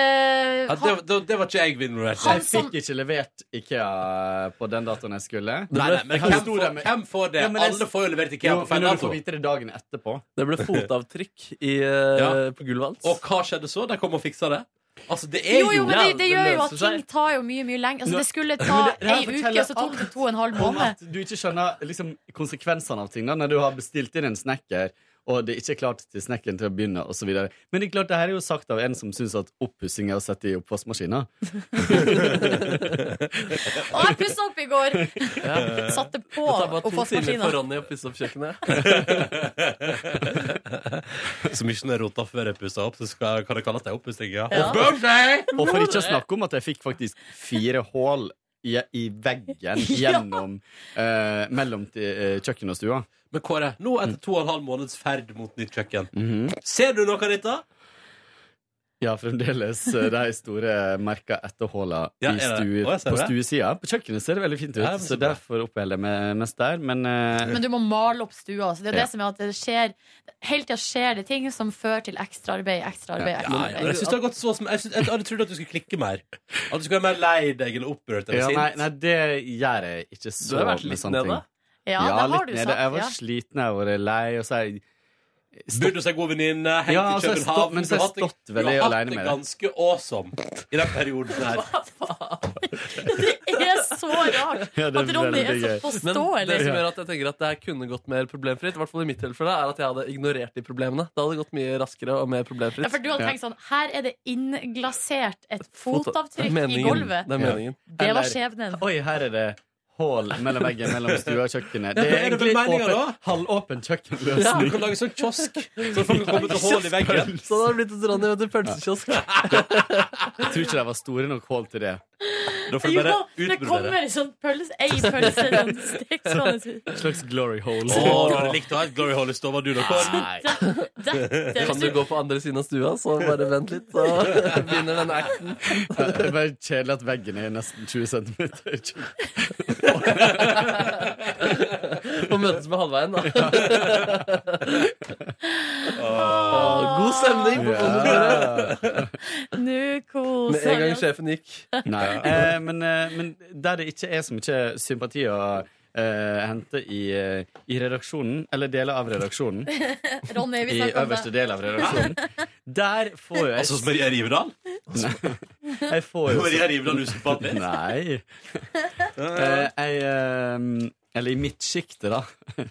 Speaker 2: Ja, det,
Speaker 3: han,
Speaker 2: det, det var ikke jeg involvert i.
Speaker 14: Jeg fikk ikke levert IKEA på den datoen jeg skulle.
Speaker 2: Nei, nei, men
Speaker 14: Jeg
Speaker 2: hvem
Speaker 14: sto
Speaker 2: får,
Speaker 14: der med-
Speaker 2: hvem får det?
Speaker 14: Ja, men jeg-
Speaker 2: Alle får jo levert IKEA
Speaker 14: Jo,
Speaker 2: på feil
Speaker 14: men når du
Speaker 2: dato.
Speaker 14: får vite det dagen etterpå.
Speaker 6: Det ble fotavtrykk i, eh,
Speaker 2: Ja.
Speaker 6: på gulvet hans.
Speaker 2: Og hva skjedde så? De kom og fiksa det? Altså, det er
Speaker 3: jo, jo, men det, det gjør jo at ting
Speaker 14: seg.
Speaker 3: tar jo mye, mye lenger. Altså,
Speaker 14: Nå-
Speaker 3: det skulle ta
Speaker 14: Men det- det her
Speaker 3: ei uke,
Speaker 14: forteller
Speaker 3: og så tok det to og en halv
Speaker 14: Om
Speaker 3: måned.
Speaker 14: at du ikke skjønner liksom, konsekvensene av ting da, når du har bestilt inn en snekker, og det ikke er klart til snekkeren til å begynne, osv. Men det er klart, det her er jo sagt av en som syns at oppussing er å sette i oppvaskmaskina.
Speaker 3: Og jeg pussa opp i går! Satte
Speaker 6: Det
Speaker 3: på
Speaker 6: tar bare to timer
Speaker 3: oppvaskmaskina.
Speaker 6: for Ronny å pusse opp kjøkkenet.
Speaker 2: Så mye den er rota før jeg pusser opp, så skal, kan det kalles ei oppussing, ja.
Speaker 14: Ja.
Speaker 2: Og bullseye!
Speaker 14: Og for ikke å snakke om at jeg fikk faktisk fire hull i, i veggen gjennom eh, mellom til, eh, kjøkkenet og stua.
Speaker 2: Men Kåre, nå etter to og en halv måneds ferd mot nytt kjøkken, ser du noe av dette?
Speaker 14: Ja, fremdeles eh, de store merka etter håla
Speaker 2: Ja,
Speaker 14: i
Speaker 2: er det?
Speaker 14: stue,
Speaker 2: Å, jeg ser
Speaker 14: på
Speaker 2: det.
Speaker 14: stuesida. På kjøkkenet ser det veldig fint ut,
Speaker 2: Ja, men
Speaker 14: så
Speaker 2: så bra.
Speaker 14: derfor oppholder jeg meg mest der. Men, eh,
Speaker 3: Men du må male opp stua. Så det er jo
Speaker 14: Ja.
Speaker 3: det som er at det skjer Hele tida skjer det ting som fører til ekstraarbeid,
Speaker 2: Ja,
Speaker 3: ekstraarbeid,
Speaker 2: ja, men jeg synes det har
Speaker 3: ekstraarbeid.
Speaker 2: gått så som Jeg, synes, jeg hadde trodd at du skulle klikke mer. At du skulle være mer lei deg eller opprørt eller
Speaker 14: ja,
Speaker 2: sint.
Speaker 14: nei, nei, det gjør jeg ikke så
Speaker 2: har vært
Speaker 14: med
Speaker 2: litt
Speaker 14: sånne ting.
Speaker 2: nede.
Speaker 3: Ja,
Speaker 14: Ja,
Speaker 3: det har
Speaker 14: litt
Speaker 3: du
Speaker 14: nede.
Speaker 3: sagt.
Speaker 14: Jeg var
Speaker 3: ja.
Speaker 14: sliten, jeg har vært lei, og så har jeg
Speaker 2: Burde seg god venninne, hengt
Speaker 14: Ja,
Speaker 2: i
Speaker 14: altså, jeg stå-
Speaker 2: København
Speaker 14: men så
Speaker 2: Du
Speaker 14: har jeg
Speaker 2: har hatt
Speaker 14: stått
Speaker 2: det-
Speaker 14: veldig
Speaker 2: du har hatt
Speaker 14: alene med
Speaker 2: det
Speaker 14: det.
Speaker 2: ganske awesome i den perioden her.
Speaker 3: Det er så rart
Speaker 6: Ja, det er
Speaker 3: at Ronny er så
Speaker 6: veldig gøy. Men
Speaker 3: forståelig.
Speaker 6: det som gjør at jeg tenker at det her kunne gått mer problemfritt, i hvert fall i mitt tilfelle, er at jeg hadde ignorert de problemene. Det hadde gått mye raskere og mer problemfritt.
Speaker 3: Ja, for du hadde tenkt sånn Her er det innglasert et fotavtrykk i
Speaker 6: Meningen.
Speaker 3: gulvet.
Speaker 6: Det er meningen.
Speaker 3: Det var
Speaker 14: Eller-
Speaker 3: skjebnen.
Speaker 14: Oi, her er det hull mellom veggen mellom stua og kjøkkenet. Det
Speaker 2: Ja, hva
Speaker 14: er
Speaker 2: er det for
Speaker 14: egentlig
Speaker 2: meninger
Speaker 14: åpen, halvåpen
Speaker 2: Ja, du
Speaker 14: kjøkkenløsning.
Speaker 2: kan lage sånn kiosk, så folk kan komme til hull i veggen.
Speaker 6: Så det hadde blitt et Ronny vet du, pølsekiosk.
Speaker 14: Jeg tror ikke de var store nok hull til det.
Speaker 2: Da
Speaker 3: Jo, det kommer en sånn pølse Ei pølse sånn stikk sånn ut.
Speaker 14: Et slags glory hole.
Speaker 2: Å, du hadde likt å ha et glory hole i stua, du da, Kåren.
Speaker 3: Dette
Speaker 6: Kan du gå på andre siden av stua, så bare vent litt, så begynner den acten.
Speaker 14: Det er bare kjedelig at veggen er nesten 20 cm.
Speaker 6: Og møtes med halvveien, da. Åh, God stemning på kontoret.
Speaker 3: Nå
Speaker 6: Med
Speaker 3: koser
Speaker 6: en gang
Speaker 3: vi oss.
Speaker 6: sjefen gikk.
Speaker 14: Nei, eh, men, eh, men der det ikke er så mye sympati å eh, hente i, eh, i redaksjonen, eller deler av redaksjonen
Speaker 3: Ronny, vi
Speaker 14: I
Speaker 3: snakker om
Speaker 14: øverste
Speaker 3: det.
Speaker 14: del av redaksjonen. Der får jeg
Speaker 2: Altså, som Maria Rivedal?
Speaker 14: Jeg får jo
Speaker 2: Maria Rivedal usedvanlig?
Speaker 14: Nei. Eh, jeg eh, Eller i mitt sjikte, da.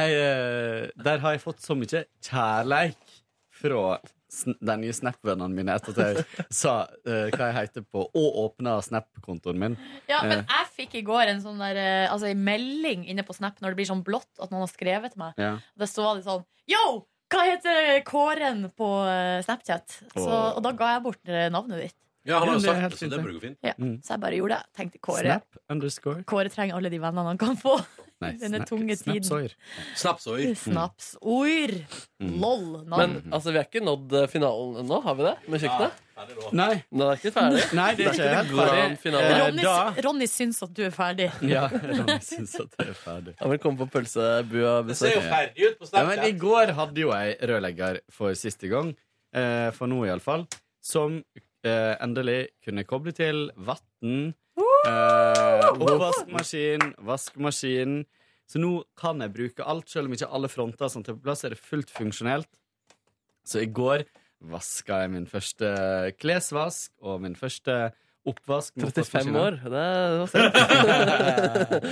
Speaker 14: Jeg, eh, der har jeg fått så mye kjærleik fra sn- de nye Snap-vennene mine etter at jeg sa eh, hva jeg heter på, og åpna Snap-kontoen min.
Speaker 3: Ja, men
Speaker 14: Eh,
Speaker 3: jeg fikk i går en sånn der, eh, altså, en melding inne på Snap når det blir sånn blått at noen har skrevet til meg.
Speaker 14: ja.
Speaker 3: Og det stod det sånn Yo! Hva heter Kåren på eh, Snapchat? Så,
Speaker 14: Åh.
Speaker 3: og da ga jeg bort eh, navnet ditt.
Speaker 2: Ja, han har jo
Speaker 14: Ja, det er
Speaker 2: sagt
Speaker 14: helt
Speaker 2: det, så
Speaker 14: fint,
Speaker 2: det
Speaker 14: det.
Speaker 2: burde gå fint.
Speaker 3: Ja,
Speaker 14: Mm.
Speaker 3: Så jeg bare gjorde det. Tenkte Kåre.
Speaker 14: Snap underscore
Speaker 3: Kåre trenger alle de vennene han kan få.
Speaker 14: Nei,
Speaker 3: Denne tunge tiden.
Speaker 14: Snapsoyer.
Speaker 2: Snapsoyer.
Speaker 3: Snapsord.
Speaker 14: Mm.
Speaker 3: Lol.
Speaker 6: Men
Speaker 3: Navn.
Speaker 6: altså, vi har ikke nådd eh, finalen ennå, har vi det? Med kjøkkenet?
Speaker 14: Nei.
Speaker 6: Den er ikke ferdig.
Speaker 14: Nei, det er ikke helt ferdig.
Speaker 6: Hvordan finale?
Speaker 14: Eh,
Speaker 3: Ronny,
Speaker 14: da-
Speaker 3: Ronny syns at du er ferdig.
Speaker 14: Ja, Ronny syns at det er ferdig.
Speaker 6: Ja, velkommen på pølsebua. besøk.
Speaker 2: ferdig ut på
Speaker 14: Ja, men I går hadde jo jeg rørlegger for siste gang, eh, for nå iallfall, som eh, endelig kunne koble til vann, eh, oppvaskmaskin, vaskemaskin. Så nå kan jeg bruke alt, selv om ikke alle fronter er sånn til plass, er det fullt funksjonelt. Så i går vaska jeg min første klesvask og min første oppvask. med
Speaker 6: 35
Speaker 14: oppvaskmaskinen.
Speaker 6: år. Det var sent.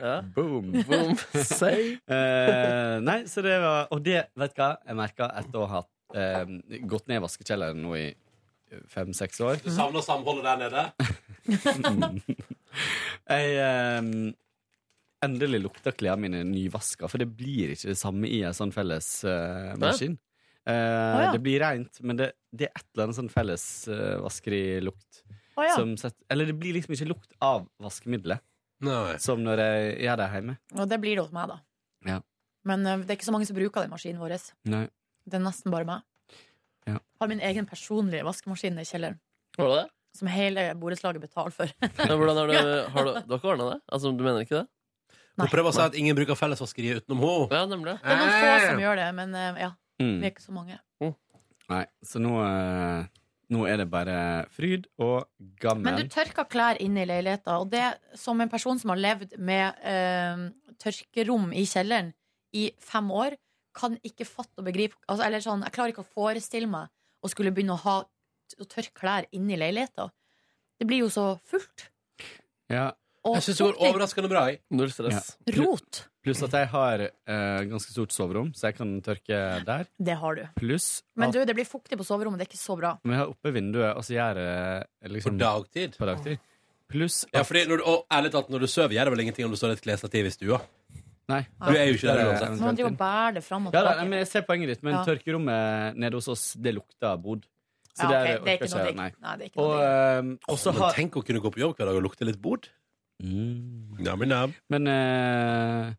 Speaker 6: ja.
Speaker 14: Boom.
Speaker 6: Boom.
Speaker 14: Say. Eh, nei, så det var Og det, vet du hva, jeg merka etter å ha eh, gått ned i vaskekjelleren nå i eh, fem-seks år
Speaker 2: Du savner samholdet der nede?
Speaker 14: Jeg eh, endelig lukter klærne mine nyvaska, for det blir ikke det samme i en sånn felles eh, maskin. Eh,
Speaker 3: ja.
Speaker 14: Det blir reint, men det, det er et eller annet sånn felles eh, vaskerilukt.
Speaker 3: Å, ja.
Speaker 14: som sett- eller det blir liksom ikke lukt av vaskemiddelet, som når jeg gjør det hjemme.
Speaker 3: Og det blir det hos meg, da.
Speaker 14: Ja.
Speaker 3: Men eh, det er ikke så mange som bruker den maskinen vår.
Speaker 14: Nei.
Speaker 3: Det er nesten bare meg.
Speaker 14: Ja.
Speaker 3: Har min egen personlige vaskemaskin i kjelleren.
Speaker 6: Var det det?
Speaker 3: Som hele borettslaget betaler for.
Speaker 6: Ja, hvordan har du, har du, du har ikke ordna det? Altså, du mener ikke det?
Speaker 2: Hun prøver å si at ingen bruker fellesvaskeriet utenom henne.
Speaker 6: Ja, nemlig.
Speaker 3: Det er noen få som gjør det, men eh, ja,
Speaker 14: Mm.
Speaker 3: vi er ikke så mange.
Speaker 14: Nei, så nå, eh, nå er det bare fryd og gammen.
Speaker 3: Men du tørker klær inne i leiligheta, og det som en person som har levd med eh, tørkerom i kjelleren i fem år, kan ikke fatte og begripe altså, Eller sånn, jeg klarer ikke å forestille meg å skulle begynne å, ha, å tørke klær inne i leiligheta. Det blir jo så fullt.
Speaker 14: ja.
Speaker 3: Og
Speaker 2: Jeg syns det går
Speaker 3: fuktig.
Speaker 2: overraskende bra. jeg.
Speaker 6: Null stress.
Speaker 14: Ja.
Speaker 3: Rot.
Speaker 14: Pluss at jeg har eh, ganske stort soverom, så jeg kan tørke der.
Speaker 3: Det har du.
Speaker 14: Pluss
Speaker 3: Men
Speaker 14: at
Speaker 3: du, det blir fuktig på soverommet. Det er ikke så bra.
Speaker 14: men jeg har oppe vinduet, og så gjør jeg liksom
Speaker 2: På dagtid.
Speaker 14: På dagtid. Pluss
Speaker 2: Ja, fordi når du, og ærlig talt, når du sover, gjør det vel ingenting om det står et klesstativ i stua.
Speaker 14: Nei. Eh,
Speaker 2: Du er jo ikke der uansett.
Speaker 3: Så man driver og bærer det fram og
Speaker 14: Ja, da,
Speaker 3: tilbake.
Speaker 14: men jeg ser poenget ditt, men
Speaker 3: Ja.
Speaker 14: tørkerommet nede hos oss, det lukter bod. Så
Speaker 3: Ja, ok,
Speaker 14: der
Speaker 3: det er ikke
Speaker 14: orker
Speaker 3: noe
Speaker 14: jeg
Speaker 3: digg.
Speaker 14: Nei.
Speaker 3: Nei, det er ikke
Speaker 14: Og
Speaker 3: noe
Speaker 14: eh, også
Speaker 2: Men
Speaker 14: har Mm.
Speaker 2: tenk å kunne gå på jobb hver dag og lukte litt bord. Nam, nam.
Speaker 14: Men eh,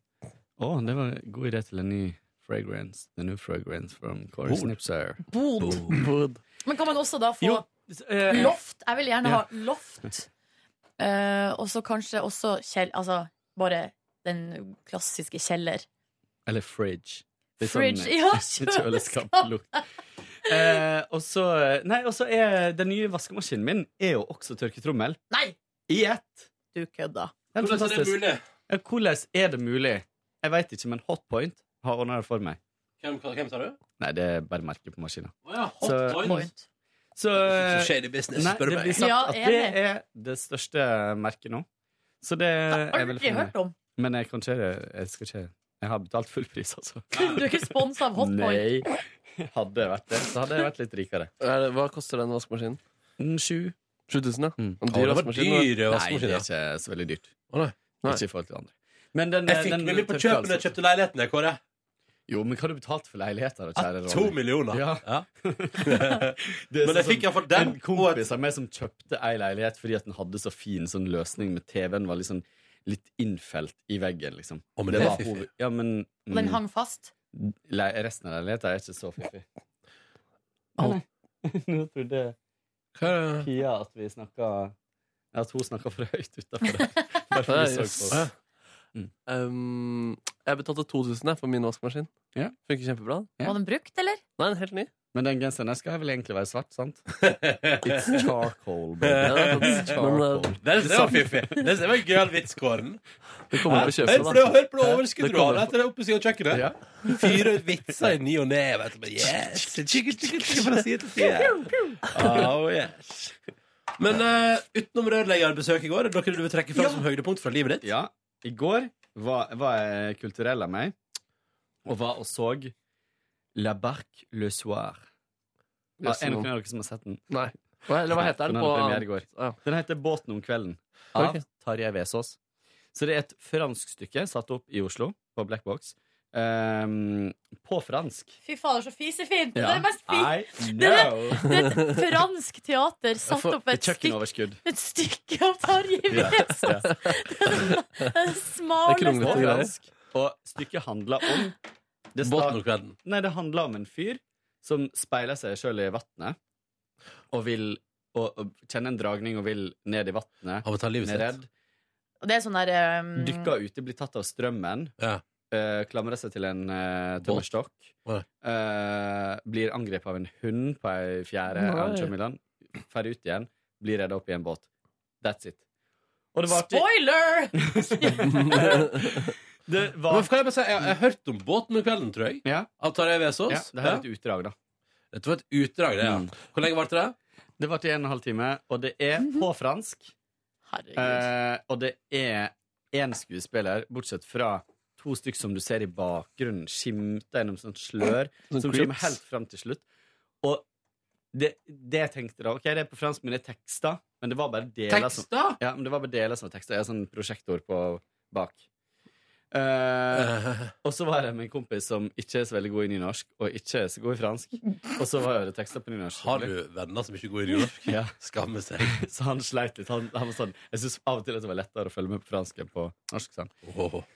Speaker 14: Å, det var en god idé til en ny fragrance. The new fragrance from Kåre
Speaker 2: Bod.
Speaker 14: Snipser.
Speaker 3: Bod. Men kan man også da få
Speaker 14: eh, Jo, eh,
Speaker 3: loft? Jeg vil gjerne
Speaker 14: ja.
Speaker 3: ha loft. Eh, og så kanskje også kjell... Altså bare den klassiske kjeller.
Speaker 14: Eller fridge. Litt
Speaker 3: Fridge,
Speaker 14: sånn,
Speaker 3: ja,
Speaker 14: Kjøleskaplukt. Eh, og så Nei, og så er den nye vaskemaskinen min Er jo også tørketrommel.
Speaker 3: Nei!
Speaker 14: I ett.
Speaker 3: Du kødda.
Speaker 14: Helt
Speaker 2: Hvordan er det
Speaker 14: fantastisk.
Speaker 2: mulig?
Speaker 14: Ja, Hvordan er det mulig? Jeg veit ikke, men Hotpoint har ordna det for meg.
Speaker 2: Hvem, hvem sa du?
Speaker 14: Nei, det er bare merket på maskina.
Speaker 2: Å ja, hot
Speaker 14: Så-
Speaker 2: point.
Speaker 3: Point.
Speaker 14: Så, eh,
Speaker 2: Så shady business,
Speaker 14: nei,
Speaker 2: spør du
Speaker 14: det
Speaker 2: meg.
Speaker 14: blir sagt
Speaker 3: Ja,
Speaker 14: at det
Speaker 3: enig.
Speaker 14: er det største merket nå. Så det er vel
Speaker 3: Aldri hørt om.
Speaker 14: Men jeg kan ikke Jeg skal ikke Jeg har betalt full pris, altså.
Speaker 3: Du er ikke sponsa av Hotpoint.
Speaker 14: Nei. Hadde jeg vært det, så hadde jeg vært litt rikere.
Speaker 6: Er det, hva koster den vaskemaskinen?
Speaker 14: Mm, Sju.
Speaker 6: 7000, ja.
Speaker 14: Mm.
Speaker 6: En
Speaker 2: Å,
Speaker 6: dyr
Speaker 2: det var
Speaker 6: vaskemaskin. da.
Speaker 2: dyr
Speaker 14: Nei, det
Speaker 2: vaskemaskin.
Speaker 14: er
Speaker 2: ja.
Speaker 14: ikke så veldig dyrt.
Speaker 2: Å, nei.
Speaker 6: Nei.
Speaker 14: Ikke i forhold til andre. Men den,
Speaker 2: Jeg fikk
Speaker 14: den
Speaker 2: med meg på
Speaker 14: tørker
Speaker 2: kjøpet da jeg
Speaker 14: altså.
Speaker 2: kjøpte leiligheten. jeg, Kåre.
Speaker 14: Jo, men hva har du betalt for leiligheter, da, kjære
Speaker 2: To millioner.
Speaker 14: Ja.
Speaker 2: Ja.
Speaker 14: Det er sånn
Speaker 2: Men jeg fikk i hvert fall den,
Speaker 14: En kompis av meg som kjøpte ei leilighet fordi at den hadde så fin sånn løsning med TV-en, var liksom litt innfelt i veggen, liksom.
Speaker 2: Å, men det er
Speaker 14: var
Speaker 2: fiffig.
Speaker 14: hoved- Ja, men
Speaker 3: Og den
Speaker 14: mm,
Speaker 3: hang fast.
Speaker 14: le resten av leiligheten er ikke så fiffig.
Speaker 6: Alt.
Speaker 14: Nei, nei. Nå trodde
Speaker 2: Hva er det?
Speaker 14: Pia at vi snakka At hun snakka for høyt utafor der. Bare for vi så på
Speaker 6: Yes. Mm. Um, jeg betalte 2000 jeg, for min vaskemaskin. Funker kjempebra.
Speaker 3: Var den brukt, eller?
Speaker 6: Nei, den er helt ny.
Speaker 14: Men den genseren jeg skal ha, vil egentlig være svart, sant? It's charcoal,
Speaker 6: Ja, det er
Speaker 14: baby.
Speaker 6: faktisk
Speaker 14: It's charcoal.
Speaker 6: charcoal.
Speaker 2: Det, det var fiffig. Det det var en gøy vits, Kåren.
Speaker 6: Det kommer på
Speaker 2: Hør
Speaker 6: kjøpet,
Speaker 2: på
Speaker 6: da.
Speaker 2: det, hør på det
Speaker 6: Ja,
Speaker 2: overskuddet
Speaker 6: det
Speaker 2: du har
Speaker 6: kommer.
Speaker 2: etter det oppe siden av kjøkkenet. Fyre ut vitser i ny og ne. vet du, bare, Yes! Tjikke, tjikke, tjikke, fra side til side. Oh, yes. Men eh, utenom rørleggerbesøk i går, er det noe du vil trekke fram som høydepunkt fra livet ditt?
Speaker 14: Ja. I går var, var jeg kulturell av meg, og var og så La Barque Le Soir. Ja,
Speaker 6: Yes,
Speaker 14: er det
Speaker 6: no.
Speaker 14: noen av dere som har sett den?
Speaker 6: Nei. Hva, eller hva heter den
Speaker 14: hadde premiere i
Speaker 6: på
Speaker 14: går. Den heter Båten om kvelden av
Speaker 6: Ok.
Speaker 14: Tarjei Vesaas. Så det er et fransk stykke satt opp i Oslo, på Black Box. Ehm, på fransk.
Speaker 3: Fy fader, så fisefint! Det
Speaker 14: Ja.
Speaker 3: er mest
Speaker 14: I
Speaker 3: fint! Det er,
Speaker 14: know.
Speaker 3: det er et fransk teater satt
Speaker 14: For-
Speaker 3: opp et stykke,
Speaker 14: Kjøkkenoverskudd.
Speaker 3: et stykke av Tarjei
Speaker 14: Ja,
Speaker 3: Vesaas.
Speaker 14: ja.
Speaker 3: Det er det smaleste
Speaker 14: På fransk. Og stykket handler om det
Speaker 2: Båten og kvelden.
Speaker 14: Nei, det handler om en fyr som speiler seg sjøl i vannet, og vil og, og kjenner en dragning og vil ned i vannet.
Speaker 2: Av å ta livet sitt.
Speaker 14: Redd.
Speaker 3: Og Det er sånn der um,
Speaker 14: Dykker ute, blir tatt av strømmen. eh, klamrer seg til en uh, tømmerstokk. eh, blir angrepet av en hund på ei fjære.
Speaker 6: Nei.
Speaker 14: Han kommer i land, Ferdig ut igjen, blir redda opp i en båt. That's it. Og det var artig.
Speaker 3: Spoiler!
Speaker 14: Det var-
Speaker 2: Men kan jeg bare si, jeg jeg har hørt om Båten om kvelden, tror jeg. Av Tarjei Vesaas.
Speaker 14: Ja, det her er et utdrag, da. Mm.
Speaker 2: Dette var et utdrag, det, ja. Hvor lenge varte det?
Speaker 14: Det varte i en og en halv time, og det er på fransk. Eh, og det er én skuespiller, bortsett fra to stykker som du ser i bakgrunnen, skimte gjennom sånt slør,
Speaker 6: Sånn
Speaker 14: som
Speaker 6: creeps.
Speaker 14: kommer helt fram til slutt. Og det, det jeg tenkte da, ok, det er på fransk, men det er tekster. Men det var bare deler
Speaker 2: Tekster?
Speaker 14: som Ja, men det var bare deler som var tekster. Jeg har sånn prosjektord på bak. Eh, og så var jeg med en kompis som ikke er så veldig god i nynorsk, og ikke er så god i fransk. Og så var det tekster på nynorsk.
Speaker 2: Har du venner som ikke går i nynorsk?
Speaker 14: Ja.
Speaker 2: Skammer seg.
Speaker 14: Så han sleit litt. Han, han var sånn, jeg syns av og til at det var lettere å følge med på fransk enn på norsk. Sånn.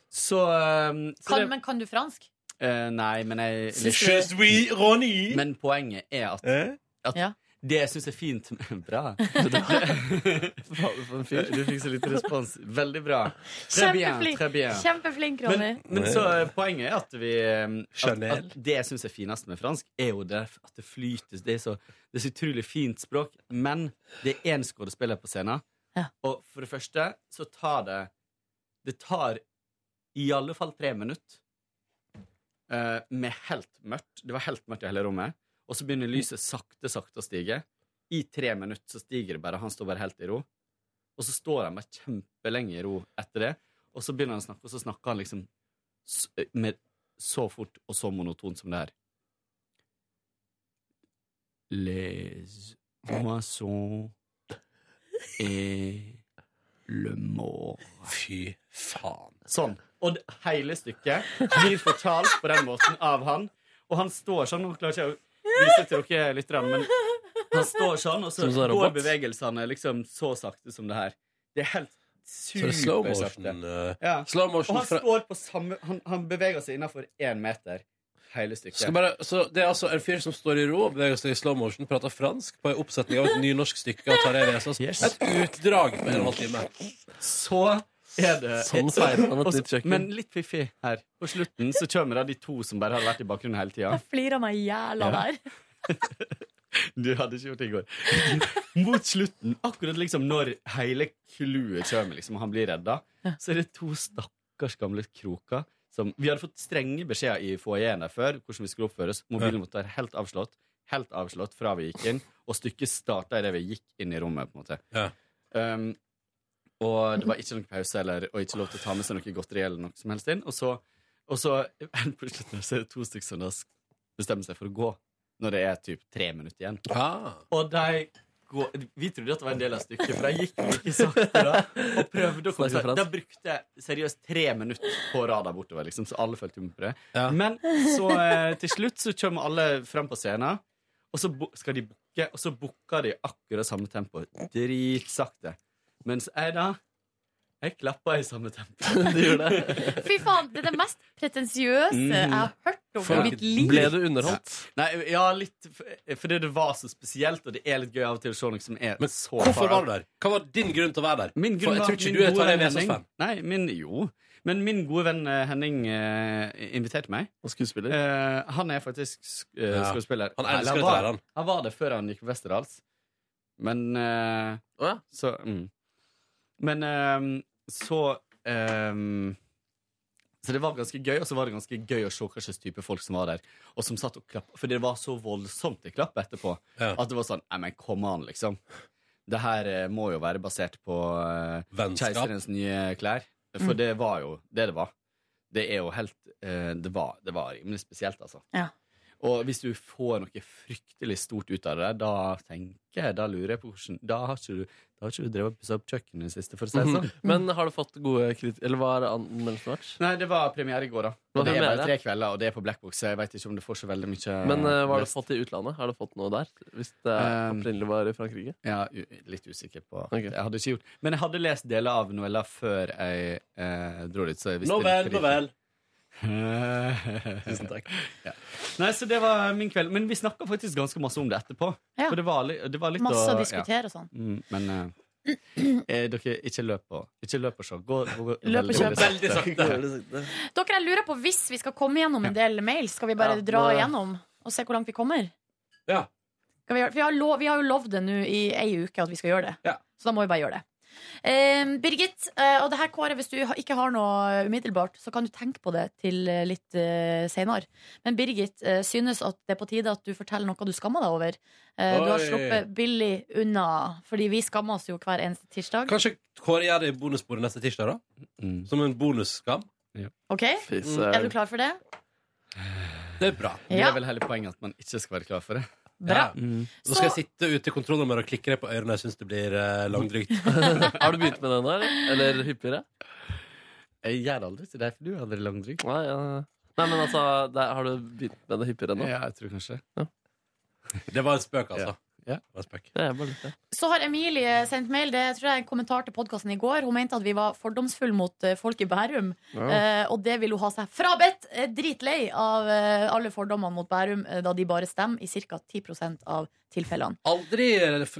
Speaker 14: Så, eh, så
Speaker 3: Kan,
Speaker 14: det-
Speaker 3: men kan du fransk?
Speaker 14: Eh, nei, men jeg
Speaker 3: Syns du- Je
Speaker 14: Men poenget er at,
Speaker 2: Eh?
Speaker 14: at det jeg syns er fint med- Bra. Du fikk så litt respons. Veldig bra. Très bien,
Speaker 3: Kjempeflink,
Speaker 14: très bien.
Speaker 3: Kjempeflink Ronny.
Speaker 14: Men, men så eh, poenget er at vi eh, at,
Speaker 2: Chanel.
Speaker 14: at Det jeg syns er finest med fransk, er jo det at det flytes. Det er så, det er så utrolig fint språk. Men det er én skuespiller på scenen, og for det første så tar det Det tar i alle fall tre minutter eh, med helt mørkt. Det var helt mørkt i hele rommet. Og så begynner lyset sakte, sakte å stige. I tre minutter så stiger det bare. Han står bare helt i ro. Og så står han bare kjempelenge i ro etter det. Og så begynner han å snakke, og så snakker han liksom s- med så fort og så monotont som det her. Les moissons et le mort.
Speaker 2: Fy faen.
Speaker 14: Sånn. Og det- hele stykket blir fortalt på den måten av han. Og han står sånn, nå klarer ikke jeg å vise til dere litt, men han står sånn, og så
Speaker 6: Som sånn
Speaker 14: går
Speaker 6: robot.
Speaker 14: bevegelsene liksom så sakte som det her. Det er helt
Speaker 2: Så det er slow
Speaker 14: supersakte.
Speaker 2: motion. eh,
Speaker 14: Ja.
Speaker 2: Slow motion
Speaker 14: og han
Speaker 2: fra-
Speaker 14: står på samme Han, han beveger seg innafor én meter hele stykket.
Speaker 2: Skal bare, så det er altså en fyr som står i ro og beveger seg i slow motion, prater fransk på en oppsetning av et nynorsk stykke av Tarjei Vesaas. Et utdrag på en og en halv time.
Speaker 14: Så er det
Speaker 2: Sånn feirer han et
Speaker 14: Og så-
Speaker 2: nytt kjøkken.
Speaker 14: Men litt fiffig her. På slutten så kommer da de to som bare har vært i bakgrunnen hele tida.
Speaker 3: Jeg flirer meg i hjel av
Speaker 14: Ja.
Speaker 3: det her.
Speaker 14: Du hadde ikke gjort det i går. Mot slutten, akkurat liksom når hele clouet kommer, liksom, og han blir redda, så er det to stakkars gamle kroker som Vi hadde fått strenge beskjeder i foajeen der før hvordan vi skulle oppføre oss. Mobilen måtte være helt avslått. Helt avslått fra vi gikk inn, og stykket starta idet vi gikk inn i rommet. på en måte. Um, og det var ikke noen pause eller, og ikke lov til å ta med seg noe godteri eller noe som helst inn. Og så, og så helt på slutten her så er det to stykker som da s- bestemmer seg for å gå når det er typ tre minutter igjen. Og de går, vi trodde at det var en del av stykket, for de gikk like sakte da. Og prøvde å komme
Speaker 6: Snakker
Speaker 14: seg
Speaker 6: fransk.
Speaker 14: De brukte seriøst tre minutter på rad der bortover, liksom, så alle fulgte med på det. Men så eh, til slutt så kommer alle fram på scenen, og så bu- skal de bukke, og så bukker de akkurat samme tempo. Dritsakte. Mens jeg da Jeg klappa i samme tempo.
Speaker 3: Fy faen, det er det mest pretensiøse
Speaker 14: Mm.
Speaker 3: jeg har hørt om i mitt liv.
Speaker 14: Nei, ja, litt f- fordi det var så spesielt, og det er litt gøy av og til å se noe som er så
Speaker 2: Hvorfor var du der? Hva var din grunn til å være der?
Speaker 14: Min
Speaker 2: For
Speaker 14: grunn
Speaker 2: jeg
Speaker 14: var
Speaker 2: tror
Speaker 14: at
Speaker 2: ikke
Speaker 14: min
Speaker 2: du er
Speaker 14: gode
Speaker 2: Tarjei
Speaker 14: venn Henning-
Speaker 2: Vesaas-fan.
Speaker 14: Nei, min, jo. Men min gode venn eh, Henning eh, inviterte meg. Eh,
Speaker 6: Og skuespiller.
Speaker 14: han er faktisk sk eh,
Speaker 6: Ja.
Speaker 14: skuespiller.
Speaker 6: Han
Speaker 14: Eller
Speaker 6: elsker dette
Speaker 14: var-
Speaker 6: her, han.
Speaker 14: Han var det før han gikk på Westerdals. Men eh, Så mm. Men eh, så eh, så det var ganske gøy, og så var det ganske gøy å se hva slags type folk som var der. Og som satt og klappa. For det var så voldsomt i klapp etterpå. At det var sånn Nei, men kom an, liksom. Det her eh, må jo være basert på eh, keiserens nye klær. For
Speaker 12: Mm.
Speaker 14: det var jo det det var. Det er jo helt eh, det, var, det var rimelig spesielt, altså.
Speaker 12: Ja.
Speaker 14: Og hvis du får noe fryktelig stort ut av det der, da tenker jeg, da lurer jeg på hvordan Da har ikke du, da har ikke du drevet og pussa opp kjøkkenet i det siste, for å si det
Speaker 6: Mhm.
Speaker 14: sånn.
Speaker 6: Men har du fått gode kritikk Eller hva er anmeldelsen vært?
Speaker 14: Nei, det var premiere i går, da.
Speaker 6: Hva
Speaker 14: Og det er
Speaker 6: premiere?
Speaker 14: bare tre kvelder, og det er på Blackbox, så jeg vet ikke om det får så veldig mye
Speaker 6: Men eh, hva har du
Speaker 14: lest.
Speaker 6: fått i utlandet? Har du fått noe der? Hvis det er
Speaker 14: Um,
Speaker 6: opprinnelig var i Frankrike?
Speaker 14: Ja, u- litt usikker på Jeg hadde ikke gjort Men jeg hadde lest deler av novella før jeg eh, dro dit, så jeg visste
Speaker 2: Nå vel, nå vel.
Speaker 14: Tusen takk. Ja. Nei, så det var min kveld. Men vi snakka faktisk ganske masse om det etterpå.
Speaker 3: Ja.
Speaker 14: For det var, li- det var litt
Speaker 3: Masse å
Speaker 14: ja.
Speaker 3: diskutere og sånn.
Speaker 14: Mm, men eh, eh, dere, ikke løp på. Ikke løp og se. Gå, gå, gå
Speaker 3: Løp og kjøp.
Speaker 14: veldig
Speaker 3: Veldig
Speaker 14: sakte.
Speaker 3: Dere, jeg lurer på, hvis vi skal komme gjennom en del mail, skal vi bare
Speaker 14: Ja,
Speaker 3: dra
Speaker 14: nå-
Speaker 3: igjennom og se hvor langt vi kommer?
Speaker 2: Ja.
Speaker 3: Skal vi, gjøre- for vi, har lov, vi har jo lovd det nå i ei uke at vi skal gjøre det, så da må vi bare gjøre det. Eh, Birgit, eh, og det her Kåre, hvis du ha- ikke har noe umiddelbart, så kan du tenke på det til eh, litt uh, senere. Men Birgit eh, synes at det er på tide at du forteller noe du skammer deg over. Eh, du har
Speaker 2: Oi.
Speaker 3: sluppet billig unna, fordi vi skammer oss jo hver eneste tirsdag.
Speaker 2: Kanskje Kåre gjør det i bonusbordet neste tirsdag, da?
Speaker 14: Mm.
Speaker 2: Som en bonusskam?
Speaker 3: Ok?
Speaker 2: Fy søren.
Speaker 3: Er du klar for det?
Speaker 2: Det er bra.
Speaker 3: Mm. Ja. Mm. Det er
Speaker 14: vel hele poenget at man ikke skal være klar for det.
Speaker 3: Bra.
Speaker 2: Så skal jeg
Speaker 3: Så-
Speaker 2: sitte ute i kontrollnummeret og klikke deg på ørene. Jeg syns det blir eh, langdrygt.
Speaker 6: har du begynt med den der? Eller hyppigere?
Speaker 14: Jeg gjør aldri til deg, for du er aldri langdryg.
Speaker 6: Nei, ja. Nei, men altså, det, har du begynt med det hyppigere nå?
Speaker 14: Ja, jeg tror kanskje
Speaker 2: Det var en spøk, altså.
Speaker 14: Ja.
Speaker 2: Det var en spøk.
Speaker 6: Ja, jeg bare likte det.
Speaker 3: Så har Emilie sendt mail. Det tror jeg er en kommentar til podkasten i går. Hun mente at vi var fordomsfulle mot eh, folk i Bærum.
Speaker 12: Ja.
Speaker 3: Eh, og det vil hun ha seg frabedt! Eh, Dritlei av eh, alle fordommene mot Bærum, eh, da de bare stemmer i ca. 10 av tilfellene.
Speaker 2: aldri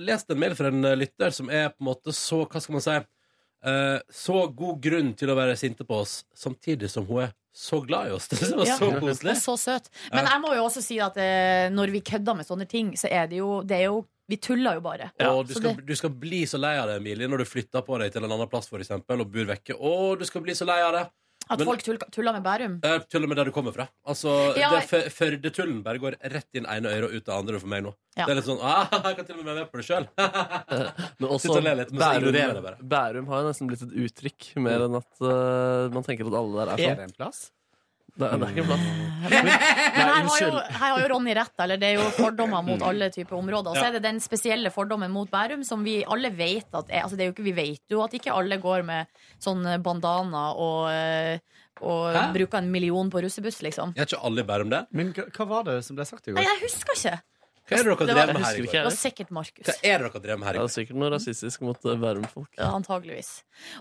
Speaker 2: lest en mail fra en eh, lytter som er på en måte så Hva skal man si? eh, så god grunn til å være sinte på oss, samtidig som hun er så glad i oss. Det var
Speaker 3: Ja.
Speaker 2: så koselig.
Speaker 3: Og så søt. Men
Speaker 2: Ja.
Speaker 3: jeg må jo også si at eh, når vi kødder med sånne ting, så er det jo, det er jo Vi tuller jo bare.
Speaker 2: Og du
Speaker 3: Så
Speaker 2: skal,
Speaker 3: det,
Speaker 2: du skal bli så lei av det, Emilie, når du flytter på deg til en annen plass for eksempel, og bor vekke. Å, du skal bli så lei av det.
Speaker 3: at
Speaker 2: Men-
Speaker 3: folk tuller, tuller med Bærum.
Speaker 2: Eh, Til og med der du kommer fra. Altså,
Speaker 3: Ja,
Speaker 2: det fø- Førdetullen bare går rett inn ene øret og ut det andre for meg nå.
Speaker 3: Ja.
Speaker 2: Det er litt sånn ah, Jeg kan til og med være med på det sjøl.
Speaker 6: Men
Speaker 2: Sitt
Speaker 6: også
Speaker 2: og le litt, men så ignorerer jeg
Speaker 6: Bærum,
Speaker 2: det
Speaker 6: Bærum har jo nesten blitt et uttrykk, mer enn at eh, man tenker at alle der er sånn.
Speaker 14: Er det en plass?
Speaker 6: Nei, det er ikke en plass.
Speaker 3: Men her har, jo, her har jo Ronny rett, eller det er jo fordommer mot alle typer områder. Og så
Speaker 6: Ja.
Speaker 3: er det den spesielle fordommen mot Bærum som vi alle vet at er, altså det er jo ikke, Vi vet jo at ikke alle går med sånn bandana og, eh, og
Speaker 2: Hæ?
Speaker 3: bruker en million på russebuss, liksom.
Speaker 2: Er ikke alle i Bærum det?
Speaker 14: Men hva, var det som ble sagt i
Speaker 3: Nei, jeg husker ikke.
Speaker 2: Hva er det dere
Speaker 3: Det var-
Speaker 2: drev med her i
Speaker 3: Det var
Speaker 2: går?
Speaker 3: sikkert Markus.
Speaker 2: Hva er det dere drev med her i
Speaker 6: Det er
Speaker 3: Altså.
Speaker 6: sikkert noe rasistisk mot eh, Bærum-folk.
Speaker 3: Ja, Antageligvis.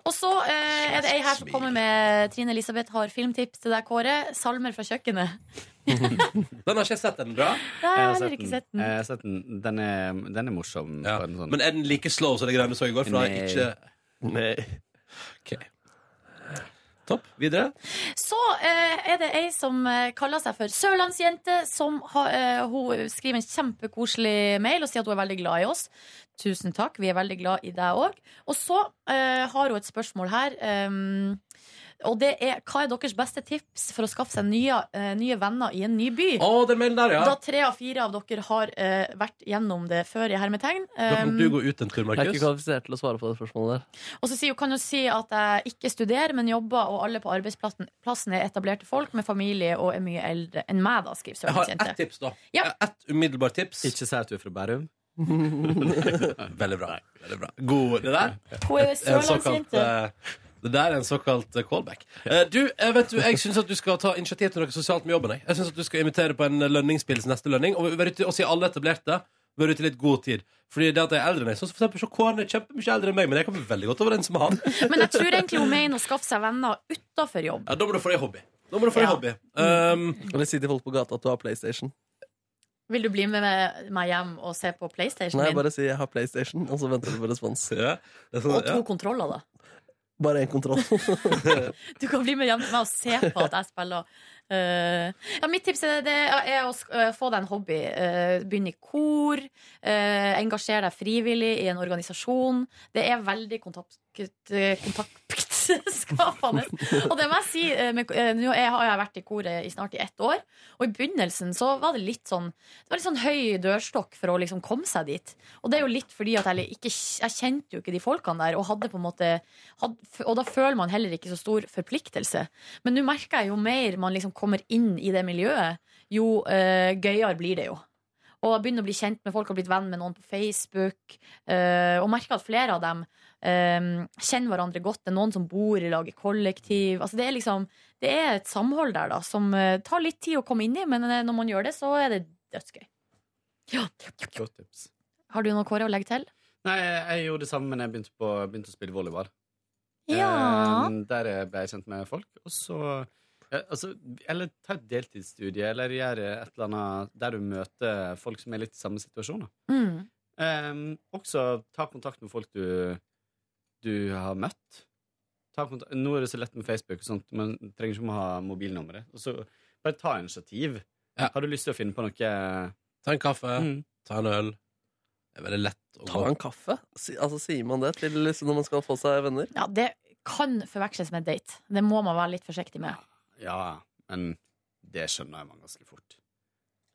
Speaker 3: Og så eh, er det ei her som kommer med Trine Elisabeth har filmtips til deg, Kåre. 'Salmer fra kjøkkenet'.
Speaker 2: Den har ikke jeg sett den bra.
Speaker 3: Nei, jeg har heller ikke sett den.
Speaker 14: Jeg har sett den. Den er, den er morsom. på en sånn.
Speaker 2: Men er den like slow som det greiene du så i går? For da er
Speaker 14: Nei.
Speaker 2: ikke Nei. OK. Topp. Videre.
Speaker 3: Så eh, er det ei som eh, kaller seg for Sørlandsjente, som har- eh, hun skriver en kjempekoselig mail og sier at hun er veldig glad i oss. Tusen takk, vi er veldig glad i deg òg. Og så eh, har hun et spørsmål her. ehm, og det er hva er deres beste tips for å skaffe seg nye, eh, nye venner i en ny by?
Speaker 2: Å, den mailen der, ja.
Speaker 3: Da tre av fire av dere har eh, vært gjennom det før i hermetegn.
Speaker 2: Da
Speaker 3: Ehm,
Speaker 2: kan du gå ut en
Speaker 6: Jeg
Speaker 2: tur,
Speaker 6: er ikke
Speaker 2: Markus.
Speaker 6: kvalifisert til å svare på det spørsmålet der.
Speaker 3: og så sier, kan hun si at jeg ikke studerer, men jobber, og alle på arbeidsplassen plassen er etablerte folk med familie og er mye eldre enn meg, da, skriver
Speaker 2: Jeg har ett
Speaker 3: Sørlandsjente.
Speaker 2: tips, da. Ja. Ett umiddelbart tips. Ikke
Speaker 14: si at du er fra Bærum.
Speaker 2: Veldig bra. Veldig bra. God, det der
Speaker 3: Hun er
Speaker 2: Et- en såkalt,
Speaker 3: sørlandsjente.
Speaker 2: eh, Det der er en såkalt eh, callback. Eh, Du, eh, vet du, Jeg syns at du skal ta initiativ til noe sosialt med jobben. Jeg, jeg synes at du skal invitere på en eh, lønningspils neste lønning. Og være ute og si alle etablerte. vært ute i litt god tid. Fordi det at jeg er eldre enn jeg, sånn som for eksempel så Kåren er kjempemye eldre enn meg, men jeg kommer veldig godt overens med han.
Speaker 3: Men jeg tror egentlig hun mener å skaffe seg venner utafor jobb.
Speaker 2: Ja, da må du få deg hobby. Da må du få deg
Speaker 3: Ja.
Speaker 2: hobby. Um,
Speaker 6: Og det sitter folk på gata at du har PlayStation.
Speaker 3: Vil du bli med meg- meg hjem og se på PlayStation
Speaker 6: Nei,
Speaker 3: min?
Speaker 6: bare si 'jeg har PlayStation', og så venter du på respons.
Speaker 2: sånn,
Speaker 3: Og to kontroller, da.
Speaker 6: Bare én kontroll.
Speaker 3: Du kan bli med hjem til meg og se på at jeg spiller. Eh, ja, mitt tips er, det er å sk- eh, få deg en hobby. Eh, begynne i kor. Uh, engasjer deg frivillig i en organisasjon. Det er veldig kontakt, eh, kontaktskapende. Og det må jeg si, eh, med, eh, nå er- har jeg vært i koret i snart i ett år, og i begynnelsen så var det litt sånn Det var litt sånn høy dørstokk for å liksom komme seg dit. Og det er jo litt fordi at jeg, ikke, jeg kjente jo ikke de folkene der, og hadde på en måte had, Og da føler man heller ikke så stor forpliktelse. Men nå merker jeg jo mer man liksom kommer inn i det miljøet, jo eh, gøyere blir det jo. Og jeg begynner å bli kjent med folk, har blitt venn med noen på Facebook. eh, og merker at flere av dem eh, kjenner hverandre godt. Det er noen som bor i lag i kollektiv. Altså, det, er liksom, det er et samhold der da, som eh, tar litt tid å komme inn i, men eh, når man gjør det, så er det dødsgøy.
Speaker 14: Godt tips.
Speaker 3: Har du noe, Kåre, å legge til?
Speaker 14: Nei, jeg gjorde det samme men jeg begynte, på, begynte å spille volleyball.
Speaker 3: Ja.
Speaker 14: Eh, der ble jeg kjent med folk. Og så eh, altså, Eller ta et deltidsstudie, eller gjøre et eller annet der du møter folk som er litt i samme situasjon. Da.
Speaker 3: Mm.
Speaker 14: Eh, også ta kontakt med folk du, du har møtt. Ta kontakt, nå er det så lett med Facebook, og sånt, men du trenger ikke å ha mobilnummeret. Og så bare ta initiativ. Har du lyst til å finne på noe
Speaker 2: Ta en kaffe.
Speaker 14: Mm.
Speaker 2: Ta en øl. Det er veldig lett å
Speaker 6: Ta en kaffe? Si, altså, sier man det til liksom, når man skal få seg venner?
Speaker 3: Ja, det kan forveksles med date. Det må man være litt forsiktig med.
Speaker 14: Ja, men det skjønner jeg man ganske fort.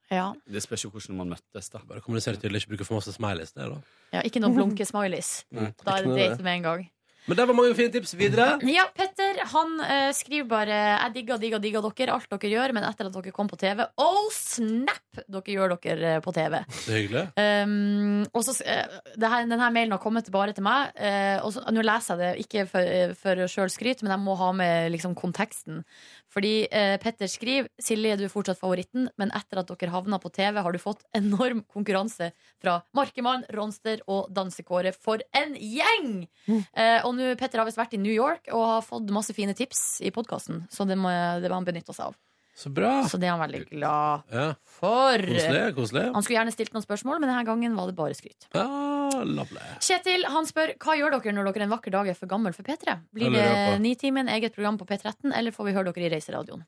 Speaker 3: Ja.
Speaker 14: Det spørs jo hvordan man møttes, da.
Speaker 2: Bare kommunisere tydelig, ikke bruke for masse smileys. det, da.
Speaker 3: Ja, ikke noen blunke-smileys.
Speaker 2: Nei.
Speaker 3: Da er
Speaker 2: Ikke noe
Speaker 3: det
Speaker 2: det.
Speaker 3: date med en gang.
Speaker 2: Men det var mange fine tips videre.
Speaker 3: Ja, Petter han eh, skriver bare 'Jeg digger, digger, digger dere, alt dere gjør', men etter at dere kom på TV Oh snap! Dere gjør dere eh, på TV.
Speaker 2: Så hyggelig.
Speaker 3: Um, og så, eh, det her, denne mailen har kommet bare til meg. eh, og så, nå leser jeg det ikke for, eh, for sjøl skryt, men jeg må ha med liksom, konteksten. Fordi eh, Petter skriver Silje, du er fortsatt favoritten, men etter at dere havna på TV, har du fått enorm konkurranse fra Markemann, Ronster og Dansekåret. For en gjeng! Eh, og nå, Petter har visst vært i New York og har fått masse fine tips i podkasten, så det må, det må han benytte seg av.
Speaker 2: Så bra.
Speaker 3: Så det er han veldig glad
Speaker 2: Ja.
Speaker 3: for.
Speaker 2: Koselig. koselig.
Speaker 3: Han skulle gjerne stilt noen spørsmål, men denne gangen var det bare skryt.
Speaker 2: Ah, lovely.
Speaker 3: Kjetil han spør hva gjør dere når dere en vakker dag er for gammel for P3. Blir
Speaker 6: Eller
Speaker 3: det
Speaker 6: Europa.
Speaker 3: Nitimen, eget program på P13, eller får vi høre dere i Reiseradioen?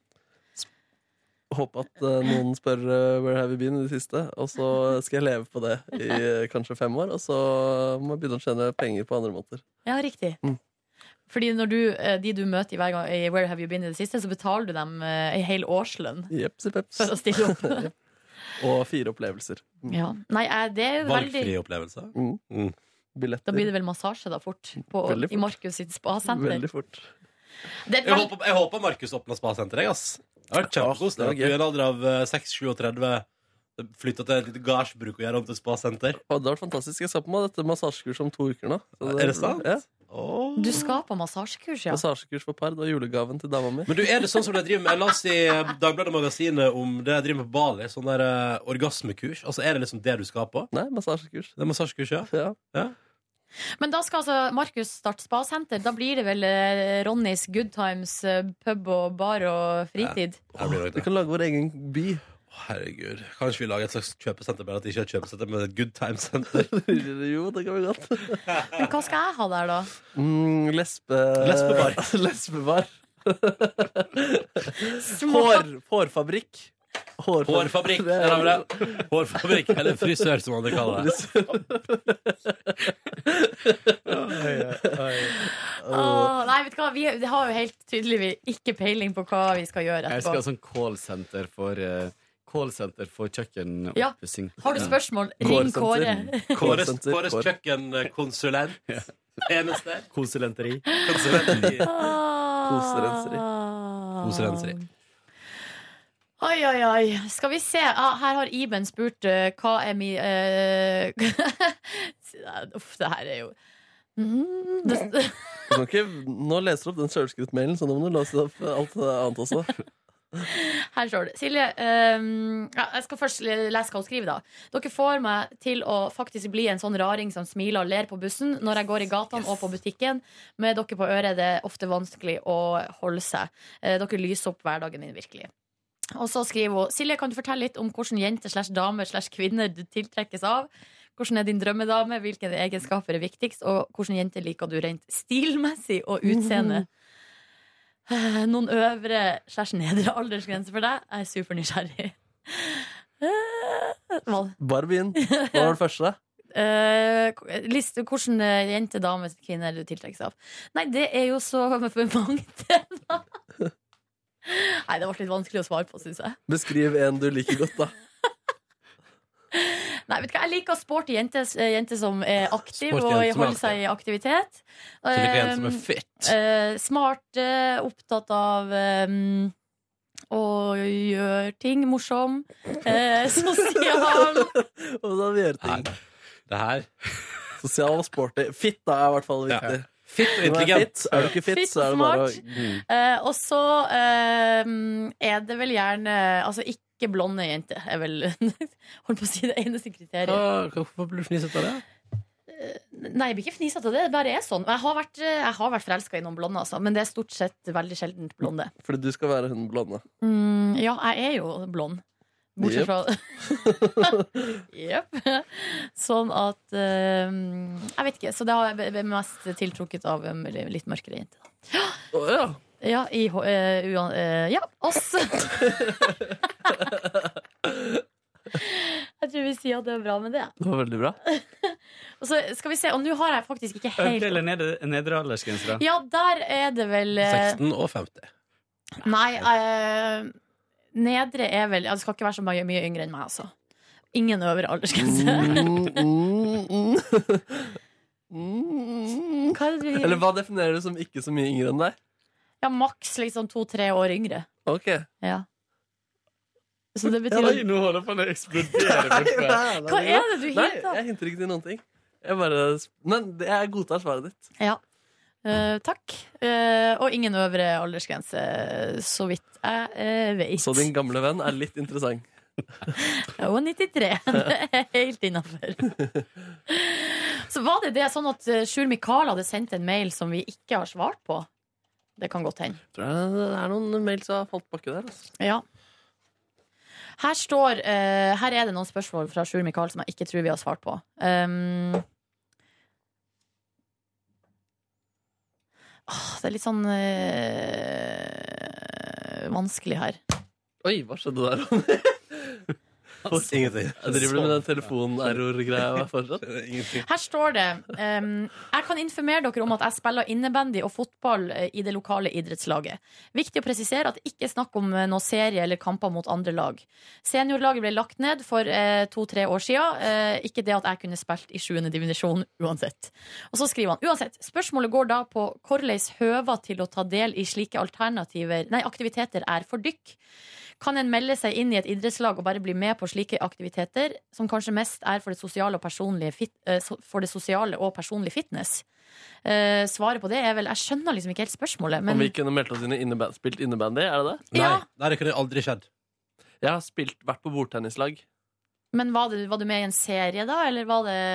Speaker 6: Håper at eh, noen spør eh, 'Where have you been?' i det siste, og så skal jeg leve på det i eh, kanskje fem år, og så må jeg begynne å tjene penger på andre måter.
Speaker 3: Ja, riktig. Fordi når du, eh, de du møter i, hver gang, i Where Have You Been i det siste, så betaler du dem eh, ei hel årslønn
Speaker 6: Jepsi peps.
Speaker 3: for å stille opp.
Speaker 6: og fire opplevelser.
Speaker 3: Ja. Nei, eh, det er jo veldig
Speaker 2: opplevelser.
Speaker 6: Mm.
Speaker 3: Da
Speaker 6: Billetter.
Speaker 3: blir det vel massasje da fort, på,
Speaker 2: Veldig fort.
Speaker 3: i Markus sitt spasenter.
Speaker 6: Veldig fort.
Speaker 3: Det er
Speaker 2: Jeg
Speaker 3: vel...
Speaker 2: håper, jeg håper Markus åpner spasenter, jeg, ass. Det har vært
Speaker 6: det
Speaker 2: kjempekoselig.
Speaker 6: var
Speaker 2: At Du i en alder av eh, 6-37 flytta til et lite gardsbruk og gjør om til spasenter.
Speaker 6: Og det har vært fantastisk. Jeg skal på meg dette massasjekurset om to uker nå. Så
Speaker 2: Er det sant?
Speaker 6: Ja.
Speaker 3: Du skal på massasjekurs, ja.
Speaker 6: Massasjekurs for par. Det var julegaven til dama mi.
Speaker 2: Men du, er det sånn som de driver med La oss si Dagbladet Magasinet om det jeg driver med på Bali. Sånn der eh, orgasmekurs. Altså, Er det liksom det du skal på?
Speaker 6: Nei, massasjekurs.
Speaker 2: Det er massasjekurs, ja? Ja.
Speaker 3: Men da skal altså Markus starte spasenter. Da blir det vel eh, Ronnys Good Times eh, pub og bar og fritid.
Speaker 2: Det blir nok
Speaker 6: Vi
Speaker 2: det.
Speaker 6: kan lage vår egen by.
Speaker 2: Å, Herregud. Kanskje vi lager et slags kjøpesenter, bare at det ikke er et kjøpesenter, men et good time-senter.
Speaker 6: jo, det kan vi godt.
Speaker 3: Men hva skal jeg ha der, da?
Speaker 6: Mm, lesbe...
Speaker 2: Lesbebar.
Speaker 6: Lesbebar.
Speaker 3: Små-
Speaker 6: Hår, hårfabrikk.
Speaker 2: Hårfabrikk, der har vi det. Hårfabrikk, eller frisør, som andre kaller det.
Speaker 3: Åh, nei, vet du hva? Vi har jo helt tydelig ikke peiling på hva vi skal gjøre
Speaker 14: Jeg skal ha
Speaker 3: etterpå.
Speaker 14: sånn callsenter for eh, Callsenter for
Speaker 3: Ja.
Speaker 14: kjøkkenopppussing.
Speaker 3: Har du spørsmål, ring Kåre.
Speaker 2: Kåres,
Speaker 14: Callsenter.
Speaker 2: Kåres kjøkkenkonsulent. Eneste.
Speaker 14: Konsulenteri.
Speaker 2: Konsulenteri.
Speaker 3: Koserenseri. Ah. Oi, oi, oi. Skal vi se. Ah, her har Iben spurt eh, hva er mi eh, Uff, det her er jo mm, det,
Speaker 6: Du kan ikke, nå leser du opp den sjølskryttmailen, så nå må du låse opp alt det annet også.
Speaker 3: Her står det. Silje, ehm, ja, jeg skal først le- lese hva hun skriver. da Dere får meg til å faktisk bli en sånn raring som smiler og ler på bussen når jeg går i gatene og på butikken. Med dere på øret er det ofte vanskelig å holde seg. Eh, Dere lyser opp hverdagen min virkelig. Og så skriver hun Silje, kan du fortelle litt om hvordan jenter slash damer slash kvinner du tiltrekkes av? Hvordan er din drømmedame? Hvilke egenskaper er viktigst? Og hvordan jenter liker du rent stilmessig og utseende? Eh, Noen øvre slash nedre aldersgrense for deg? Jeg er supernysgjerrig. Eh, hva-
Speaker 6: Barbien. Hva var det første?
Speaker 3: Eh, list, hvordan eh, jente, dame, kvinne er du tiltrekkes av? Nei, det er jo så for mangt. Nei, det ble litt vanskelig å svare på, syns jeg.
Speaker 6: Beskriv en du liker godt, da.
Speaker 3: Nei, vet du hva, Jeg liker sporty jenter eh, jenter som er aktiv
Speaker 6: Sporty
Speaker 3: og
Speaker 6: jenter som er
Speaker 3: holder seg i aktivitet.
Speaker 2: Så liker jeg en som er
Speaker 3: Eh,
Speaker 2: fit.
Speaker 3: eh, smart, eh, opptatt av eh, å gjøre ting morsom. eh, sosial.
Speaker 6: Og da vi gjør ting.
Speaker 2: Det her.
Speaker 6: Sosial og sporty. Fitt da er i hvert fall viktig.
Speaker 2: Fitt
Speaker 6: og
Speaker 2: intelligent.
Speaker 6: Er du ikke fit,
Speaker 3: Fitt,
Speaker 6: så er det bare å Mm.
Speaker 3: smart. Eh, og så eh, er det vel gjerne Altså ikke blonde jenter er vel Holdt på å si det eneste kriteriet.
Speaker 2: Hva- Hvorfor blir du fnisete av det?
Speaker 3: Nei, jeg blir ikke fnisete av det. Det bare er sånn. Og Jeg har vært, jeg har vært forelska i noen blonde, altså, men det er stort sett veldig sjeldent blonde.
Speaker 6: Fordi du skal være hun blonde.
Speaker 3: Mm, ja, jeg er jo blond.
Speaker 6: Jep.
Speaker 3: Bortsett fra Jepp. sånn at eh, Jeg vet ikke. Så det har jeg b- b- mest tiltrukket av um, litt mørkere jenter.
Speaker 6: Å ja.
Speaker 3: Ja, i hå- eh, uan- eh, Ja, oss. jeg tror vi sier at det er bra med det.
Speaker 6: Det var veldig bra.
Speaker 3: Og så skal vi se, og nå har jeg faktisk ikke helt
Speaker 14: Øvre eller nedre, nedre aldersgrense, da?
Speaker 3: Ja, der er det vel eh,
Speaker 2: og 50.
Speaker 3: Nei, eh, nedre er vel ja, Det skal ikke være så mye, mye yngre enn meg, altså. Ingen øvre aldersgrense.
Speaker 6: Mm,
Speaker 14: Mm.
Speaker 3: Hva er det du
Speaker 6: Eller hva definerer du som ikke så mye yngre enn deg?
Speaker 3: Ja, maks liksom to-tre år yngre.
Speaker 6: Ok.
Speaker 3: Ja. Så
Speaker 6: Ja,
Speaker 3: det betyr
Speaker 6: nei,
Speaker 3: at
Speaker 14: Nå holder jeg på å eksplodere.
Speaker 6: Hva
Speaker 3: Hva er det du
Speaker 6: Nei,
Speaker 3: hinter?
Speaker 6: jeg hinter ikke til noen ting. Jeg bare Men det- jeg godtar svaret ditt.
Speaker 3: Ja. Eh, takk. Eh, og ingen øvre aldersgrense, så vidt jeg eh, vet.
Speaker 6: Så din gamle venn er litt interessant.
Speaker 3: Og 93. Det er helt innafor. Så var det det sånn at eh, Sjur Mikael hadde sendt en mail som vi ikke har svart på? Det kan godt hende.
Speaker 6: Tror jeg det er noen mail som har falt bakke der. Altså.
Speaker 3: Ja. Her står eh, Her er det noen spørsmål fra Sjur Mikael som jeg ikke tror vi har svart på. Um, åh, det er litt sånn eh, vanskelig her.
Speaker 6: Oi, hva skjedde der, Ronny? Ingenting. Jeg driver du med den telefonerror-greia fortsatt?
Speaker 2: Ingenting.
Speaker 3: Her står det ehm, Jeg kan informere dere om at jeg spiller innebandy og fotball eh, i det lokale idrettslaget. Viktig å presisere at det ikke er snakk om eh, noe serie eller kamper mot andre lag. Seniorlaget ble lagt ned for eh, to-tre år siden. Eh, ikke det at jeg kunne spilt i sjuende divisjon uansett. Og så skriver han uansett. Spørsmålet går da på hvordan høver til å ta del i slike alternativer Nei, aktiviteter er for dykk. Kan en melde seg inn i et idrettslag og bare bli med på slike aktiviteter, som kanskje mest er for det sosiale og personlige, fit, eh, so- for det sosiale og personlige fitness? Eh, svaret på det er vel Jeg skjønner liksom ikke helt spørsmålet. Men
Speaker 6: Om vi kunne meldt oss inn i inneba- spilt innebandy, er det det?
Speaker 3: Nei, Ja.
Speaker 2: det kunne aldri skjedd.
Speaker 6: Jeg har spilt, vært på bordtennislag.
Speaker 3: Men var, det, var du med i en serie, da? Eller var det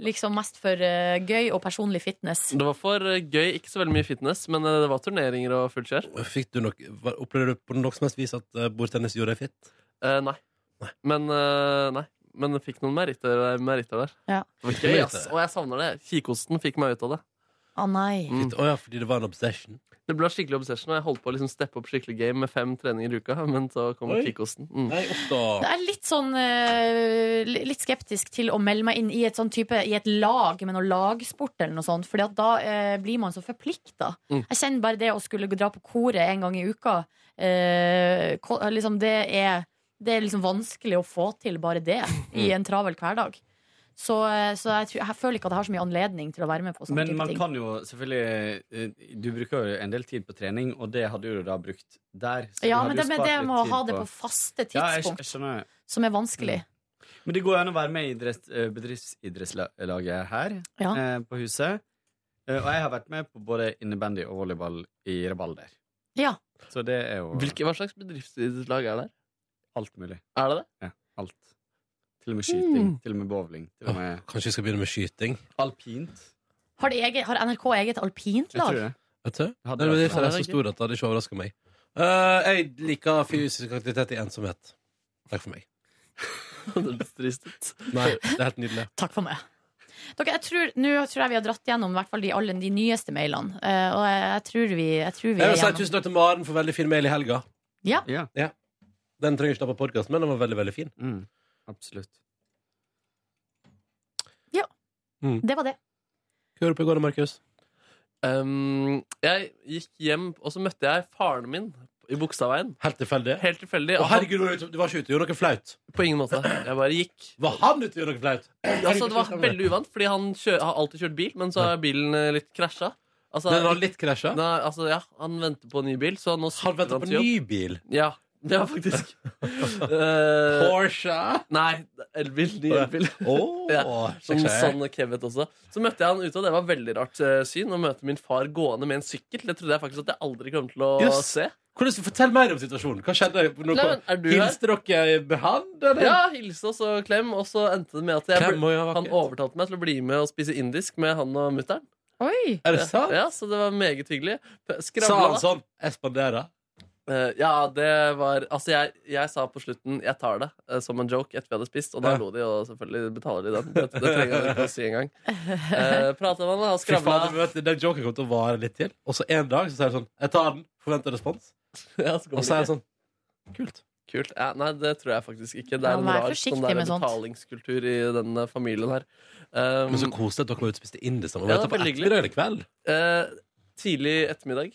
Speaker 3: liksom mest for eh, gøy og personlig fitness?
Speaker 6: Det var for eh, gøy, ikke så veldig mye fitness, men eh, det var turneringer og fullt kjør.
Speaker 2: Fikk du nok, var- opplevde du på noe som helst vis at eh, bordtennis gjorde deg fit?
Speaker 6: Eh, nei. Men, eh, nei. Men jeg fikk noen meritter, eh, meritter der.
Speaker 3: Ja.
Speaker 6: Det var gøy,
Speaker 2: altså.
Speaker 6: ass. Og jeg savner det. Kikosten fikk meg ut av det.
Speaker 3: Å nei.
Speaker 6: Mm.
Speaker 2: Å ja, fordi det var en obsession?
Speaker 6: Det ble skikkelig obsession, og jeg holdt på å liksom steppe opp skikkelig game med fem treninger i uka, men så kom
Speaker 2: Oi.
Speaker 6: kikosten. Mm.
Speaker 3: Jeg er litt sånn eh, li- litt skeptisk til å melde meg inn i et sånn type I et lag, men noe lagsport eller noe sånt. Fordi at da eh, blir man så forplikta.
Speaker 6: Mm.
Speaker 3: Jeg kjenner bare det å skulle dra på koret en gang i uka eh, ko- liksom det, er, det er liksom vanskelig å få til bare det i en travel hverdag. Så, eh, så jeg, tror, jeg føler ikke at jeg har så mye anledning til å være med på sånne
Speaker 14: Men
Speaker 3: type
Speaker 14: man
Speaker 3: ting.
Speaker 14: kan jo selvfølgelig eh, Du bruker jo en del tid på trening, og det hadde du da brukt der. så du
Speaker 3: Ja,
Speaker 14: hadde
Speaker 3: men
Speaker 14: jo
Speaker 3: det med
Speaker 14: spart
Speaker 3: det
Speaker 14: litt
Speaker 3: med å
Speaker 14: tid
Speaker 3: ha det på faste
Speaker 14: Ja, jeg, skj-
Speaker 3: tidspunkt,
Speaker 14: jeg skjønner.
Speaker 3: som er vanskelig.
Speaker 14: Men det går an å være med i idrett, eh, bedriftsidrettslaget her
Speaker 3: Ja.
Speaker 14: eh, på huset. Eh, Og jeg har vært med på både innebandy og volleyball i Rabalder.
Speaker 3: Ja.
Speaker 14: Så det er jo
Speaker 6: Hvilke, hva slags bedriftsidrettslag er det?
Speaker 14: alt mulig.
Speaker 6: Er det det?
Speaker 14: Ja, alt. Til og med skyting.
Speaker 6: Mm.
Speaker 14: Til og med bowling. Til og med
Speaker 2: Kanskje vi skal begynne med skyting?
Speaker 14: Alpint.
Speaker 3: Har, de eget, har NRK eget
Speaker 14: Jeg tror
Speaker 3: alpintlag?
Speaker 14: det.
Speaker 2: Vet du?
Speaker 14: Hadde
Speaker 2: Den
Speaker 14: vært-
Speaker 2: bedriften
Speaker 14: hadde
Speaker 2: er så
Speaker 14: vært
Speaker 2: stor at det hadde ikke overraska meg. Eh, jeg liker fysisk aktivitet i ensomhet. Takk for meg. Nei, det er helt nydelig.
Speaker 3: Takk for meg. Dere, jeg tror, nå tror jeg vi har dratt gjennom i hvert fall de, alle de nyeste mailene. eh, og jeg, jeg tror vi, jeg tror vi
Speaker 2: Jeg
Speaker 3: er
Speaker 2: vil si
Speaker 3: gjennom.
Speaker 2: tusen takk til Maren for veldig fin mail i helga.
Speaker 3: Ja.
Speaker 2: Ja. Den trenger ikke ta på podkasten, men den var veldig, veldig fin.
Speaker 14: Mm, Absolutt.
Speaker 3: ja.
Speaker 2: Mm.
Speaker 3: Det var det.
Speaker 2: Hva gjorde du på i går, Markus?
Speaker 6: Um, jeg gikk hjem, og så møtte jeg faren min i Bogstadveien.
Speaker 2: Helt tilfeldig?
Speaker 6: Helt tilfeldig
Speaker 2: Å, herregud, var du- du var ikke ute og gjorde noe flaut?
Speaker 6: På ingen måte. Jeg bare gikk.
Speaker 2: Var han ute og gjorde noe flaut?
Speaker 6: Altså, det var veldig uvant, fordi han kjø har alltid kjørt bil, men så har bilen eh, litt krasja. Altså,
Speaker 2: Den var litt krasja?
Speaker 6: Nei, altså, ja, han venter på ny bil, så nå
Speaker 2: Han venter på ny bil?
Speaker 6: Ja, ja faktisk. Eh,
Speaker 2: Porsche?
Speaker 6: Nei, elbil. Ny elbil.
Speaker 2: Åh,
Speaker 6: ja, som
Speaker 2: sexy.
Speaker 6: sånn Kevet også. Så møtte jeg han ute, og det var veldig rart eh, syn. Å møte min far gående med en sykkel. Det trodde jeg faktisk at jeg aldri kom til å
Speaker 2: Jøss.
Speaker 6: se.
Speaker 2: Hvordan, fortell mer om situasjonen. Hva skjedde? Nå-
Speaker 6: Nei, men er du her?
Speaker 2: Hilste dere med han? eller?
Speaker 6: Ja, hilse oss og klem. Og så endte det med at jeg,
Speaker 2: Klem,
Speaker 6: ble-
Speaker 2: og ja,
Speaker 6: han overtalte meg til å bli med og spise indisk med han og mutter'n.
Speaker 3: Oi!
Speaker 2: Er det sant?
Speaker 6: Ja, så det var meget hyggelig. P- skravla
Speaker 2: Sa han
Speaker 6: da.
Speaker 2: sånn? Jeg spanderer.
Speaker 6: Eh, ja, det var Altså, jeg, jeg sa på slutten 'jeg tar det' eh, som en joke etter vi hadde spist, og da
Speaker 2: Ja.
Speaker 6: lo de, og selvfølgelig betaler de den. Det, det trenger jeg ikke å si engang. Uh, Prata med han, han
Speaker 2: Fy
Speaker 6: skravla.
Speaker 2: faen, du vet, Den joken kommer til å vare litt til. Og så en dag så sier han sånn Jeg tar den. Forventer respons.
Speaker 6: Ja, så kommer
Speaker 2: Og så er sånn-
Speaker 6: det
Speaker 2: jeg sånn
Speaker 6: Kult. Ja, nei, det tror jeg faktisk ikke. Det
Speaker 3: Ja,
Speaker 6: er en
Speaker 3: vær
Speaker 6: rar
Speaker 3: forsiktig
Speaker 6: sånn der,
Speaker 3: med sånt.
Speaker 6: betalingskultur i denne familien her. Um,
Speaker 2: Men så koselig at dere var ute og spiste indisk sammen.
Speaker 6: Ja, det
Speaker 2: Var dette
Speaker 6: var
Speaker 2: på
Speaker 6: veldig hyggelig.
Speaker 2: ettermiddag eller kveld?
Speaker 6: Eh, tidlig ettermiddag.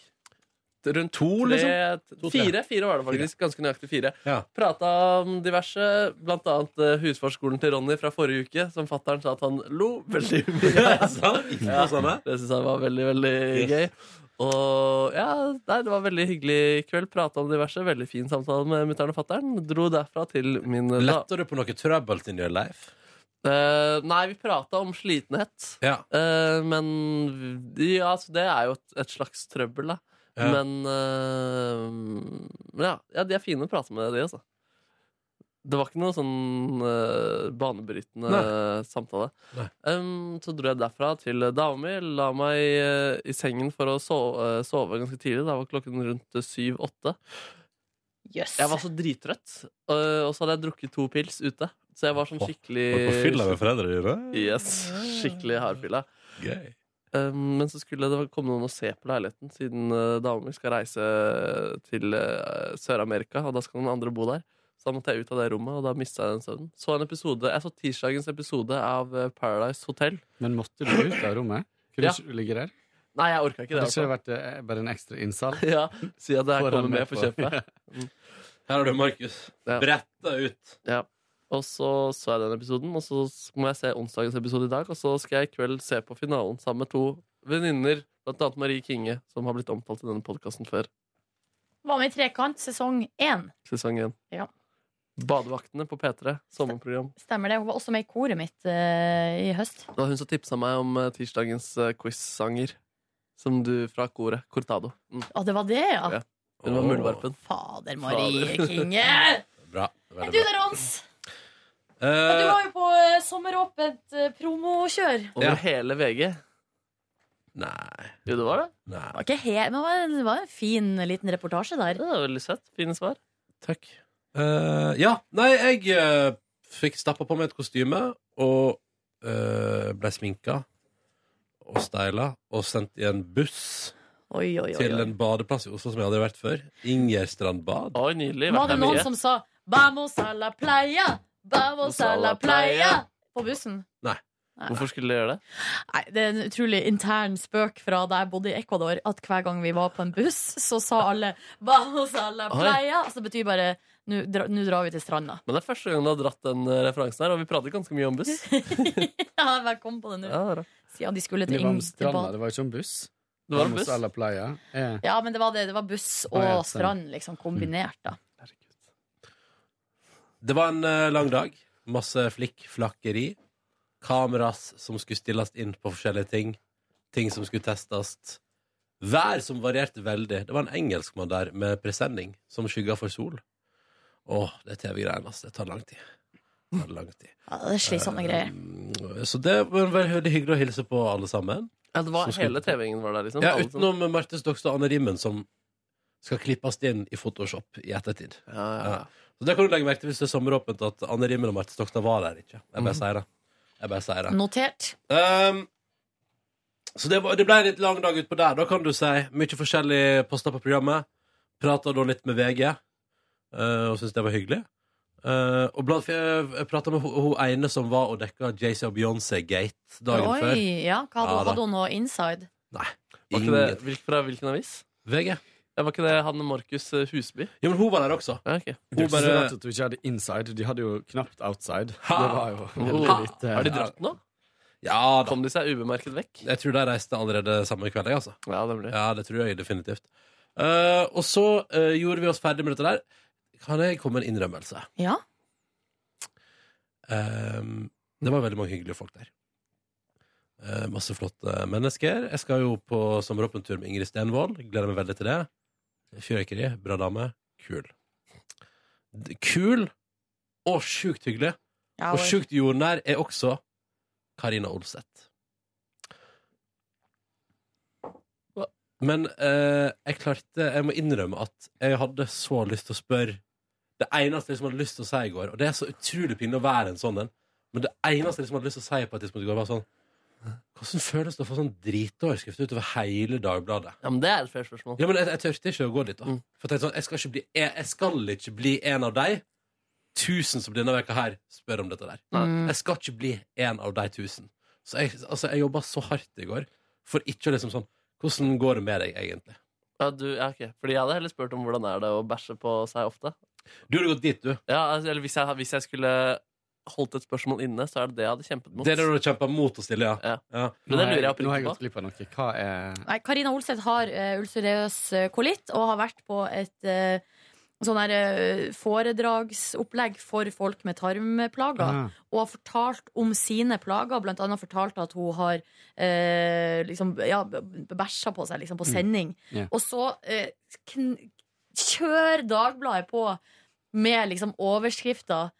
Speaker 6: Rundt
Speaker 2: To,
Speaker 6: tre,
Speaker 2: liksom? To, tre.
Speaker 6: Fire, fire var det faktisk. Ganske nøyaktig fire.
Speaker 2: Ja.
Speaker 6: Prata om diverse, blant annet eh, husfarskolen til Ronny fra forrige uke, som fatter'n sa at han lo veldig mye av. ja, det syns han var veldig, veldig
Speaker 2: Yes.
Speaker 6: gøy. Og ja, nei, Det var veldig hyggelig kveld. Prata om diverse. Veldig fin samtale med mutter'n og fatter'n. Dro derfra til min da-
Speaker 2: Letter du på noe trøbbel in your life?
Speaker 6: Eh, nei, vi prata om slitenhet.
Speaker 2: Ja.
Speaker 6: Eh, men ja, altså, det er jo et, et slags trøbbel, da.
Speaker 2: Ja.
Speaker 6: Men eh, ja, ja, de er fine å prate med, de, altså. Det var ikke noe sånn eh, banebrytende
Speaker 2: Nei.
Speaker 6: samtale.
Speaker 2: Nei.
Speaker 6: Em, så dro jeg derfra til dama mi, la meg eh, i sengen for å sove, sove ganske tidlig. Da var klokken rundt syv-åtte. Jeg var så dritrødt, og, og så hadde jeg drukket to pils ute. Så jeg var sånn skikkelig
Speaker 2: Var du på fylla med foreldrene dine?
Speaker 6: Yes, skikkelig hardfylla.
Speaker 2: Gøy.
Speaker 6: Um, men så skulle det komme noen og se på leiligheten, siden uh, dama mi skal reise til eh, Sør-Amerika, og da skal noen andre bo der. Så da måtte jeg ut av det rommet, og da mista jeg den søvnen. Så en episode, jeg så tirsdagens episode av eh, Paradise Hotel.
Speaker 14: Men måtte du ut av rommet? Kunne
Speaker 6: Ja.
Speaker 14: du ikke ligge der?
Speaker 6: Nei, jeg orka ikke det.
Speaker 14: Hadde ikke
Speaker 6: altså.
Speaker 14: det vært eh, bare en ekstra innsal?
Speaker 6: Ja, Si at jeg
Speaker 14: Får
Speaker 6: kommer
Speaker 14: han
Speaker 6: med
Speaker 14: med
Speaker 6: på
Speaker 14: på-
Speaker 6: kjøpet.
Speaker 2: Her har du Markus.
Speaker 6: Ja.
Speaker 2: Bretta ut.
Speaker 6: Ja. Og så så jeg den episoden, og så må jeg se onsdagens episode i dag. Og så skal jeg i kveld se på finalen sammen med to venninner, blant annet Marie Kinge, som har blitt omtalt i denne podkasten før.
Speaker 3: Var med i Trekant sesong én.
Speaker 6: Sesong én.
Speaker 3: Ja.
Speaker 6: Badevaktene på P3, sommerprogram.
Speaker 3: Stemmer det. Hun var også med i koret mitt eh, i høst.
Speaker 6: Det var hun som tipsa meg om eh, tirsdagens eh, quiz-sanger. Som du fra koret. Cortado. Mm.
Speaker 3: Å, det var det, ja.
Speaker 6: Ja. Hun var
Speaker 2: Åh.
Speaker 6: muldvarpen.
Speaker 3: Fader Marie
Speaker 6: Fader.
Speaker 3: Kinge!
Speaker 2: Bra.
Speaker 3: Er
Speaker 2: Veldig
Speaker 3: du
Speaker 2: bra.
Speaker 3: der, Hans?
Speaker 2: Eh,
Speaker 3: Ja, du var jo på eh, sommeråpent eh, promokjør.
Speaker 6: Over hele VG.
Speaker 2: Nei.
Speaker 6: Jo, det var det.
Speaker 2: Nei.
Speaker 3: Det var, ikke he men det var en, det var en fin liten reportasje der.
Speaker 6: Det var veldig søtt. Fine svar.
Speaker 2: Takk. Eh, ja, nei, jeg eh, fikk stappa på meg et kostyme og eh, ble sminka og styla og sendt i en buss
Speaker 3: Oi, oi, oi,
Speaker 2: til
Speaker 3: oi.
Speaker 2: en badeplass i Oslo som jeg aldri har vært før. Ingerstrand bad.
Speaker 6: Oi, nydelig.
Speaker 3: Var det noen som sa 'Vamos a la playa'? Vamos a la playa På bussen.
Speaker 2: Nei.
Speaker 6: Hvorfor skulle de gjøre det?
Speaker 3: Nei, Det er en utrolig intern spøk fra da jeg bodde i Ecuador, at hver gang vi var på en buss, så sa alle 'Vamos a la playa'. Så det betyr bare 'Nå dra- nå drar vi til stranda'.
Speaker 6: Men det er første gang du har dratt den eh, referansen her, og vi prater ganske mye om buss.
Speaker 3: Ja, bare kom på det nå.
Speaker 6: Ja, det er bra.
Speaker 3: Siden de skulle
Speaker 14: Men Det
Speaker 3: til
Speaker 14: var om
Speaker 3: Ing- til
Speaker 14: stranda,
Speaker 3: bad.
Speaker 14: det var ikke om buss.
Speaker 6: Det var om
Speaker 14: Hos
Speaker 6: buss.
Speaker 14: alle pleier. Eh.
Speaker 3: Ja, men det var, det, det var buss
Speaker 14: Å, ja,
Speaker 3: og
Speaker 14: stemmer.
Speaker 3: strand liksom kombinert, da.
Speaker 2: Det var en eh, lang dag. Masse flikk, flakkeri. Kameras som skulle stilles inn på forskjellige ting. Ting som skulle testes. Vær som varierte veldig. Det var en engelskmann der med presenning som skygga for sol. Åh, det TV-greiene, altså. Det tar lang tid. Det tar lang tid. Mm,
Speaker 12: Ja, det er
Speaker 2: Eh,
Speaker 12: slitsomme greier.
Speaker 2: Så det var veldig hyggelig å hilse på alle sammen.
Speaker 6: Ja, det var
Speaker 2: Som skulle-
Speaker 6: Hele TV-ingen var der, liksom?
Speaker 2: Ja,
Speaker 6: Alle som-
Speaker 2: utenom Marte Stokstad og Anne Rimmen, som skal klippes inn i Photoshop i ettertid. Ja. Så det kan du legge merke til hvis det er sommeråpent, at Anne Rimmen og Marte Stokstad var der ikke. Jeg bare sier det. Jeg bare sier det.
Speaker 3: Notert.
Speaker 2: Um, så det, var, det ble en litt lang dag utpå der. Da kan du si mye forskjellige poster på programmet. Prata da litt med VG, eh, og syntes det var hyggelig. Eh, og blant, for jeg, jeg prata med hun hun ene som var og dekka Jay-Z og Beyoncé-gate dagen
Speaker 3: Oi,
Speaker 2: før.
Speaker 3: ja, hva
Speaker 2: Ja,
Speaker 3: hadde,
Speaker 2: da.
Speaker 3: hadde hun noe inside?
Speaker 6: Var ikke det, hvil- fra hvilken avis?
Speaker 2: VG.
Speaker 6: Ja, var ikke det Hanne Markus eh, Husby?
Speaker 2: Jo, men hun var der også.
Speaker 6: Ja, ok.
Speaker 14: Det er
Speaker 6: Hun
Speaker 14: ikke så
Speaker 6: bare-
Speaker 14: rart at du ikke hadde inside. De hadde jo knapt outside.
Speaker 2: Ha!
Speaker 14: Det var jo veldig
Speaker 2: Ha!
Speaker 14: lite
Speaker 2: Har de dratt
Speaker 6: nå?
Speaker 2: Ja da.
Speaker 6: Kom de seg ubemerket vekk?
Speaker 2: Jeg tror de reiste allerede samme kveld, jeg, altså.
Speaker 6: Ja, det blir det.
Speaker 2: Ja, det tror jeg definitivt. Eh, og så eh, gjorde vi oss ferdig med dette der. Kan jeg komme med en innrømmelse?
Speaker 3: Ja.
Speaker 2: Ehm, det var veldig mange hyggelige folk der. Eh, masse flotte mennesker. Jeg skal jo på sommeråpentur med Ingrid Stenvold. Gleder meg veldig til det. Fyrverkeri, bra dame. Kul. D- Kul og sjukt hyggelig.
Speaker 3: Ja,
Speaker 2: og
Speaker 3: vel.
Speaker 2: sjukt jordnær er også Karina Olseth. Men eh, jeg klarte Jeg må innrømme at jeg hadde så lyst til å spørre Det eneste jeg liksom hadde lyst til å si i går Og det er så utrolig pinlig å være en sånn en Men det eneste jeg liksom hadde lyst til å si på et tidspunkt i går Var sånn Hvordan føles det å få sånn dritoverskrift utover hele Dagbladet?
Speaker 6: Ja, men Det er et fair spørsmål.
Speaker 2: Ja, men jeg, jeg tørte ikke å gå dit da For jeg tenkte sånn, jeg skal ikke bli, jeg, jeg skal ikke bli en av deg Tusen som denne veka her spør om dette der
Speaker 6: Mm.
Speaker 2: Jeg skal ikke bli en av de tusen Så jeg, altså, jeg jobbet så hardt i går For ikke å liksom sånn Hvordan går det med deg egentlig?
Speaker 6: Ja, du, ja, ok. Fordi jeg hadde heller spurt om hvordan er det å bæsje på seg ofte.
Speaker 2: Du hadde gått dit, du.
Speaker 6: Ja, altså, eller hvis jeg, hvis jeg skulle holdt et spørsmål inne, så er det det jeg hadde kjempet mot.
Speaker 2: Det er det du har kjempet mot å stille, ja.
Speaker 6: Men det lurer jeg oppriktig
Speaker 14: Nå har jeg
Speaker 6: på.
Speaker 14: gått glipp av noe. Hva er
Speaker 3: Nei, Karina Olseth har uh, ulcerøs eh, kolitt og har vært på et eh, sånn her eh, foredragsopplegg for folk med tarmplager.
Speaker 12: Ah.
Speaker 3: Og har fortalt om sine plager, blant annet fortalt at hun har eh, liksom, ja, b- b- bæsja på seg liksom, på
Speaker 12: Mm.
Speaker 3: sending.
Speaker 12: Ja.
Speaker 3: Og så eh, kn kjører Dagbladet på med liksom overskrifter.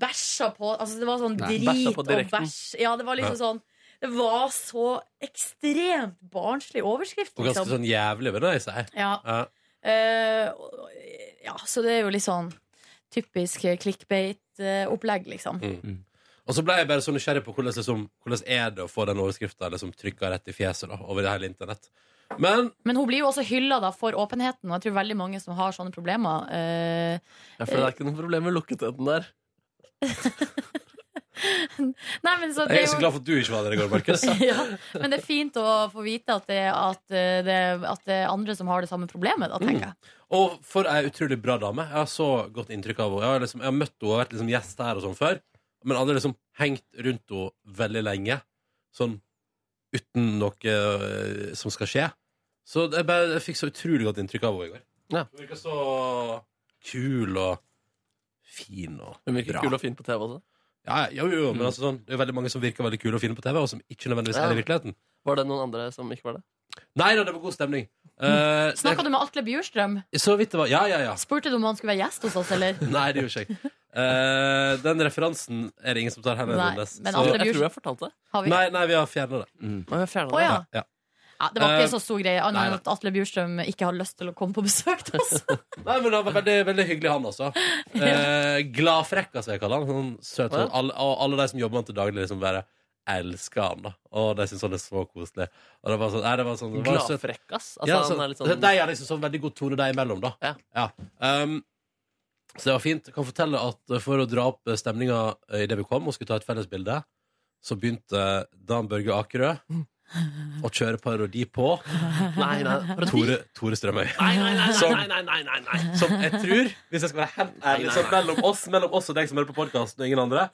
Speaker 3: Bæsja på Altså, det var sånn
Speaker 6: Nei. Bæsja
Speaker 3: drit
Speaker 6: på
Speaker 3: og
Speaker 6: direkten.
Speaker 3: bæsj. Ja, det var liksom
Speaker 2: Ja.
Speaker 3: sånn det var så ekstremt barnslig overskrift. liksom.
Speaker 2: Og ganske
Speaker 6: Liksom-
Speaker 2: sånn jævlig, vil jeg si.
Speaker 3: Ja. Eh, og- ja, så det er jo litt sånn typisk eh, clickbait-opplegg, liksom.
Speaker 2: Mm. Og så ble jeg bare så nysgjerrig på hvordan, liksom, hvordan er det å få den overskrifta liksom, trykka rett i fjeset da, over det hele internett. Men
Speaker 3: Men hun blir jo også hylla for åpenheten, og jeg tror veldig mange som har sånne problemer. eh,
Speaker 6: Ja, for det er ikke noe problem med lukketheten der.
Speaker 3: nei, men så
Speaker 2: jeg
Speaker 3: det
Speaker 2: er så
Speaker 3: er jo
Speaker 2: glad for at du ikke var der i går, Markus.
Speaker 3: ja, men det er fint å få vite at det, at, eh, det, at det er andre som har det samme problemet, da, tenker jeg.
Speaker 2: Mm. Og for ei utrolig bra dame. Jeg har så godt inntrykk av henne. Jeg har, liksom, jeg har møtt henne og vært liksom gjest her og sånn før, men aldri liksom hengt rundt henne veldig lenge. Sånn uten noe eh, som skal skje. Så jeg, bare, jeg fikk så utrolig godt inntrykk av henne i går. Hun virka så kul og fin og
Speaker 6: Hun virker
Speaker 2: bra.
Speaker 6: kul og fin på TV også.
Speaker 2: Ja, ja, jo, jo, men altså sånn, det er veldig mange som virker veldig kule og fine på TV, og som ikke nødvendigvis er
Speaker 6: Ja.
Speaker 2: i virkeligheten.
Speaker 6: Var det noen andre som ikke var det?
Speaker 2: Nei da, det var god stemning. Eh,
Speaker 3: Snakka du med Atle Bjurstrøm?
Speaker 2: det- Så vidt det var. Ja, ja, ja.
Speaker 3: Spurte du om han skulle være gjest hos oss, eller?
Speaker 2: Nei, det gjorde jeg ikke. Eh, den referansen er det ingen som tar hendene
Speaker 3: Nei,
Speaker 2: hennes.
Speaker 3: men
Speaker 2: Så-
Speaker 3: Atle Jeg tror Bjurs- jeg
Speaker 6: fortalte det.
Speaker 3: Har vi?
Speaker 2: Nei, nei, vi har fjerna det.
Speaker 3: Å, ja.
Speaker 2: Ja.
Speaker 3: Ja, det var ikke
Speaker 2: Eh,
Speaker 3: så stor greie, annet
Speaker 2: nei,
Speaker 3: enn
Speaker 2: nei.
Speaker 3: at Atle Bjurstrøm ikke har lyst til å komme på besøk til oss.
Speaker 2: Nei, men han var veldig, veldig hyggelig, han også. Eh, Gladfrekka, som jeg kaller han. Sånn søt.
Speaker 6: Å, ja.
Speaker 2: Sånn, alle, og alle de som jobber med han til daglig, liksom bare elsker han. da Og de syns han er så koselig. Og det var sånn, nei, det var sånn det var søt.
Speaker 6: Gladfrekk, ass. Altså,
Speaker 2: ja,
Speaker 6: han
Speaker 2: sånn,
Speaker 6: er litt sånn-
Speaker 2: De har liksom sånn veldig god tone deg imellom, da. Ja. Um, så det var fint. Jeg kan fortelle at eh, for å dra opp eh, stemninga eh, i det vi kom, og skulle ta et fellesbilde, så begynte eh, Dan Børge Akerø å kjøre parodi på
Speaker 6: Nei, nei, parodi?
Speaker 2: Tore, Tore Strømøy.
Speaker 6: Nei, nei, nei,
Speaker 2: Som-
Speaker 6: nei, nei, nei, nei, nei.
Speaker 2: Som jeg tror, hvis jeg skal være helt ærlig, så mellom oss, mellom oss og deg som hører på podkasten, og ingen andre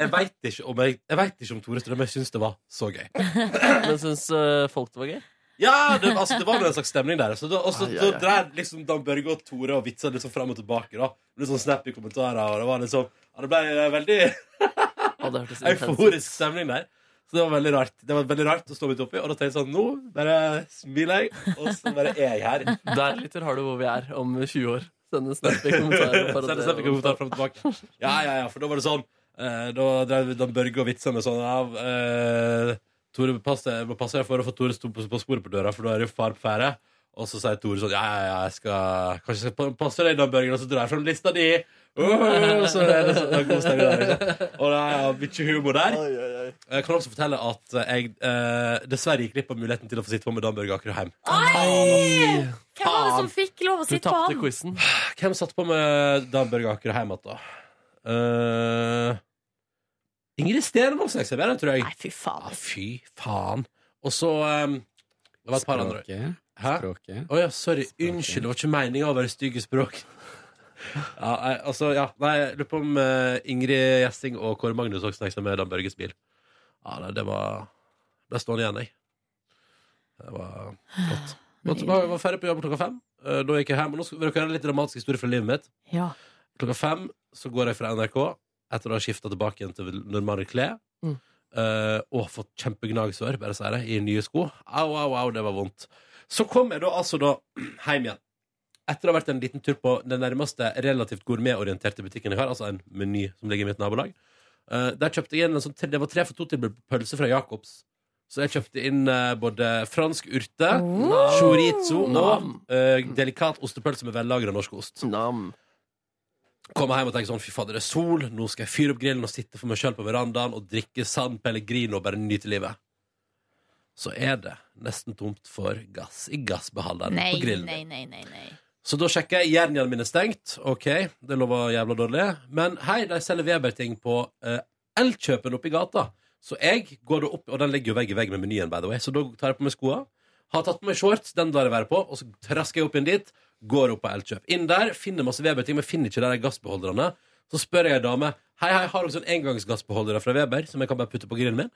Speaker 2: Jeg veit ikke, om jeg- jeg vet ikke om Tore Strømøy syns det var så gøy.
Speaker 6: Men syns eh, folk det var gøy?
Speaker 2: Ja, det, altså, det var nå en slags stemning der. Så da, og så-
Speaker 6: Ai, ai,
Speaker 2: så
Speaker 6: ai.
Speaker 2: drev liksom Dan Børge og Tore og vitsa litt sånn fram og tilbake. da Litt sånn snappy kommentarer. Og det var liksom ja, Det ble eh, veldig
Speaker 6: Å, det hørtes intenst ut.
Speaker 2: euforisk stemning der. Så Så det var veldig rart Det var veldig rart å stå midt oppi. Og da tenkte jeg sånn Nå bare smiler jeg, og så bare er jeg her.
Speaker 6: Der lytter har du hvor vi er om 20 år. Send en snap i kommentarer. for at
Speaker 2: Send en
Speaker 6: det-
Speaker 2: snap i kommentar frem og tilbake. Ja, ja, ja, for da var det sånn eh, Da drev Dan Børge og vitsa med sånn av eh, Tore, pass deg, må passe deg for å få Tore sto på, på sporet på døra, for da er det jo far på ferde. Og så sier Tore sånn Ja, ja, ja, jeg skal kanskje jeg skal pa- passe deg, Dan Børge, og så drar jeg fram lista di. Uh, så er det sånn, det er god stemning der, liksom. Og det er ja, mye humor der. Jeg kan også fortelle at jeg eh, dessverre gikk glipp av muligheten til å få sitte på med Dan Børge Akerø hjem.
Speaker 3: Oi! Hvem var det som fikk lov å sitte på han?
Speaker 6: quizen.
Speaker 2: Hvem satt på med Dan Børge Akerø hjem igjen, da? Eh, Ingrid Stenvold snek seg med, det, tror jeg. Nei,
Speaker 3: fy faen.
Speaker 2: Ja, fy faen. Og så eh, Det var et par andre.
Speaker 14: Språket.
Speaker 2: Hæ? Å ja, sorry. Unnskyld, det var ikke meninga å være stygg i språk. Ja, nei, altså, ja. Nei, jeg lurer på om eh, Ingrid Gjessing og Kåre Magnus også snakket med Dan Børges bil. Ja, nei, det var Ble stående igjen, jeg. Det var godt. Men Jeg var- var ferdig på jobb klokka fem. Eh, Da gikk jeg hjem. Og nå skal vil dere høre en litt dramatisk historie fra livet mitt.
Speaker 3: Ja.
Speaker 2: Klokka fem så går jeg fra NRK etter å ha skifta tilbake igjen til normale klær.
Speaker 6: Mm.
Speaker 2: eh, og fått kjempegnagsår, bare sier jeg, i nye sko. Au, au, au, det var vondt. Så kom jeg da altså da hjem igjen. Etter å ha vært en liten tur på den nærmeste relativt gourmetorienterte butikken jeg har, altså en meny som ligger i mitt nabolag. Eh, der kjøpte jeg inn en sånn, tre- Det var tre for to-tilbud på pølse fra Jacobs. Så jeg kjøpte inn eh, både fransk urte, chorizo og eh, delikat ostepølse med vellagra norsk ost. Kommer hjem og tenker sånn Fy fader, det er sol, nå skal jeg fyre opp grillen og sitte for meg sjøl på verandaen og drikke San Pellegrino og bare nyte livet. Så er det nesten tomt for gass i gassbeholderen
Speaker 3: Nei,
Speaker 2: på grillen.
Speaker 3: nei, nei, nei, nei.
Speaker 2: Så da sjekker jeg jernhjelmen min er stengt. Ok, det lover jævla dårlig. Men hei, de selger Weber-ting på eh, Elkjøpen oppe i gata. Så jeg går da opp, og den ligger jo vegg i vegg med menyen, by the way. Så da tar jeg på meg skoa. Har tatt på meg shorts, den lar jeg være på, og så trasker jeg opp inn dit. Går opp på Elkjøp. Inn der, finner masse Weber-ting, men finner ikke de der gassbeholderne. Så spør jeg ei dame Hei, hei, har dere sånn engangsgassbeholdere fra Weber som jeg kan bare putte på grillen min.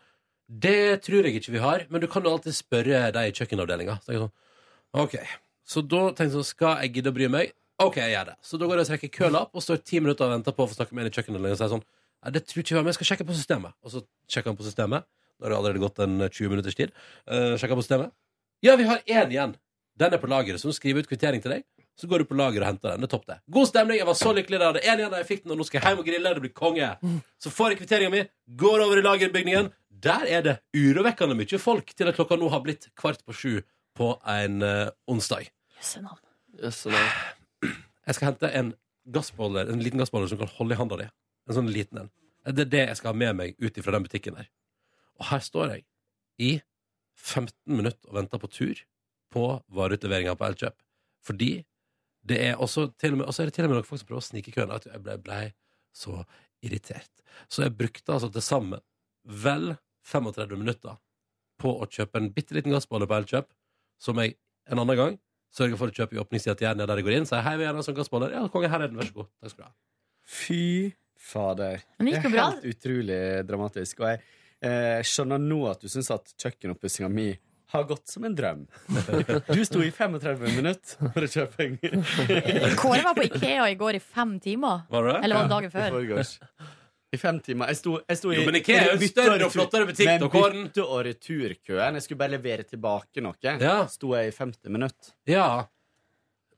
Speaker 2: Det tror jeg ikke vi har, men du kan jo alltid spørre de i kjøkkenavdelinga. Så tenker jeg sånn, Ok, så da tenkte jeg sånn, skal jeg gidde å bry meg? Ok, jeg gjør det. Så da går jeg og trekker køla opp og står ti minutter og venter på å få snakke med en i kjøkkenet. Og sier sånn, Nei, det tror ikke jeg, var, men jeg skal sjekke på systemet. Og så sjekker han på systemet. Da har det allerede gått en 20 minutters tid. Eh, sjekker han på systemet. Ja, vi har én igjen. Den er på lageret, så nå skriver jeg ut kvittering til deg. Så går du på lageret og henter den. Det er topp, det. God stemning, jeg var så lykkelig da jeg hadde én igjen da jeg fikk den, og nå skal jeg hjem og grille. Det blir konge. Så får jeg kvitteringa mi, går over i lagerbygningen. Der er det urovekkende mye folk til at klokka nå har blitt kvart på sju på en eh, onsdag.
Speaker 3: Jøssenavn.
Speaker 2: Jeg skal hente en gassbeholder, en liten gassbeholder som kan holde i handa di. En sånn liten en. Det er det jeg skal ha med meg ut ifra den butikken der. Og her står jeg i 15 minutter og venter på tur på vareutleveringa på Elkjøp. Fordi det er også til og med, også er det til og med noen folk som prøver å snike i køen. At jeg ble, ble så irritert. Så jeg brukte altså til sammen vel 35 minutter på å kjøpe en bitte liten gassbeholder på Elkjøp, som jeg en annen gang sørger for å kjøpe i åpningstida til Jernia der jeg går inn. Sier hei, vi gjerne ha en sånn gassbeholder. Ja, konge, her er den, vær så god. Takk skal du ha.
Speaker 14: Fy fader.
Speaker 3: Men det gikk jo
Speaker 14: er
Speaker 3: bra.
Speaker 14: helt utrolig dramatisk. Og jeg eh, skjønner nå at du syns at kjøkkenoppussinga mi har gått som en drøm. Du sto i 35 minutter for å kjøpe en
Speaker 3: Kåre var på Ikea i går i fem timer.
Speaker 14: Var det det?
Speaker 3: Eller var det
Speaker 14: Ja,
Speaker 3: dagen
Speaker 14: i
Speaker 3: før?
Speaker 14: forgårs. I fem timer. Jeg sto, jeg sto i
Speaker 2: Jo, men Ikea er jo en
Speaker 14: bytte-
Speaker 2: større og flottere butikk,
Speaker 14: Men
Speaker 2: da, Kåren.
Speaker 14: bytte- og returkøen. Jeg skulle bare levere tilbake noe. Sto jeg i 50 minutter.
Speaker 2: Ja.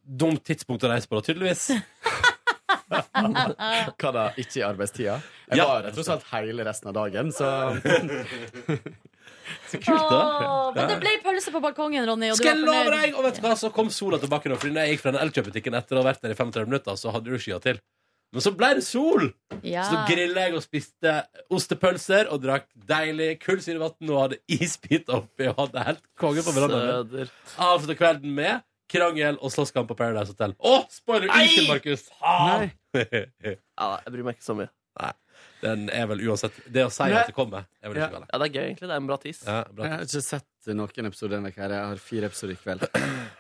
Speaker 2: Dumt tidspunkt å reise på, da, tydeligvis.
Speaker 14: Hva da? Ikke i arbeidstida? Jeg
Speaker 2: Ja.
Speaker 14: var der tross alt hele resten av dagen, så Så
Speaker 3: Åh, men det ble pølse på balkongen, Ronny. Og du
Speaker 2: Skal jeg
Speaker 3: var
Speaker 2: love
Speaker 3: fornøyd.
Speaker 2: deg! Og vet du hva, så kom sola tilbake nå. Fordi når jeg gikk fra den elkjøpbutikken etter å ha vært der i 35 minutter, så hadde du skya til. Men så ble det sol!
Speaker 3: Ja.
Speaker 2: Så da grilla jeg og spiste ostepølser og drakk deilig kullsyrevann og hadde isbiter oppi og hadde helt konge på verandaen. min. Avslutta kvelden med krangel og slåsskamp på Paradise Hotel. Å, spoiler! Unnskyld, Markus. Faen!
Speaker 6: jeg bryr meg ikke så mye.
Speaker 2: Nei. Den er vel uansett Det å si at det kommer, er vel
Speaker 14: Ja.
Speaker 2: ikke galt.
Speaker 6: Ja, det er gøy, egentlig. Det er en bra tis.
Speaker 2: Ja,
Speaker 14: Jeg har ikke sett noen episoder denne uka. her. Jeg har fire episoder i kveld.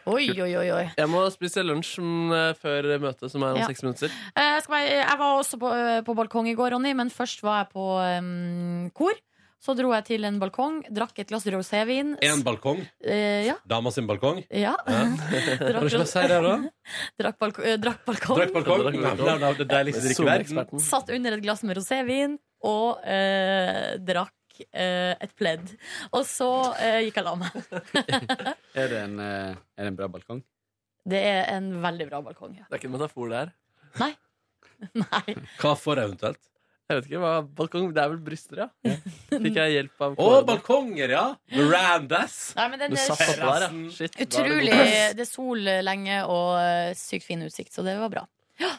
Speaker 3: Oi, oi, oi, oi.
Speaker 6: Jeg må spise lunsjen eh, før møtet, som er om
Speaker 3: Ja.
Speaker 6: seks minutter.
Speaker 3: Eh, skal jeg, jeg var også på, eh, på balkong i går, Ronny, men først var jeg på em, kor. Så dro jeg til en balkong, drakk et glass rosévin.
Speaker 2: En balkong.
Speaker 3: Eh, ja.
Speaker 2: Dama sin balkong.
Speaker 3: Ja.
Speaker 2: Kan du ikke bare si det, da?
Speaker 3: Drakk, balko eh, drakk balkong.
Speaker 2: Drakk balkong. Nei, nei, nei, Det deiligste drikket i verden.
Speaker 3: Satt under et glass med rosévin og eh, drakk fikk eh, et pledd. Og så eh, gikk jeg og la meg.
Speaker 14: Er det en, eh, er det en bra balkong?
Speaker 3: Det er en veldig bra balkong. Ja.
Speaker 6: Det er ikke en metafor det her.
Speaker 3: Nei. Nei.
Speaker 2: Hva for eventuelt?
Speaker 6: Jeg vet ikke, hva, balkong, Det er vel bryster, ja. Fikk jeg hjelp av
Speaker 2: Å, balkonger, ja! Verandas.
Speaker 3: Nei, men den
Speaker 6: Du
Speaker 3: er
Speaker 6: satt opp der, ja. Shit, da er det god
Speaker 3: Utrolig.
Speaker 6: plass.
Speaker 3: Det er sol lenge og eh, sykt fin utsikt, så det var bra. Ja.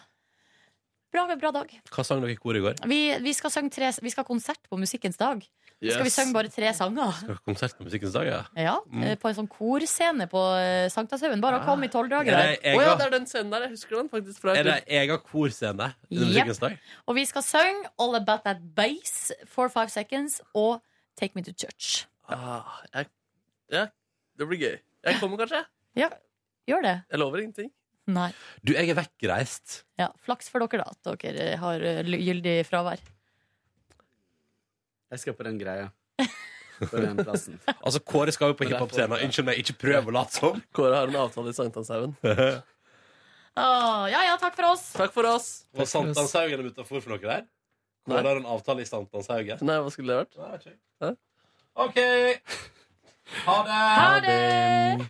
Speaker 3: Bra, bra dag.
Speaker 2: Hva sang dere i kor i går?
Speaker 3: Vi, vi, skal synge tre, vi skal ha konsert på Musikkens dag. Så Skal vi
Speaker 2: Yes.
Speaker 3: synge bare tre sanger?
Speaker 2: Skal dere ha Konsert på Musikkens dag, ja.
Speaker 3: Ja,
Speaker 2: Mm.
Speaker 3: eh, På en sånn korscene på eh, Sankthanshaugen. Bare å komme i tolvdraget.
Speaker 2: Er det
Speaker 3: der.
Speaker 2: egen- Å ja,
Speaker 6: Det er den scenen der, jeg husker den faktisk fra
Speaker 2: Er det egen korscene under
Speaker 3: Jep.
Speaker 2: Musikkens dag?
Speaker 3: Og vi skal synge All About That Bass, For Five Seconds og Take Me To Church.
Speaker 6: Ah, jeg, ja, det blir gøy. Jeg kommer kanskje.
Speaker 3: Ja, gjør det.
Speaker 6: Jeg lover ingenting.
Speaker 3: Nei.
Speaker 2: Du, jeg er vekkreist.
Speaker 3: Ja, Flaks for dere, da, at dere har eh, gyldig fravær.
Speaker 14: Jeg skal på den greia. På den plassen.
Speaker 2: Altså, Kåre skal jo på hiphop-scenen. Unnskyld meg, ikke prøv å late som.
Speaker 6: Kåre har en avtale i Sankthanshaugen.
Speaker 3: Åh, ja ja, takk for oss.
Speaker 6: Takk for oss.
Speaker 2: Var Sankthanshaugen utafor for dere der? Kåre har en avtale i Sankthanshaugen.
Speaker 6: Nei, hva skulle det vært? Hæ?
Speaker 2: OK. Ha det.
Speaker 3: Ha det.